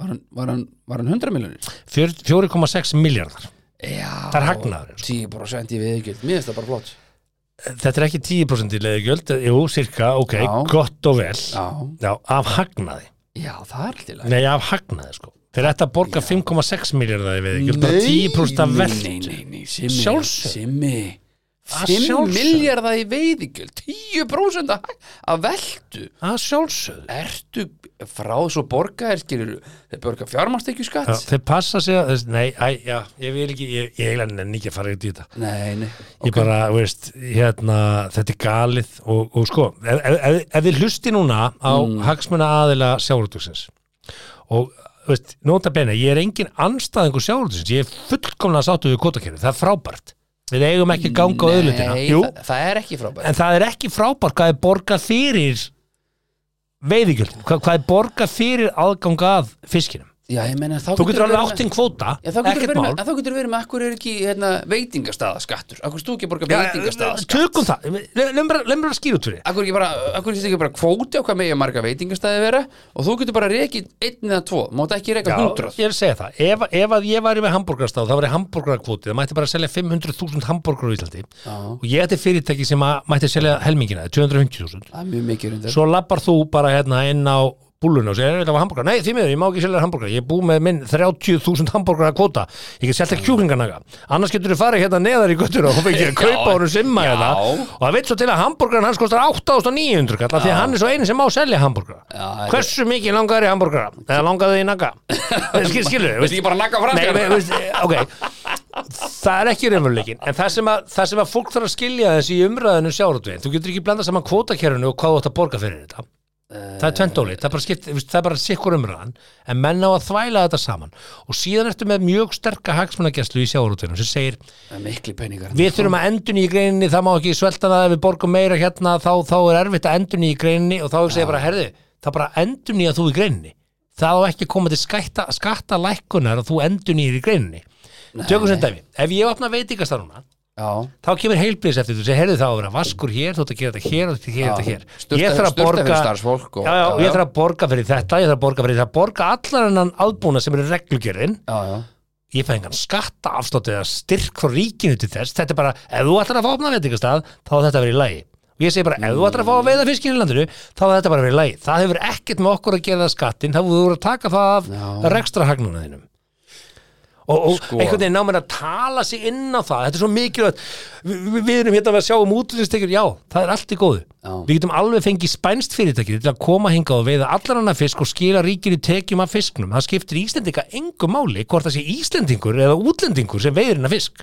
[SPEAKER 4] var, hann, var, hann, var hann 100 miljonir?
[SPEAKER 3] 4,6 miljörðar
[SPEAKER 4] Já
[SPEAKER 3] Það er hagnaðurinn, sko.
[SPEAKER 4] 10% í viðgjöld, mér finnst það bara flott
[SPEAKER 3] þetta er ekki 10% í leiðugjöld jú, cirka, ok,
[SPEAKER 4] Já.
[SPEAKER 3] gott og vel
[SPEAKER 4] Já,
[SPEAKER 3] Já, af hagnaði
[SPEAKER 4] já það er alltaf í lagi.
[SPEAKER 3] Nei, af hagnaði sko Þeir ætti að borga 5,6 miljardar við ekki Bara
[SPEAKER 4] Nei,
[SPEAKER 3] 10% af
[SPEAKER 4] Nei, nei,
[SPEAKER 3] veldu
[SPEAKER 4] nei, nei, simmi,
[SPEAKER 3] Sjálfsögðu.
[SPEAKER 4] simmi
[SPEAKER 3] Að
[SPEAKER 4] 5
[SPEAKER 3] sjálfsögðu.
[SPEAKER 4] miljardar í veiðigjöld 10% af- af veltu
[SPEAKER 3] Að sjálfsögðu
[SPEAKER 4] Ertu frá svo borgaðir skilur Þeir borga fjármastekju
[SPEAKER 3] Já,
[SPEAKER 4] skatt
[SPEAKER 3] Þeir passa sig að, þess- nei, æ, já, ég vil ekki Ég, ég eiginlega nenni ekki að fara út í þetta
[SPEAKER 4] Nei, nei
[SPEAKER 3] Ég bara, þú veist, hérna Þetta er galið og, og sko Ef, ef, ef, ef þið hlusti núna á mm. hagsmuna aðila sjáurútugsins Og, þú veist, nota bene Ég er engin anstæðingur sjáurútugsins Ég er fullkomlega sáttu við kvotakerfi Það er frábært Við eigum ekki að ganga á auðlundina
[SPEAKER 4] Nei, það, það er ekki frábært
[SPEAKER 3] en það er ekki frábært hvað er borgað fyrir veiðigjörn, hvað, hvað er borgað fyrir aðgang að fiskinum
[SPEAKER 4] Já, ég meina, þá
[SPEAKER 3] Þú getur
[SPEAKER 4] verið
[SPEAKER 3] alveg
[SPEAKER 4] með-
[SPEAKER 3] áttinn kvóta,
[SPEAKER 4] Já, þá getur
[SPEAKER 3] ekkert
[SPEAKER 4] verið með-
[SPEAKER 3] mál.
[SPEAKER 4] en Þá getur verið með, akkur er ekki hérna, veitingastaðaskattur Akkur stú ekki að borga veitingastaðaskatt
[SPEAKER 3] tökum það, lefum bara, leyfum bara að skýra út fyrir
[SPEAKER 4] Akkur ekki bara, akkur er ekki bara kvóti á hvað megi marga veitingastæði vera og þú getur bara rekið einn eða tvo, máta ekki reka hundrað
[SPEAKER 3] ég er að segja það, ef, ef að ég væri með hambúrgarastáð, það væri hambúrgarakvóti það mætti bara selja 500.000 hambúrgar á Íslandi og ég ætti fyrirtæki sem að mætti selja helmingina, 250.000
[SPEAKER 4] Það er mjög mikið reyndar
[SPEAKER 3] svo lappar þú bara hérna inn á búluna og segir, "Ég vil hafa hambúrgar, nei því miður, ég má ekki selja hambúrgar ég er búið með minn 30.000 hambúrgar kvóta, ég get selta kjúklinganaga annars getur þú farið hérna neðar í göttuna og fengið að kaupa honum simma
[SPEAKER 4] já.
[SPEAKER 3] hérna og það veit svo til að hambúrgarn hans kostar 8.900 kalla því að hann er svo eini sem má selja hambúrgar
[SPEAKER 4] Já,
[SPEAKER 3] hversu mikið langar þér í hambúrgar eða langar þið í naga skil, skilur,
[SPEAKER 4] Viltu ekki bara nagga fram
[SPEAKER 3] Nei,
[SPEAKER 4] þér?
[SPEAKER 3] nei, veist, eh, ok Það er ekki raunveruleikin En það sem, að, það sem að fólk þarf að skilja þessi í umræðinu sjáratvegin Þú getur ekki blanda saman kvótakerfinu og hvað þú átt að borga fyrir þetta Það er tvendóli, það er bara, skipt, þú veist, það er bara sikkur umræðan En menn á að þvæla þetta saman Og síðan ertu með mjög sterka hagsmunagesslu í sjáratveginu sem segir
[SPEAKER 4] Það er mikli peningar
[SPEAKER 3] Við þurfum að endun í greininni, það má ekki svelta það ef við borgum meira hérna, þá, þá er erfitt að endun í greininni og þá hugsa ég bara, herðu, það bara endun í að þú í greininni. Það á ekki að koma til skatta, skatta lækkunar að þú endun í greininni. Tökum sem dæmi, ef ég opna veitingast núna,
[SPEAKER 4] Já,
[SPEAKER 3] þá kemur heilbrís eftir þú, sem herðu það á að vera vaskur hér, þú ert að gera þetta hér og þetta hér og þetta
[SPEAKER 4] Já.
[SPEAKER 3] hér.
[SPEAKER 4] Sturta-
[SPEAKER 3] Ég þarf að
[SPEAKER 4] sturta fyrir
[SPEAKER 3] borga-
[SPEAKER 4] starfsfólk og-
[SPEAKER 3] Já, já,
[SPEAKER 4] já,
[SPEAKER 3] og ég
[SPEAKER 4] já.
[SPEAKER 3] þarf að borga fyrir þetta, ég þarf að borga fyrir þetta, borga allar hennan aðbúna sem eru reglugerðin
[SPEAKER 4] já, já
[SPEAKER 3] ég fæ engan skatta afslátt eða styrk frá ríkinu til þess þetta er bara, ef þú ætlar að fá opna veitingastað þá er þetta að vera í lagi og ég segi bara, ef þú ætlar að fá
[SPEAKER 4] Mm.
[SPEAKER 3] að veiða fiskin í landinu þá er þetta bara að vera í lagi, það hefur ekkert með okkur að gera skattin, þá hefur þú voru að taka það af
[SPEAKER 4] Já.
[SPEAKER 3] rekstra þínum og, og
[SPEAKER 4] Sko.
[SPEAKER 3] einhvern veginn námið að tala sig inn á það, þetta er svo mikilvægt Vi, vi- við erum hérna að sjá um útlýstekjur já, það er allt í góðu
[SPEAKER 4] Já.
[SPEAKER 3] við getum alveg fengið spænst fyrirtækið til að koma hingað og veiða allan annað fisk og skila ríkinu tekjum af fisknum, það skiptir Íslendinga engu máli hvort það sé Íslendingur eða útlendingur sem veiðir hennar fisk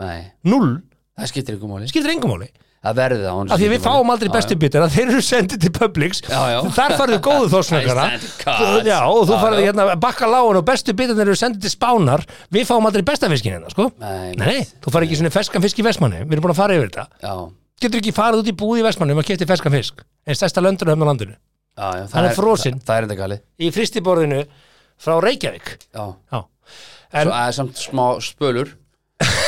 [SPEAKER 4] Nei,
[SPEAKER 3] null,
[SPEAKER 4] það skiptir ykkur máli
[SPEAKER 3] skiptir engu máli
[SPEAKER 4] Það verði það honum
[SPEAKER 3] af því að
[SPEAKER 4] skiptir
[SPEAKER 3] við
[SPEAKER 4] máli.
[SPEAKER 3] fáum aldrei
[SPEAKER 4] Já,
[SPEAKER 3] bestu bitur að þeir eru sendið til Publix
[SPEAKER 4] Já, já.
[SPEAKER 3] þar farðu góðu þórsnakara
[SPEAKER 4] I stand cut.
[SPEAKER 3] já, og þú
[SPEAKER 4] Já,
[SPEAKER 3] farðu
[SPEAKER 4] já.
[SPEAKER 3] hérna bakka lágun og bestu bitur eru sendið til Spánar við fáum aldrei besta fiskin hérna, sko
[SPEAKER 4] Nei,
[SPEAKER 3] nei, þú farðu ekki svona ferskan fisk í Vestmanni við erum búin að fara yfir þetta
[SPEAKER 4] Já,
[SPEAKER 3] getur ekki farið út í búð í Vestmanni um að kefti ferskan fisk en stærsta löndunum á landinu
[SPEAKER 4] já, já það
[SPEAKER 3] Hann er frosinn.
[SPEAKER 4] Það, það er enda galið
[SPEAKER 3] í fristiborðinu frá Reykjavík
[SPEAKER 4] Já,
[SPEAKER 3] já.
[SPEAKER 4] svo
[SPEAKER 3] En,
[SPEAKER 4] aðeins samt smá spölur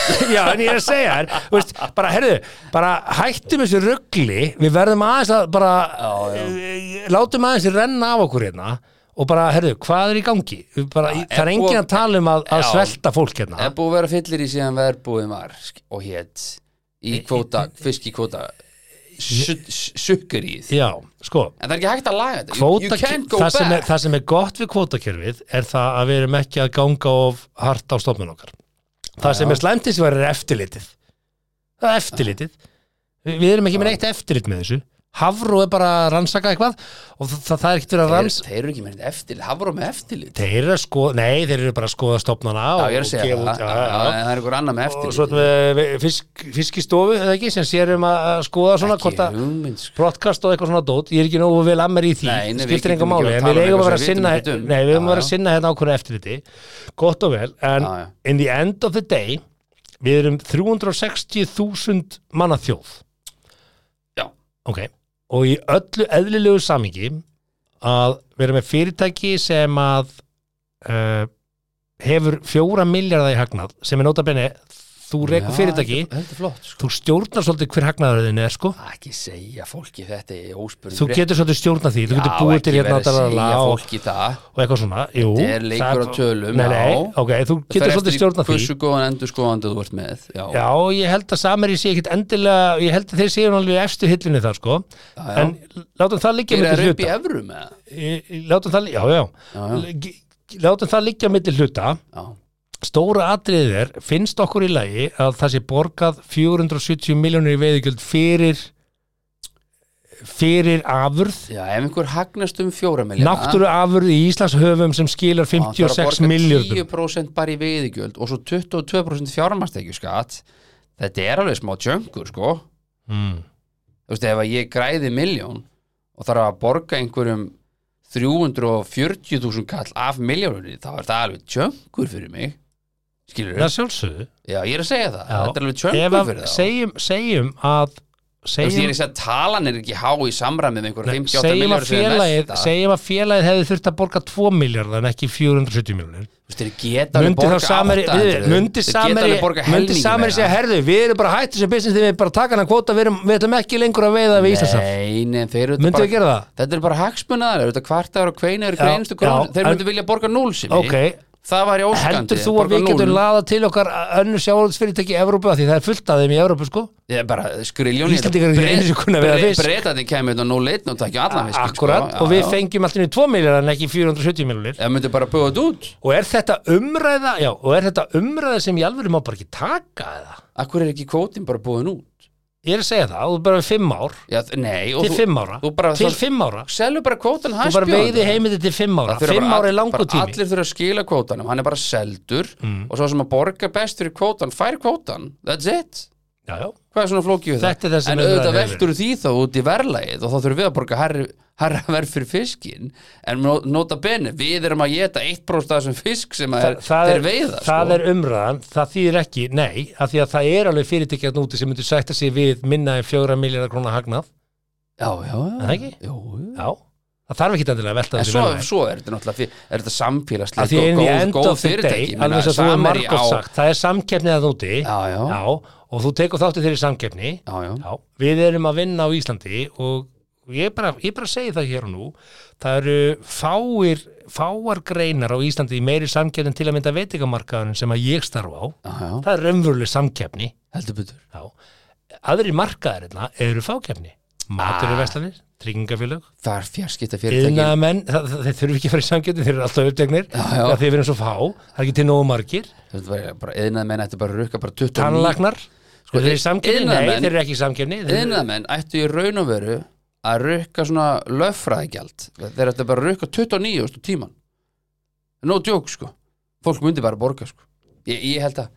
[SPEAKER 3] já, en ég er að segja þér þú veist, bara, herðu, bara hættum þessu ruggli við verðum aðeins að bara
[SPEAKER 4] Já, já.
[SPEAKER 3] eh, látum aðeins að renna af okkur hérna og bara, herðu, hvað er í gangi Við bara,
[SPEAKER 4] Já,
[SPEAKER 3] það er
[SPEAKER 4] er
[SPEAKER 3] enginn
[SPEAKER 4] búið-
[SPEAKER 3] að tala um að, að
[SPEAKER 4] Já.
[SPEAKER 3] svelta fólk hérna
[SPEAKER 4] er búið að vera fyllir í síðan verðbúið var sk- og hétt í kvóta, fiskikvóta sukkerið
[SPEAKER 3] já, sko
[SPEAKER 4] en það er ekki hægt að laga þetta You- you
[SPEAKER 3] kvóta,
[SPEAKER 4] can't go
[SPEAKER 3] það, sem er,
[SPEAKER 4] back
[SPEAKER 3] það sem er gott við kvótakerfið er það að við erum ekki að ganga of hart á stofnun okkar það sem er slæmt þessi var er eftirlitið það er eftirlitið Vi, við erum ekki með neitt eftirlit með þessu Hafró er bara að rannsaka eitthvað og það, það er ekkert verið að
[SPEAKER 4] þeir,
[SPEAKER 3] rannsaka
[SPEAKER 4] þeir eru ekki með eftirlit, hafa rá með eftirlit
[SPEAKER 3] þeir eru að skoða, nei þeir eru bara að skoða stofnana
[SPEAKER 4] já,
[SPEAKER 3] og,
[SPEAKER 4] ég
[SPEAKER 3] og
[SPEAKER 4] er að segja
[SPEAKER 3] gefa
[SPEAKER 4] það,
[SPEAKER 3] út-
[SPEAKER 4] já,
[SPEAKER 3] já,
[SPEAKER 4] já,
[SPEAKER 3] já, já.
[SPEAKER 4] en það er ykkur annað með
[SPEAKER 3] og
[SPEAKER 4] eftirlit
[SPEAKER 3] svo erum við við- fisk, fiskistofu eða ekki sem sérum að að skoða svona
[SPEAKER 4] Ekki
[SPEAKER 3] hvort að
[SPEAKER 4] hugmynd, sko.
[SPEAKER 3] broadcast og eitthvað svona dót, ég er ekki nógu vel að mér í því
[SPEAKER 4] Nei, nei, við
[SPEAKER 3] skiptir
[SPEAKER 4] getum
[SPEAKER 3] enga
[SPEAKER 4] ekki
[SPEAKER 3] máli, en
[SPEAKER 4] verið að tala
[SPEAKER 3] við
[SPEAKER 4] um
[SPEAKER 3] eigum að
[SPEAKER 4] eitthvað
[SPEAKER 3] vera að
[SPEAKER 4] sem við
[SPEAKER 3] sinna
[SPEAKER 4] vitum ekkert um.
[SPEAKER 3] nei, við eigum að
[SPEAKER 4] Já,
[SPEAKER 3] vera að
[SPEAKER 4] já.
[SPEAKER 3] sinna hérna ákvörðu eftirliti gott og vel, en
[SPEAKER 4] Já, já.
[SPEAKER 3] in the end of the day við erum 360.000 manna þjóð
[SPEAKER 4] já,
[SPEAKER 3] ok, og í öllu eðlilegu samingi að vera með fyrirtæki sem að uh, hefur fjóra miljardar í hagnað sem er notabenni, þú rekur
[SPEAKER 4] Já,
[SPEAKER 3] fyrirtæki
[SPEAKER 4] þetta- þetta er flott, sko.
[SPEAKER 3] þú stjórnar svolítið hver hagnaðurðin er sko
[SPEAKER 4] ekki segja fólki þetta í óspurning
[SPEAKER 3] þú getur svolítið stjórnað því, þú getur búið til hérna
[SPEAKER 4] að segja
[SPEAKER 3] dalala og,
[SPEAKER 4] fólki það
[SPEAKER 3] og eitthvað svona, jú
[SPEAKER 4] Þetta er leikur
[SPEAKER 3] það-
[SPEAKER 4] á tölum,
[SPEAKER 3] nei, nei,
[SPEAKER 4] já.
[SPEAKER 3] ok, þú getur svolítið stjórnað því
[SPEAKER 4] hversu góðan endur skoðandi þú ert með já,
[SPEAKER 3] Já, ég held að Samari sé ekkit endilega ég held að þeir séu alveg í efstu hillinu þar sko
[SPEAKER 4] já.
[SPEAKER 3] en látum það liggja
[SPEAKER 4] Þeir
[SPEAKER 3] milli
[SPEAKER 4] eru upp í
[SPEAKER 3] hluta
[SPEAKER 4] evrum eða?
[SPEAKER 3] Í- í- látum það, li- já, já,
[SPEAKER 4] Já, já.
[SPEAKER 3] G- látum það liggja milli hluta
[SPEAKER 4] Já,
[SPEAKER 3] stóra atriðið er, finnst okkur í lagi að það sé borgað 470 miljónir í veiðugjöld fyrir fyrir afurð
[SPEAKER 4] Já, ef einhver hagnast um fjóra miljana
[SPEAKER 3] náttúruafurð í Íslands höfum sem skilar 56 miljardum
[SPEAKER 4] 10% bara í veiðigjöld og svo 22% fjármastekjuskatt Þetta er alveg smá tjöngur, sko
[SPEAKER 3] mm.
[SPEAKER 4] Þú veist, ef að ég græði miljón og þarf að borga einhverjum 340.000 kall af miljónunni, þá er það alveg tjöngur fyrir mig Skilur
[SPEAKER 3] það
[SPEAKER 4] við?
[SPEAKER 3] sjálfsögðu
[SPEAKER 4] Já, ég er að segja það,
[SPEAKER 3] Já.
[SPEAKER 4] þetta er alveg
[SPEAKER 3] Ef
[SPEAKER 4] tjöngur
[SPEAKER 3] að
[SPEAKER 4] fyrir þá
[SPEAKER 3] segjum, segjum að
[SPEAKER 4] Þú veist, ég
[SPEAKER 3] segjum,
[SPEAKER 4] er ekki að talan er ekki há í samræmi með einhverja 58
[SPEAKER 3] segjum, að
[SPEAKER 4] miljónir sem er
[SPEAKER 3] félagið,
[SPEAKER 4] næsta.
[SPEAKER 3] segjum að félagið hefði þurft að borga 2 miljardar en ekki 470 miljonir
[SPEAKER 4] Þú veist, þeir geta alveg
[SPEAKER 3] Mundi
[SPEAKER 4] borga
[SPEAKER 3] þá samari
[SPEAKER 4] 800,
[SPEAKER 3] við- Mundi
[SPEAKER 4] þeir geta
[SPEAKER 3] samari
[SPEAKER 4] alveg borga
[SPEAKER 3] Mundi
[SPEAKER 4] helmingi
[SPEAKER 3] samari segja,
[SPEAKER 4] meira.
[SPEAKER 3] herðu, við erum bara hættu sem business þegar við bara taka hana kvota við, erum, við ætlum ekki lengur að veiða við Íslandsaf
[SPEAKER 4] Nei, nei, þeir eru
[SPEAKER 3] Myndu þau gera það?
[SPEAKER 4] Þetta er bara hagsmunaðar, þetta kvartar og kveinar
[SPEAKER 3] Já,
[SPEAKER 4] kveinustu krónur,
[SPEAKER 3] já,
[SPEAKER 4] þeir
[SPEAKER 3] en-
[SPEAKER 4] myndu vilja borga núl sem
[SPEAKER 3] Ok,
[SPEAKER 4] Það var í óskandi
[SPEAKER 3] heldur þú
[SPEAKER 4] borga
[SPEAKER 3] að við
[SPEAKER 4] núll.
[SPEAKER 3] getum laða til okkar önnur sjáhaldsfyrirtæki í Evrópu af því það er fullt af þeim í Evrópu sko
[SPEAKER 4] Ég er bara skriljón
[SPEAKER 3] Íslendingar eru ekki einu sinni kunna að veiða fisk.
[SPEAKER 4] Breitandi kemur þetta 0-1 og takja allan sko. fisk
[SPEAKER 3] Akkurat, og við fengjum alltaf 2 miljardar en ekki 470 miljonir
[SPEAKER 4] Það myndi bara búið þetta út
[SPEAKER 3] Og er þetta umræða, já, og er þetta umræða sem ég alveg má bara ekki taka eða?
[SPEAKER 4] Akkur er ekki kvótin bara búin út
[SPEAKER 3] Ég er að segja það, og bara við fimm ár,
[SPEAKER 4] Já, þ- Nei, og
[SPEAKER 3] til fimm ára,
[SPEAKER 4] þú bara-
[SPEAKER 3] til
[SPEAKER 4] það-
[SPEAKER 3] fimm ára.
[SPEAKER 4] Selur bara kvótan
[SPEAKER 3] Þú
[SPEAKER 4] hans
[SPEAKER 3] bara veiði heimiti til fimm ára, fimm ára er langur tími. Mm.
[SPEAKER 4] Allir þurfa að skila kvótanum, hann er bara seldur og svo sem að borga best fyrir kvótan fær kvótan, that's it
[SPEAKER 3] Já, já,
[SPEAKER 4] Hvað er svona flókið við
[SPEAKER 3] Þetta er það sem
[SPEAKER 4] En
[SPEAKER 3] umræðan
[SPEAKER 4] auðvitað
[SPEAKER 3] hefur
[SPEAKER 4] veltur því þá út í verðlagið og þá þurfum við að borga herra, herra verð fyrir fiskin en nó- nota bene, við erum að geta 1% af þessum fisk sem að er, þeir veiða
[SPEAKER 3] það
[SPEAKER 4] sko.
[SPEAKER 3] er umræðan, það þýðir ekki, nei, af því að það er alveg fyrirtækjarn úti sem myndur sætta sig við minna en fjóra miljardar krónar hagnað.
[SPEAKER 4] Já, já, já,
[SPEAKER 3] Er það ekki?
[SPEAKER 4] Jú, jú.
[SPEAKER 3] Já, það þarf ekki endilega að velta
[SPEAKER 4] En
[SPEAKER 3] þessu
[SPEAKER 4] svo,
[SPEAKER 3] verðlagi.
[SPEAKER 4] svo er þetta náttúrulega fyr- er
[SPEAKER 3] Af
[SPEAKER 4] þetta
[SPEAKER 3] því
[SPEAKER 4] samfélagslega
[SPEAKER 3] en í
[SPEAKER 4] góð,
[SPEAKER 3] end
[SPEAKER 4] góð
[SPEAKER 3] of the day,
[SPEAKER 4] fyrirtæki
[SPEAKER 3] alveg eins og þú er margótt sagt, það er samkeppnið að úti
[SPEAKER 4] Já, já.
[SPEAKER 3] og þú tekur þáttið þeirri samkeppni
[SPEAKER 4] Já, já.
[SPEAKER 3] Já, við erum að vinna á Íslandi og ég bara, ég bara segi það hér og nú það eru fáir fáar greinar á Íslandi í meiri samkeppnin til að mynda veitingamarkaðunum sem að ég starfa á
[SPEAKER 4] Já, já,
[SPEAKER 3] það er raunveruleg samkeppni
[SPEAKER 4] heldur betur
[SPEAKER 3] já. aðrir markaðarina eru fákeppni
[SPEAKER 4] Ah.
[SPEAKER 3] maturverðslanir, tryggingafélög
[SPEAKER 4] Það er fjarskipta fyrirtæki
[SPEAKER 3] yðnaðamenn, það- það- þeir þurfi ekki að fara í samkeppni þeir eru alltaf uppdegnir,
[SPEAKER 4] já.
[SPEAKER 3] þeir verðum svo fá það er ekki til nógu margir,
[SPEAKER 4] Eðnað menn ættu bara að rukka bara 29
[SPEAKER 3] tannlagnar sko, þeir eru í samkeppni, nei,
[SPEAKER 4] iðnaðarmenn-
[SPEAKER 3] þeir eru ekki í samkeppni þeir eru-
[SPEAKER 4] Iðnaðarmenn ættu í raun og veru að rukka svona löffræðigjald þeir ættu bara að rukka 29 ástu tíman no joke sko fólk myndi bara borga sko ég, ég held að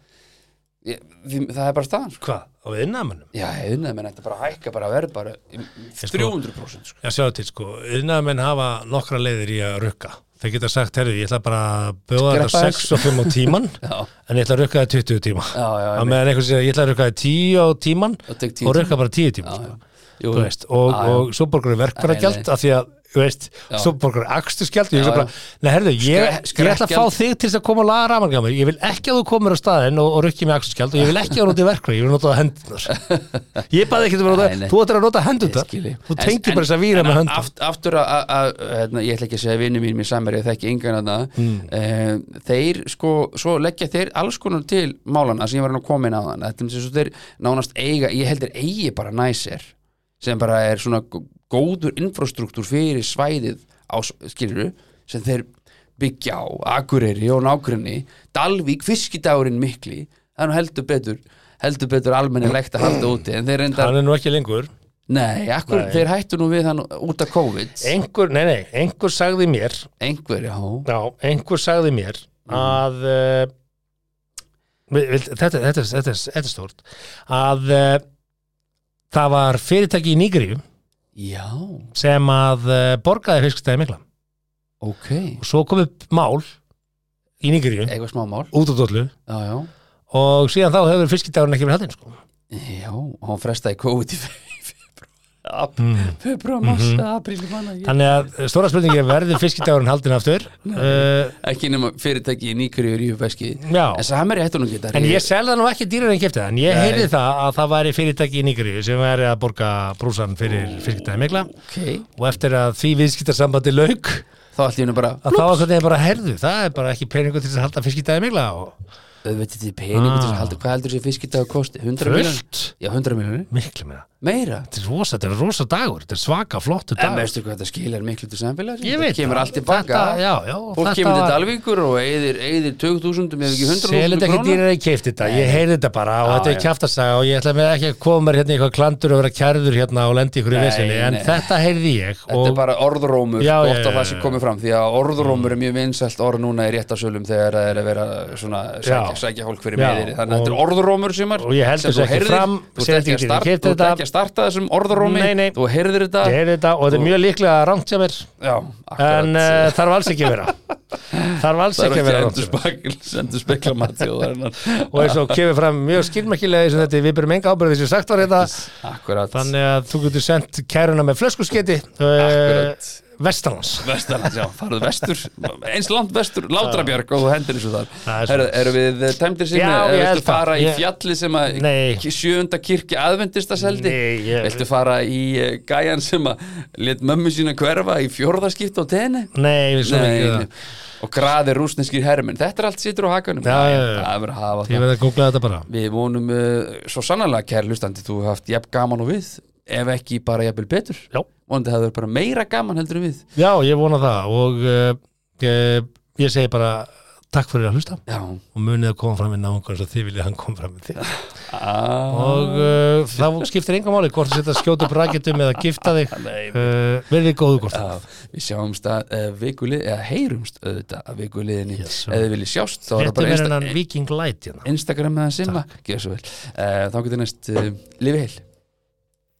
[SPEAKER 4] ég, því, það er bara staðan sko
[SPEAKER 3] hvað, á yðnaðamennum
[SPEAKER 4] já, eðnað menn ættu bara að hækka bara að verð bara um 300% sko
[SPEAKER 3] Já, sjáðu til, sko, yðnaðamenn hafa nokkra leiðir í að rukka. Þeir geta sagt, herru, ég ætla bara að bjóða þetta
[SPEAKER 4] Skreppa
[SPEAKER 3] 6 og 5 á tíman,
[SPEAKER 4] já,
[SPEAKER 3] en ég ætla að rukka það 20 tíma.
[SPEAKER 4] já, já,
[SPEAKER 3] Á meðan einhvern segir, ég ætla að rukka það 10 á tíman
[SPEAKER 4] Og tek 10
[SPEAKER 3] og rukka bara 10 tíma,
[SPEAKER 4] já.
[SPEAKER 3] sko.
[SPEAKER 4] Jú,
[SPEAKER 3] Þú veist, og,
[SPEAKER 4] já, já.
[SPEAKER 3] og svo borgar við
[SPEAKER 4] Nei,
[SPEAKER 3] verkvaragjald
[SPEAKER 4] nei.
[SPEAKER 3] af því að, þú veist,
[SPEAKER 4] Já.
[SPEAKER 3] svo borgar við akstusgjald og ég
[SPEAKER 4] Já,
[SPEAKER 3] ætla bara, nei, herru, ég,
[SPEAKER 4] Skre-
[SPEAKER 3] ég ætla að
[SPEAKER 4] skrekkgjald.
[SPEAKER 3] fá þig til þess að koma að laga ramargamur. Ég vil ekki að þú komir á staðinn og, og rukki mig akstusgjald og ég vil ekki að þú notið verkvar, ég vil nota það hendunar. Ég baði ekki að nota,
[SPEAKER 4] Nei, nei.
[SPEAKER 3] þú ættir að nota
[SPEAKER 4] Ég
[SPEAKER 3] hendunar.
[SPEAKER 4] skil ég.
[SPEAKER 3] Þú
[SPEAKER 4] En-
[SPEAKER 3] tengir
[SPEAKER 4] en-
[SPEAKER 3] bara þess að víra
[SPEAKER 4] en
[SPEAKER 3] með hendunar.
[SPEAKER 4] aft, aftur að- að að, hérna, ég ætla ekki að segja vinnu mín mér samar ég þekki engan að það
[SPEAKER 3] Mm.
[SPEAKER 4] þeir sko, svo leggja þeir alls konar til málana sem ég var nú komin að þann þetta er svo þeir nánast eiga ég heldur eigi bara næsir sem bara er svona gó- góður infrastruktúr fyrir svæðið á skiluru sem þeir byggja á Akureyri og nágrinni Dalvík, fiskidagurinn mikli það er nú heldur betur heldur betur almennilegt að halda úti en þeir reyndar
[SPEAKER 3] hann er nú ekki lengur
[SPEAKER 4] Nei, akkur, þeir hættu nú við hann út af COVID
[SPEAKER 3] einhver, nei nei, einhver sagði mér
[SPEAKER 4] Einhver, já
[SPEAKER 3] já, einhver sagði mér að uh, við- við- þetta, þetta, er- þetta, er- þetta er stórt að uh, það var fyrirtæki í Nýgríu
[SPEAKER 4] Já,
[SPEAKER 3] sem að uh, borgaði fiskstæði mikla
[SPEAKER 4] ok
[SPEAKER 3] og svo kom upp mál í Nýgríu
[SPEAKER 4] Eitthvað smá mál
[SPEAKER 3] út af dollu
[SPEAKER 4] Já, já,
[SPEAKER 3] og síðan þá hefur fiskidagurinn ekki verið haldinn sko.
[SPEAKER 4] já, og hann frestaði COVID í
[SPEAKER 3] Mm.
[SPEAKER 4] februar Februar, mars,
[SPEAKER 3] Mhm.
[SPEAKER 4] apríl, manna ég
[SPEAKER 3] þannig að eh, stóra spurningi er verður fiskidagurinn haldinn aftur uh,
[SPEAKER 4] Ekki nema fyrirtæki í nýkurju ríu beski
[SPEAKER 3] Já.
[SPEAKER 4] En samar ég hættu nú geta
[SPEAKER 3] En ég selða nú ekki dýrar en kefti það, en ég
[SPEAKER 4] Nei.
[SPEAKER 3] heyrði það að það væri fyrirtæki í Nigri sem væri að borga brúsan fyrir fiskitæði mikla
[SPEAKER 4] Ok,
[SPEAKER 3] og eftir að því viðskiptarsambandi lauk
[SPEAKER 4] þá allt í hennu bara
[SPEAKER 3] að þá var hvernig bara herðu, það er bara ekki peningur til þess að halda fiskitæði mikla og
[SPEAKER 4] Auðvitað til peningu til að halda Hvað heldur þessi fiskidagur kosti? 100 miljonir?
[SPEAKER 3] Ah. fullt
[SPEAKER 4] Já, 100 miljonir
[SPEAKER 3] miklu meira.
[SPEAKER 4] Meira
[SPEAKER 3] Þetta er rosa, þetta er rosa dagur, þetta er svaka flottu
[SPEAKER 4] En
[SPEAKER 3] dagur.
[SPEAKER 4] veistu hvað þetta skilar miklu til samfélags?
[SPEAKER 3] Ég veit
[SPEAKER 4] það
[SPEAKER 3] það.
[SPEAKER 4] Kemur allt tilbaka
[SPEAKER 3] Þetta- já, já, og
[SPEAKER 4] Fólk
[SPEAKER 3] þetta
[SPEAKER 4] kemur til
[SPEAKER 3] var-
[SPEAKER 4] Dalvíkur og eyðir, eyðir 20.000 ef ekki 100.000
[SPEAKER 3] Selið ekki dýrar en kefti þetta, ég heyrði þetta bara og
[SPEAKER 4] Já,
[SPEAKER 3] þetta er
[SPEAKER 4] já.
[SPEAKER 3] kjaftasaga og ég ætla mér ekki að koma mér hérna í eitthvað klandur og vera kærður hérna og lendi ykkur í
[SPEAKER 4] Nei,
[SPEAKER 3] vesinni, en
[SPEAKER 4] nei.
[SPEAKER 3] þetta heyrði ég
[SPEAKER 4] Þetta er
[SPEAKER 3] og
[SPEAKER 4] bara orðrómur,
[SPEAKER 3] Já,
[SPEAKER 4] gott
[SPEAKER 3] já, já,
[SPEAKER 4] að
[SPEAKER 3] Mm.
[SPEAKER 4] það sé komið fram því að orðrómur er mjög vinsælt orð núna í réttasölum þegar það er að vera svona sækja,
[SPEAKER 3] Já.
[SPEAKER 4] sækja fólk fyrir
[SPEAKER 3] Já,
[SPEAKER 4] meðir þannig að þetta er
[SPEAKER 3] og-
[SPEAKER 4] orðrómur sem er
[SPEAKER 3] og ég heldur
[SPEAKER 4] sem þú
[SPEAKER 3] þessu ekki
[SPEAKER 4] heyrðir.
[SPEAKER 3] fram,
[SPEAKER 4] þú
[SPEAKER 3] segi
[SPEAKER 4] ert ekki,
[SPEAKER 3] ekki,
[SPEAKER 4] að start-
[SPEAKER 3] ég keypti
[SPEAKER 4] þú ert
[SPEAKER 3] þetta.
[SPEAKER 4] ekki að starta þessum orðrómi
[SPEAKER 3] Nei, nei.
[SPEAKER 4] þú heyrðir
[SPEAKER 3] ég
[SPEAKER 4] þetta
[SPEAKER 3] heyrði þetta og þetta er mjög líklega rangt sem er
[SPEAKER 4] Já,
[SPEAKER 3] en eh,
[SPEAKER 4] akkurat
[SPEAKER 3] uh, þarf alls ekki að vera þarf alls
[SPEAKER 4] það er
[SPEAKER 3] ekki að
[SPEAKER 4] ekki
[SPEAKER 3] vera rátt
[SPEAKER 4] endur spekla endur spekla mati og það er hann
[SPEAKER 3] og eins og kemur fram mjög skilmerkilega eins og þetta við byrjum enga ábyrðið sem sagt var þetta
[SPEAKER 4] akkurat
[SPEAKER 3] þannig að þú getur sendt kæruna með flöskusketi uh,
[SPEAKER 4] Akkurat.
[SPEAKER 3] vestanlands
[SPEAKER 4] Vestarlands, já, farðu vestur eins langt vestur, Látrabjörg og þú hendir þessu þar
[SPEAKER 3] Það er
[SPEAKER 4] er, eru við eh, tæmdir sinni,
[SPEAKER 3] Já, ég held
[SPEAKER 4] viltu
[SPEAKER 3] það.
[SPEAKER 4] fara í
[SPEAKER 3] Ég-
[SPEAKER 4] fjalli sem að
[SPEAKER 3] Nei.
[SPEAKER 4] ki- sjöunda kirkja aðvendista seldi
[SPEAKER 3] Nei, ég-
[SPEAKER 4] viltu fara í eh, gæjan sem að let mömmu sína hverfa í fjórðaskipt á tenni
[SPEAKER 3] nei, við svo ekki það
[SPEAKER 4] og graði rúsneskir herminn þetta er allt sittur á hakanum
[SPEAKER 3] Já, já, já.
[SPEAKER 4] það er verið að hafa
[SPEAKER 3] ég
[SPEAKER 4] það
[SPEAKER 3] verði að googla þetta bara
[SPEAKER 4] við vonum uh, svo sannlega kæri hlustandi, þú hefur haft jafn gaman og við ef ekki bara jafnvel betur
[SPEAKER 3] Já.
[SPEAKER 4] vonandi það verður bara meira gaman heldur en við
[SPEAKER 3] já, ég vona það og uh, uh, ég segi bara takk fyrir að hlusta
[SPEAKER 4] já,
[SPEAKER 3] og munið að koma fram með náungan eins og þið viljið að hann kom fram með þig
[SPEAKER 4] ah.
[SPEAKER 3] og uh, þá skiptir enga máli hvort þú setja skjótu braketum eða gifta þig uh, verðið góðu hvort
[SPEAKER 4] Já, við sjáumst að uh, vikulið, eða heyrumst auðvitað að vikuliðinni,
[SPEAKER 3] Yes, sir.
[SPEAKER 4] eða þið viljið sjást þá er það
[SPEAKER 3] þetta
[SPEAKER 4] bara
[SPEAKER 3] verður
[SPEAKER 4] insta
[SPEAKER 3] hann Viking Light hérna.
[SPEAKER 4] Instagram eða Simma, gera svo vel uh, þá getur næst uh, lifi heil